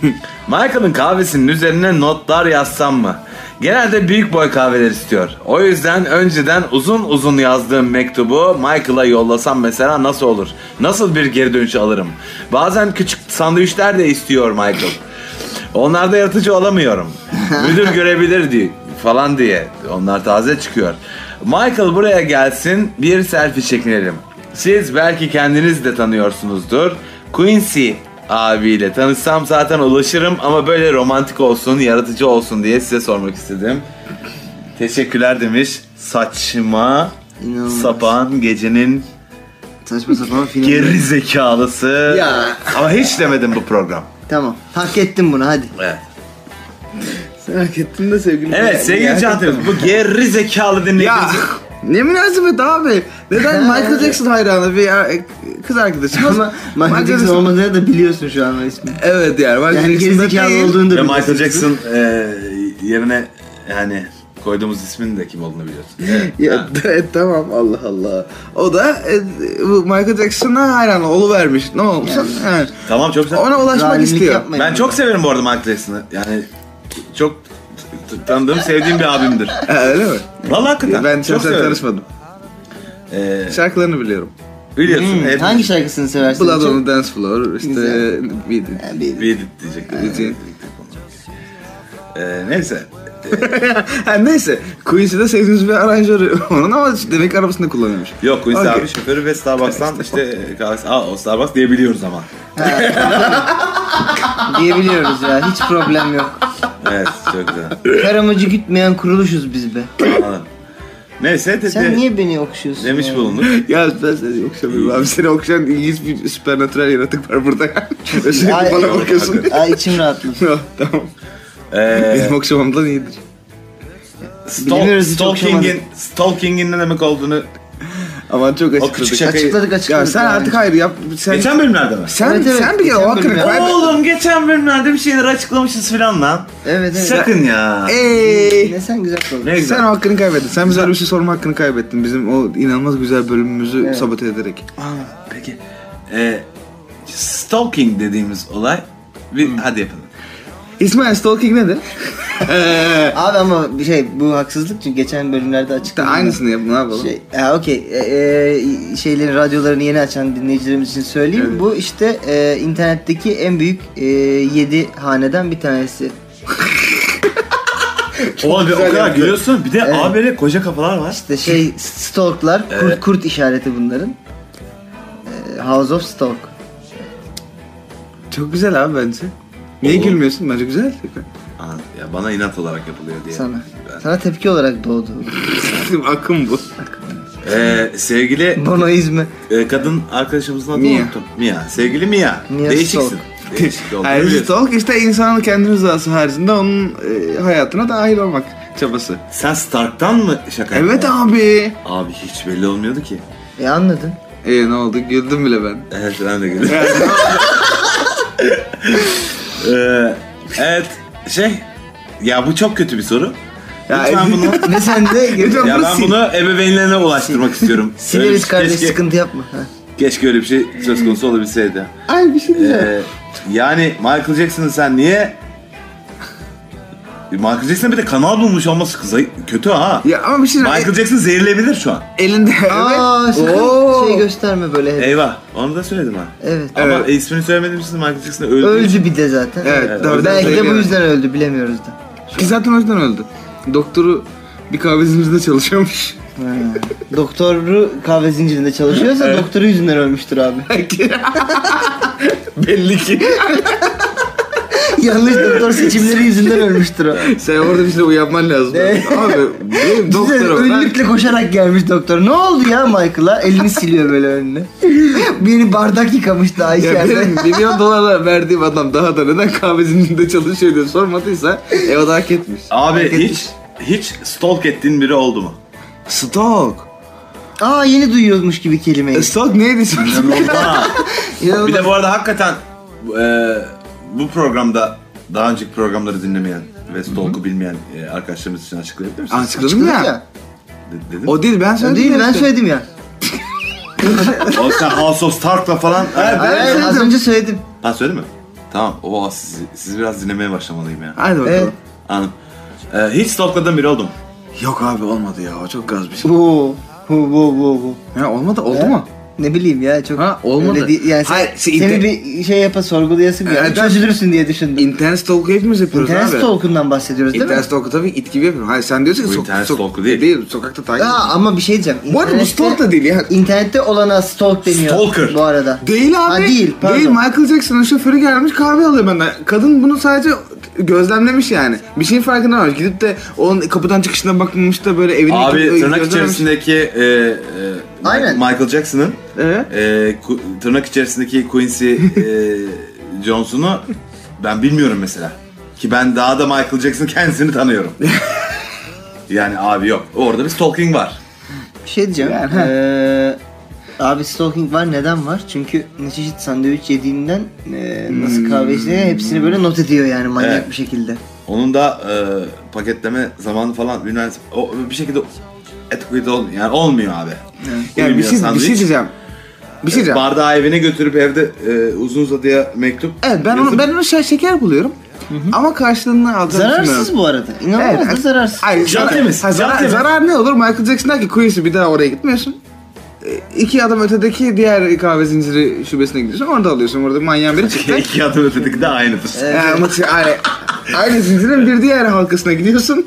Michael'ın kahvesinin üzerine notlar yazsam mı? Genelde büyük boy kahveler istiyor. O yüzden önceden uzun uzun yazdığım mektubu Michael'a yollasam mesela nasıl olur? Nasıl bir geri dönüş alırım? Bazen küçük sandviçler de istiyor Michael. Onlarda yaratıcı olamıyorum. Müdür görebilir diye falan diye. Onlar taze çıkıyor. Michael buraya gelsin bir selfie çekinelim. Siz belki kendiniz de tanıyorsunuzdur. Quincy abiyle tanışsam zaten ulaşırım ama böyle romantik olsun, yaratıcı olsun diye size sormak istedim. Teşekkürler demiş. Saçma
İnanılmaz.
sapan gecenin
Saçma sapan film.
geri zekalısı.
Ya.
Ama hiç demedim bu program.
Tamam. Hak ettin bunu hadi.
Evet.
Sen hak ettin de sevgili.
Evet sevgili Can bu geri zekalı
Ya
dinleyicimiz.
ne münasebet abi. Neden Michael Jackson hayranı bir er- kız arkadaşım
Ama Michael Jackson olmadığını da biliyorsun şu an o ismi.
Evet yani Michael
Yani
Jackson da
gerizekalı
değil.
olduğunu da
Ya
biliyorsun.
Michael Jackson e, yerine yani koyduğumuz ismin de kim olduğunu biliyorsun. Evet.
Ya evet, tamam Allah Allah. O da e, bu Michael Jackson'a hayran oluvermiş. Ne olmuş? Yani.
Tamam çok güzel.
Ona ulaşmak
Zalimlik
istiyor.
yapmayın.
Ben çok severim bu arada Michael Jackson'ı. Yani çok t- t- tanıdığım, sevdiğim bir abimdir.
Ha, öyle mi?
Vallahi hakikaten.
ben
çok
çok
severim.
tanışmadım.
E,
Şarkılarını biliyorum.
biliyorsun.
Hmm,
evet.
hangi şarkısını seversin?
Blood
Çok-
on the Dance Floor işte
Güzel.
bir
Yani bir-
Bir edit diyecektim.
Evet.
E, neyse.
Ha, neyse. Quincy'de sevdiğimiz bir aranjörü onun ama demek ki arabasında kullanıyormuş.
Yok Quincy
Okey.
abi şoförü ve Starbucks'tan işte e, kahvesi. Aa o Starbucks diyebiliyoruz ama.
diyebiliyoruz ya. Hiç problem yok.
Evet çok güzel.
Kar amacı gütmeyen kuruluşuz biz be.
Anladım. Neyse de,
Sen niye beni okşuyorsun?
demiş
ya?
bulunduk. Ee,
Ya ben seni okşamıyorum abi. Seni okşayan ilginç bir süpernatürel yaratık var burada. Ve sürekli
Ay-
bana bakıyorsun.
Ay içim rahatladı.
Yok, tamam.
Ee,
Benim okşamamdan iyidir.
stalk,
Bilmiyoruz, hiç
stalking'in, stalking'in ne demek olduğunu
Aman çok
o küçük
açıkladık.
şakayı...
Açıkladık açıkladık.
Ya sen
yani.
artık hayır yap. Sen,
Geçen bölümlerde mi?
sen,
Evet, evet,
sen bir kere o
geçen
hakkını
bölüm ya.
kaybet.
Oğlum geçen bölümlerde bir şeyler açıklamışız filan lan.
Evet evet.
Sakın ya.
Ey!
Ne sen güzel konuş.
Ne güzel.
Sen o hakkını kaybettin. Sen bize öyle bir şey sorma hakkını kaybettin. Bizim o inanılmaz güzel bölümümüzü
Evet.
sabote ederek.
Aa, peki. Ee, stalking dediğimiz olay. Bir, Hadi yapalım.
İsmail stalking nedir?
Abi ama bir şey bu haksızlık çünkü geçen bölümlerde
İşte
açıkladım.
aynısını yapın ne yapalım.
Şey, ha okey. E, e, şeylerin radyolarını yeni açan dinleyicilerimiz için söyleyeyim.
Evet.
Bu işte e, internetteki en büyük 7 haneden bir tanesi.
Oğlum bir o
güzel
kadar
yaptı.
gülüyorsun. Bir de
Evet.
abi böyle koca kafalar var.
İşte şey stalklar, kurt
Evet.
kurt işareti bunların. E, House of Stalk.
Çok güzel abi bence. Niye
Oğlum.
gülmüyorsun? Bence güzel.
Aa, ya bana inat olarak yapılıyor diye.
Sana. Sana tepki olarak doğdu.
Akım bu.
Ee, sevgili
Bonoizmi.
e, kadın arkadaşımızın adını
Mia.
unuttum. Mia. Sevgili Mia.
Mia
Değişiksin.
Stalk.
Değişik oldu.
Hayır, stalk işte insanın kendi rızası haricinde onun e, hayatına dahil olmak çabası.
Sen Stark'tan mı şaka
Evet
yaptın?
abi.
Abi hiç belli olmuyordu ki.
E anladın.
E ne oldu? Güldüm bile ben.
Evet ben de gülüyorum. Ee, evet şey ya bu çok kötü bir soru.
Ya,
Lütfen bunu
Ve sen de
Lütfen
ya
bunu
ben
sil.
bunu ebeveynlerine ulaştırmak istiyorum. Öyle bir- şey
sileriz kardeş
keşke,
sıkıntı yapma. Ha.
keşke öyle bir şey söz konusu olabilseydi.
Ay bir şey diyeceğim.
Ee, yani Michael Jackson'ı sen niye E, Michael Jackson bir de kanal bulmuş olması kıza kötü ha.
ya ama bir şey diyeceğim.
Michael Jackson zehirleyebilir şu an.
elinde.
Aa
evet.
sakın şey gösterme böyle. hep.
Eyvah. Onu da söyledim ha.
Evet.
Ama
Evet.
ismini söylemediğim için Michael Jackson öldü.
Öldü bir de zaten.
Evet, doğru.
Belki de bu
Doğru.
yüzden öldü bilemiyoruz da.
Ki zaten o yüzden öldü. Doktoru bir kahve zincirinde çalışıyormuş.
Ha. Doktoru kahve zincirinde çalışıyorsa doktoru yüzünden ölmüştür abi.
Belki. Belli ki.
Yanlış doktor seçimleri yüzünden ölmüştür o.
Sen orada bir şey uyanman lazım.
Ne?
Abi benim doktorum. ben-
Önlükle koşarak gelmiş doktor. Ne oldu ya Michael'a? Elini siliyor böyle önüne. Beni bardak yıkamıştı daha
Ya
içeride.
benim milyon dolarlar verdiğim adam daha da neden kahve zincirinde çalışıyor diye sormadıysa e o da hak etmiş.
Abi
Hak
hiç
etmiş.
hiç stalk ettiğin biri oldu mu?
Stalk.
Aa yeni duyuyormuş gibi kelimeyi.
E, stalk neydi şimdi?
Ha.
Ya,
bir de bu arada hakikaten e, bu programda daha önceki programları dinlemeyen ve stalk'u bilmeyen e, arkadaşlarımız için açıklayabilir misin?
Açıkladım ya.
ya.
De- dedim. O,
O değil ben
O
söyledim.
değil
ya
ben
işte.
söyledim ya.
sen House of Stark'la falan. Ha,
Hayır,
söyledim.
az önce söyledim.
ha söyledi mi? Tamam. Oha siz, siz biraz dinlemeye başlamalıyım ya.
Haydi bakalım.
Evet.
Anladım. E, hiç stalkladığın biri oldu mu?
Yok abi olmadı ya o çok gaz bir şey.
Oo. Bu bu bu bu.
Ha, olmadı oldu
Ha?
mu?
Ne bileyim ya çok
Ha, olmadı.
öyle değil. yani sen,
Hayır, şey,
seni
inter-
bir şey yapa sorgulayasın geldi.
Evet, ben-
Çözülürsün diye düşündüm.
İnternet stalk'u hepimiz yapıyoruz
İnternet
abi.
stalkundan bahsediyoruz değil
İnternet
mi?
stalk'u tabii it gibi yapıyorum. Hayır sen diyorsun ki
Bu
sok-
internet
sok-
stalk'u değil.
sokakta takip.
Aa, ama bir şey diyeceğim.
Bu arada bu
İnternette-
stalk da değil ya.
İnternette olana stalk deniyor.
Stalker.
Bu arada.
Değil abi.
Ha, değil, pardon.
Değil Michael Jackson'ın şoförü gelmiş kahve alıyor benden. Kadın bunu sadece gözlemlemiş yani. Bir şeyin farkında varmış. Gidip de onun kapıdan çıkışına bakmamış da böyle evine
Abi
gidip-
tırnak
gözlemlemiş.
içerisindeki e, e,
Aynen.
Michael Jackson'ın
Evet.
e, ku- tırnak içerisindeki Quincy e, Jones'unu ben bilmiyorum mesela. Ki ben daha da Michael Jackson kendisini tanıyorum. yani abi yok. Orada bir stalking var.
Bir şey diyeceğim.
Yani, ha.
Ee, abi stalking var neden var? Çünkü ne çeşit sandviç yediğinden e, nasıl kahve içtiğine
Hmm.
hepsini böyle not ediyor yani manyak
Evet.
bir şekilde.
Onun da e, paketleme zamanı falan bilmem o bir şekilde etkili olmuyor. Yani olmuyor abi.
Yani
Uyumuyor
bir şey, bir şey
sandviç.
diyeceğim. Bir şey diyeceğim.
Bardağı evine götürüp evde e, uzun uzadıya mektup
Evet ben onu,
yazıp-
ben onu şe- şeker buluyorum. Ama karşılığını alacağını
Zararsız
düşünmüyorum.
bu arada. İnanılmaz
Evet.
da zararsız.
Hayır,
Can
zarar-
temiz,
Ha,
can
zarar,
temiz.
zarar ne olur? Michael Jackson der ki Quincy bir daha oraya gitmiyorsun. E, İki adım ötedeki diğer kahve zinciri şubesine gidiyorsun. Orada alıyorsun. Orada manyağın biri çıktı.
İki adım ötedeki de aynı fıstık.
Yani maçı aynı, şey, aynı zincirin bir diğer halkasına gidiyorsun.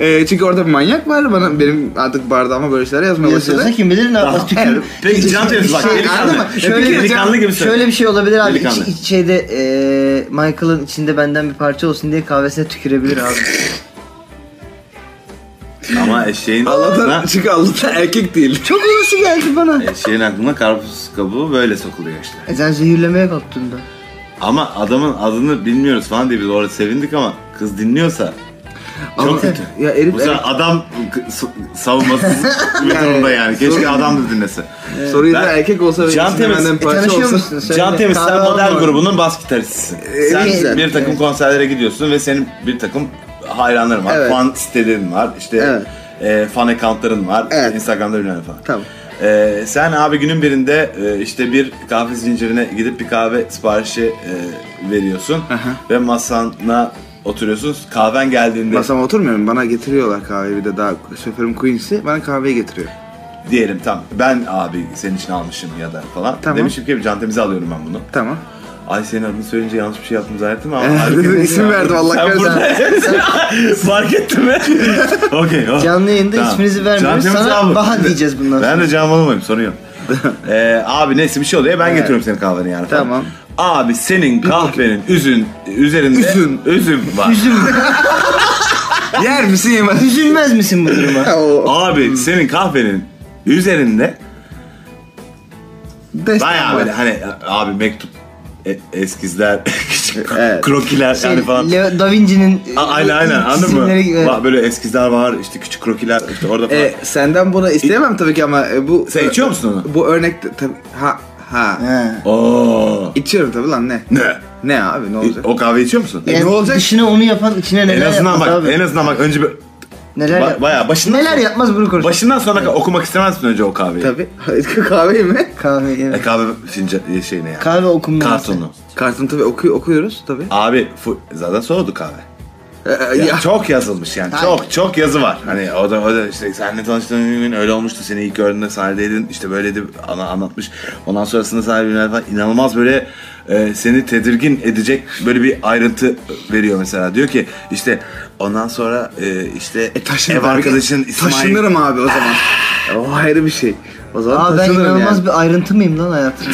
Ee, çünkü orada bir manyak var. Bana, benim artık bardağıma böyle şeyler yazmaya
Yazıyorsa
başladı.
kim bilir ne yapmaz.
Tamam.
Tükürür.
Peki can temiz bak E,
Şey, anladın
delikanlı.
mı? Şöyle bir-
delikanlı gibi söyle.
Şöyle bir şey olabilir abi.
Delikanlı.
İç, iç- şeyde eee Michael'ın içinde benden bir parça olsun diye kahvesine tükürebilir abi.
Ama eşeğin aklına,
Allah'tan, çünkü Allah'tan erkek değil.
Çok olası geldi bana.
eşeğin aklına karpuz kabuğu böyle sokuluyor işte.
E sen zehirlemeye kalktın da.
Ama adamın adını bilmiyoruz falan diye biz orada sevindik ama kız dinliyorsa çok
Ama-
kötü.
Ya herif-
Bu sefer adam k- s- savunmasız bir
Yani-
durumda yani. Keşke
Sorun-
adam da dinlese.
Soruyu da
Ben-
erkek olsa ve
Can
içinde
temiz.
benden
E,
parça
tanışıyor
olsa.
musunuz? Söyle.
Can Temiz sen
Kahraman
model
var.
grubunun bas gitaristisin.
Ee,
sen
güzel.
bir takım konserlere gidiyorsun ve senin bir takım hayranların var.
Evet.
Fan sitelerin var. İşte
Evet.
e, fan accountların var.
Evet.
Instagram'da bilmem ne falan.
Tamam.
E, sen abi günün birinde e, işte bir kahve zincirine gidip bir kahve siparişi e, veriyorsun. ve masana oturuyorsunuz. Kahven geldiğinde
Masama oturmuyorum. Bana getiriyorlar kahveyi bir de daha şoförüm Quincy bana kahveyi getiriyor.
diyelim tam ben abi senin için almışım ya da falan.
Tamam.
Demişim ki cantemize alıyorum ben bunu.
Tamam.
Ay senin adını söyleyince yanlış bir şey yaptım zannettim ama.
Evet,
harika
dedim,
değil
isim
ya.
verdim, Allah
Sen
kahretsin.
burada- Fark ettin mi? Okey. o-
Canlı yayında
Tamam.
isminizi vermiyoruz.
Cantemize
Sana
al.
Baha diyeceğiz bundan sonra.
Ben de canım olmayayım sorun yok. Ee, abi neyse bir şey oluyor ben getiriyorum senin kahveni yani. falan.
Tamam.
Abi senin kahvenin üzün üzerinde
Üzüm.
üzüm var.
Yer misin yemez misin?
Üzülmez misin bu duruma?
O-
Hmm.
Abi senin kahvenin üzerinde
Destan
bayağı
var.
böyle hani abi mektup e- eskizler, küçük
Evet.
krokiler
Şey,
yani falan.
Leo da Vinci'nin
A- aynen aynen anladın
çizimleri gibi.
mı? Bak böyle eskizler var işte küçük krokiler işte orada falan.
E,
Ee,
senden bunu isteyemem tabii ki ama e, bu...
Sen içiyor musun onu?
Bu örnekte tabii... Ha, ha.
He.
Oo.
İçiyorum tabii lan ne?
Ne?
Ne abi ne olacak?
O kahve içiyor musun?
E,
Yani
ne olacak?
Dışına onu yapan içine neler
en azından
yapmaz
bak
abi?
en azından bak önce bir ba-
neler yapmaz?
bayağı başından
Neler yapmaz bunu konuşalım.
başından sona kadar okumak istemezsin önce o kahveyi.
Tabii. Kahveyi mi?
Kahve
E,
evet.
kahve fincanı şeyine yani.
Kahve okunmaması.
Kartonu.
Kartını tabii oku- okuyoruz tabii.
Abi fu- zaten soğudu kahve.
E, e,
Ya,
ya.
Çok yazılmış yani.
Hayır.
Çok çok yazı var. Hani o da o da işte seninle tanıştığın gün öyle olmuştu. Seni ilk gördüğümde sahnedeydin. İşte böyleydi ana, anlatmış. Ondan sonrasında sahnedeydin falan. İnanılmaz böyle e, seni tedirgin edecek böyle bir ayrıntı veriyor mesela. Diyor ki işte ondan sonra e, işte
E, taşınırım.
ev arkadaşın İsmail.
Taşınırım abi o zaman. o ayrı bir şey. O zaman
Aa ben
taşınırım
inanılmaz
yani.
bir ayrıntı mıyım lan hayatım?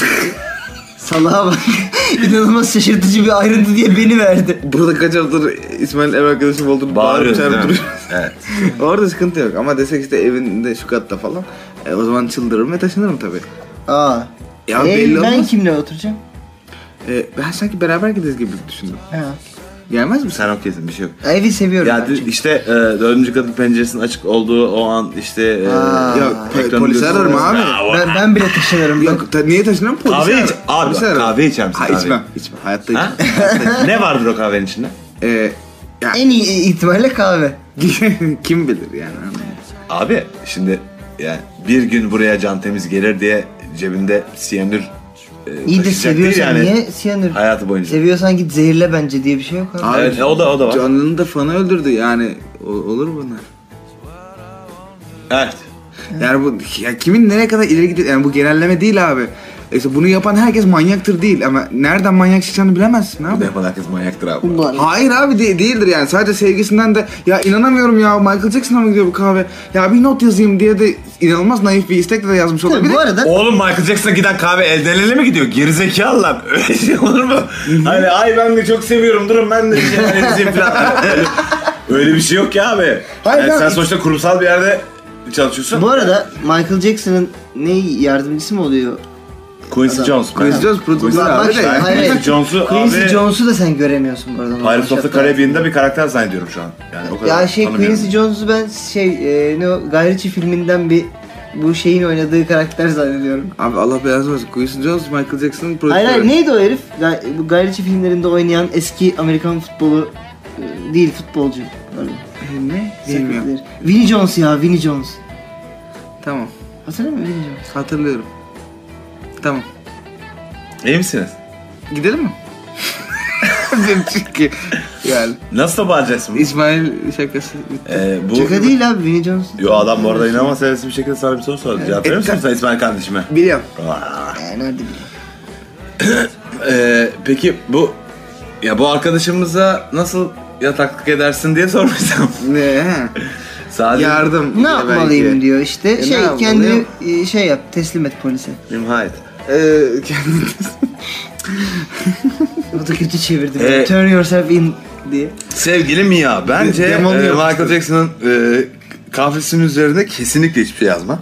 Salaha bak. inanılmaz şaşırtıcı bir ayrıntı diye beni verdi.
Burada kaç haftadır İsmail'in ev arkadaşım olduğunu bağırıp
Bağırıyoruz değil mi?
çağırıp duruyoruz.
Evet.
Orada sıkıntı yok ama desek işte evinde şu katta falan. E, o zaman çıldırırım ve taşınırım tabii.
Aa.
Ya
Ee,
belli
ben
olmaz.
kimle oturacağım?
E, ben sanki beraber gideriz gibi düşündüm.
Ha.
Gelmez misin?
Sen okeysin bir şey yok.
Evi seviyorum
Ya
ben
d-
çünkü.
işte e, dördüncü katın penceresinin açık olduğu o an işte e,
Aa.
Ya, po-
ekranın
polisi
gözünün
ararım
önünde-
abi.
Ya, o-
Ben, ben bile taşınırım. Yok.
Yok ta- niye taşınırım? Polise
Kahve iç.
ararım.
Abi
Polise
bak,
ararım.
kahve içer misin
Ha
kahve?
içmem. içmem. Hayatta
Ha?
içmem.
ne vardır o kahvenin içinde?
E, ya,
En iyi ihtimalle kahve.
kim bilir yani.
Abi şimdi yani bir gün buraya can temiz gelir diye cebinde siyanür e,
İyi de
taşıyacak değil
seviyorsan niye siyanür?
Hayatı boyunca.
Seviyorsan git zehirle bence diye bir şey yok abi.
Abi,
Evet, o da- o da var.
Canlı'nın da fanı öldürdü yani. O- olur bunlar.
evet.
Yani bu ya kimin nereye kadar ileri gidiyor yani bu genelleme değil abi. İşte bunu yapan herkes manyaktır değil ama nereden manyak çıkacağını bilemezsin
Bunu
abi.
yapan herkes manyaktır abi.
Ulan.
Hayır abi de- değildir yani sadece sevgisinden de ya inanamıyorum ya Michael Jackson'a mı gidiyor bu kahve ya bir not yazayım diye de inanılmaz naif bir istekle de yazmış
Tabii,
olabilir.
bu arada
Oğlum Michael Jackson'a giden kahve elden ele mi gidiyor? Gerizekalı lan. Öyle şey olur mu? hani ay ben de çok seviyorum durun ben de bir şey elinizdeyim falan. Öyle, öyle bir şey yok ya abi.
Hayır,
Yani
ben-
sen sonuçta kurumsal bir yerde çalışıyorsun.
Bu arada Michael Jackson'ın ne yardımcısı mı oluyor?
Quincy
Adam-
Jones.
Quincy Jones prodüktör
Quincy-
abi
Bak
de
şimdi,
yani.
hayır, hayır.
Quincy Jones'u
Quincy
abi-
Jones'u da sen göremiyorsun bu arada.
Pirates of the
Şapka-
Caribbean'da bir karakter zannediyorum şu an. Yani o kadar
Ya şey
tanımıyorum.
Quincy Jones'u ben şey e, ne o Guy Ritchie filminden bir bu şeyin oynadığı karakter zannediyorum.
Abi Allah belanı versin Quincy Jones Michael Jackson'ın prodüktörü.
Hayır hayır neydi o herif? Ga- Bu Guy Ritchie filmlerinde oynayan eski Amerikan futbolu e, değil futbolcu. Pardon.
Ne? Bilmiyorum.
Vinnie Jones ya Vinnie Jones.
Tamam
Hatırlıyor musun Vinnie Jones?
hatırlıyorum. Tamam.
İyi misiniz?
Gidelim mi? Benim çünkü yani
Nasıl bağıracaksın? bunu?
İsmail şakası bitti.
Ee, bu...
Şaka değil abi Vinnie Jones.
Yo adam bu arada inanılmaz hevesli bir şekilde sana bir soru sordu.
E,
Cevap veriyor musun sen İsmail kardeşime?
Biliyorum.
Aa.
Ya, nerede bileyim.
Ee, peki bu... Ya bu arkadaşımıza nasıl yataklık edersin diye sormuştum.
Ne? he?
Sadece...
Yardım.
Ne yapmalıyım
belki.
diyor işte.
E, ne
şey
yapmalıyım?
kendini e, şey yap teslim et polise.
İmha et.
Ee, kendiniz.
O da kötü çevirdi. beni.
E,
Turn yourself in diye.
Sevgili Mia, bence
De-
e,
demonu yapıştır.
Michael Jackson'ın e, kahvesinin üzerine kesinlikle hiçbir şey yazma.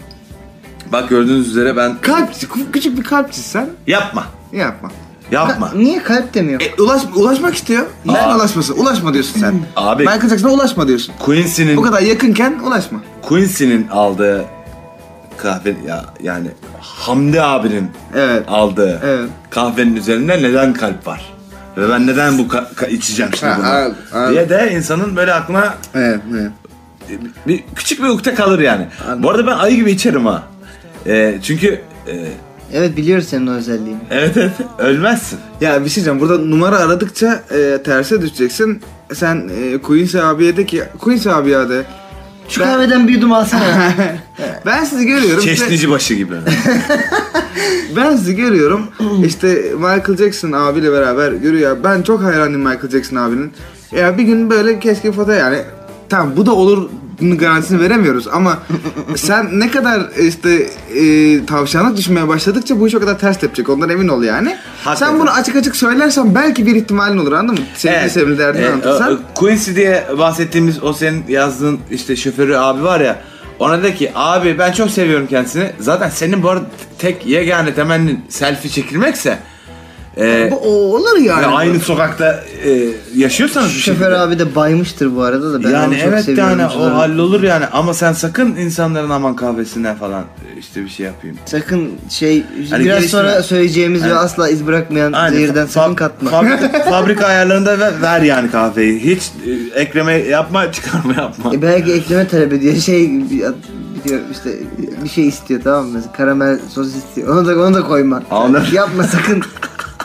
Bak gördüğünüz üzere ben...
Kalp, çiz- küçük bir kalp çizsen
Yapma.
yapma.
Yapma.
Niye kalp demiyor?
E, ulaş, ulaşmak istiyor. Neden
Aa.
ulaşmasın? Ulaşma diyorsun sen.
Abi-
Michael Jackson'a ulaşma diyorsun.
Quincy'nin...
Bu kadar yakınken ulaşma.
Quincy'nin aldığı kahve ya yani Hamdi abinin
Evet.
aldığı
Evet.
kahvenin üzerinde neden kalp var? Ve ben neden bu ka- ka- içeceğim şimdi
Ha,
bunu?
anladım, anladım.
Diye de insanın böyle aklına
Evet, evet.
e, bir küçük bir ukde kalır yani. Bu arada ben ayı gibi içerim ha. E, çünkü e,
Evet biliyoruz senin o özelliğini.
evet evet ölmezsin.
Ya bir şey diyeceğim. Burada numara aradıkça e, terse düşeceksin. sen e, Quincy abiye de ki Quincy abiye de
Şu
Ben-
kahveden bir yudum alsana.
ben sizi görüyorum. size-
Çeşnici başı gibi.
Ben sizi görüyorum. İşte Michael Jackson abiyle beraber yürüyor. Ben çok hayranım Michael Jackson abinin. Ya bir gün böyle keşke foto yani tamam bu da olur bunun garantisini veremiyoruz ama sen ne kadar işte e, tavşana düşmeye başladıkça bu iş o kadar ters tepecek ondan emin ol yani.
Hakikaten.
Sen bunu açık açık söylersen belki bir ihtimalin olur anladın mı? Sevgili
Evet.
sevgili derdini
Evet,
anlatırsan.
o- o Quincy diye bahsettiğimiz o senin yazdığın işte şoförü abi var ya. Ona de ki abi ben çok seviyorum kendisini. Zaten senin bu arada tek yegane temennin selfie çekilmekse. e,
bu o- olur yani.
ve aynı sokakta e, yaşıyorsanız bir
Şoför
şekilde.
abi de baymıştır bu arada da ben onu
yani
çok
evet
seviyorum.
yani
canım.
o hallolur yani ama sen sakın insanların aman kahvesine falan e, işte bir şey yapayım.
Sakın şey
Hani
biraz
gelişme-
sonra söyleyeceğimiz
Hani-
ve asla iz bırakmayan
Aynen.
zehirden
Fa-
sakın katma.
Fabrika, fabrika ayarlarında ver, ver yani kahveyi. Hiç e, ekleme yapma, çıkarma yapma.
E belki ekleme talep ediyor. Şey diyor işte bir şey istiyor tamam mı? Mesela Karamel sos istiyor. Onu da onu da koyma.
Anladım.
Yapma sakın.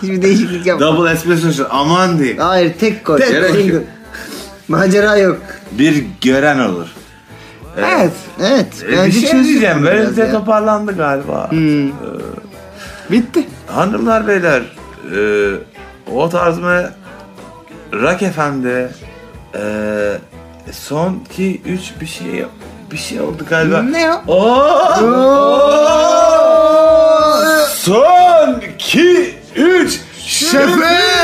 Hiçbir değişiklik yapma.
Double espresso shot, aman diyeyim.
Hayır tek koy.
Tek
Single.
koy.
Macera yok.
Bir gören olur.
Evet. Evet.
E, bir şey
çözülür
diyeceğim.
bu
Böyle
biraz
de
ya.
toparlandı galiba.
Hmm. Bitti.
Hanımlar beyler, e, o tarz mı Rock FM'de e, son ki 3 bir şey bir şey oldu galiba.
Ne o?
Oo! Oo! Son 2 3
Şoför!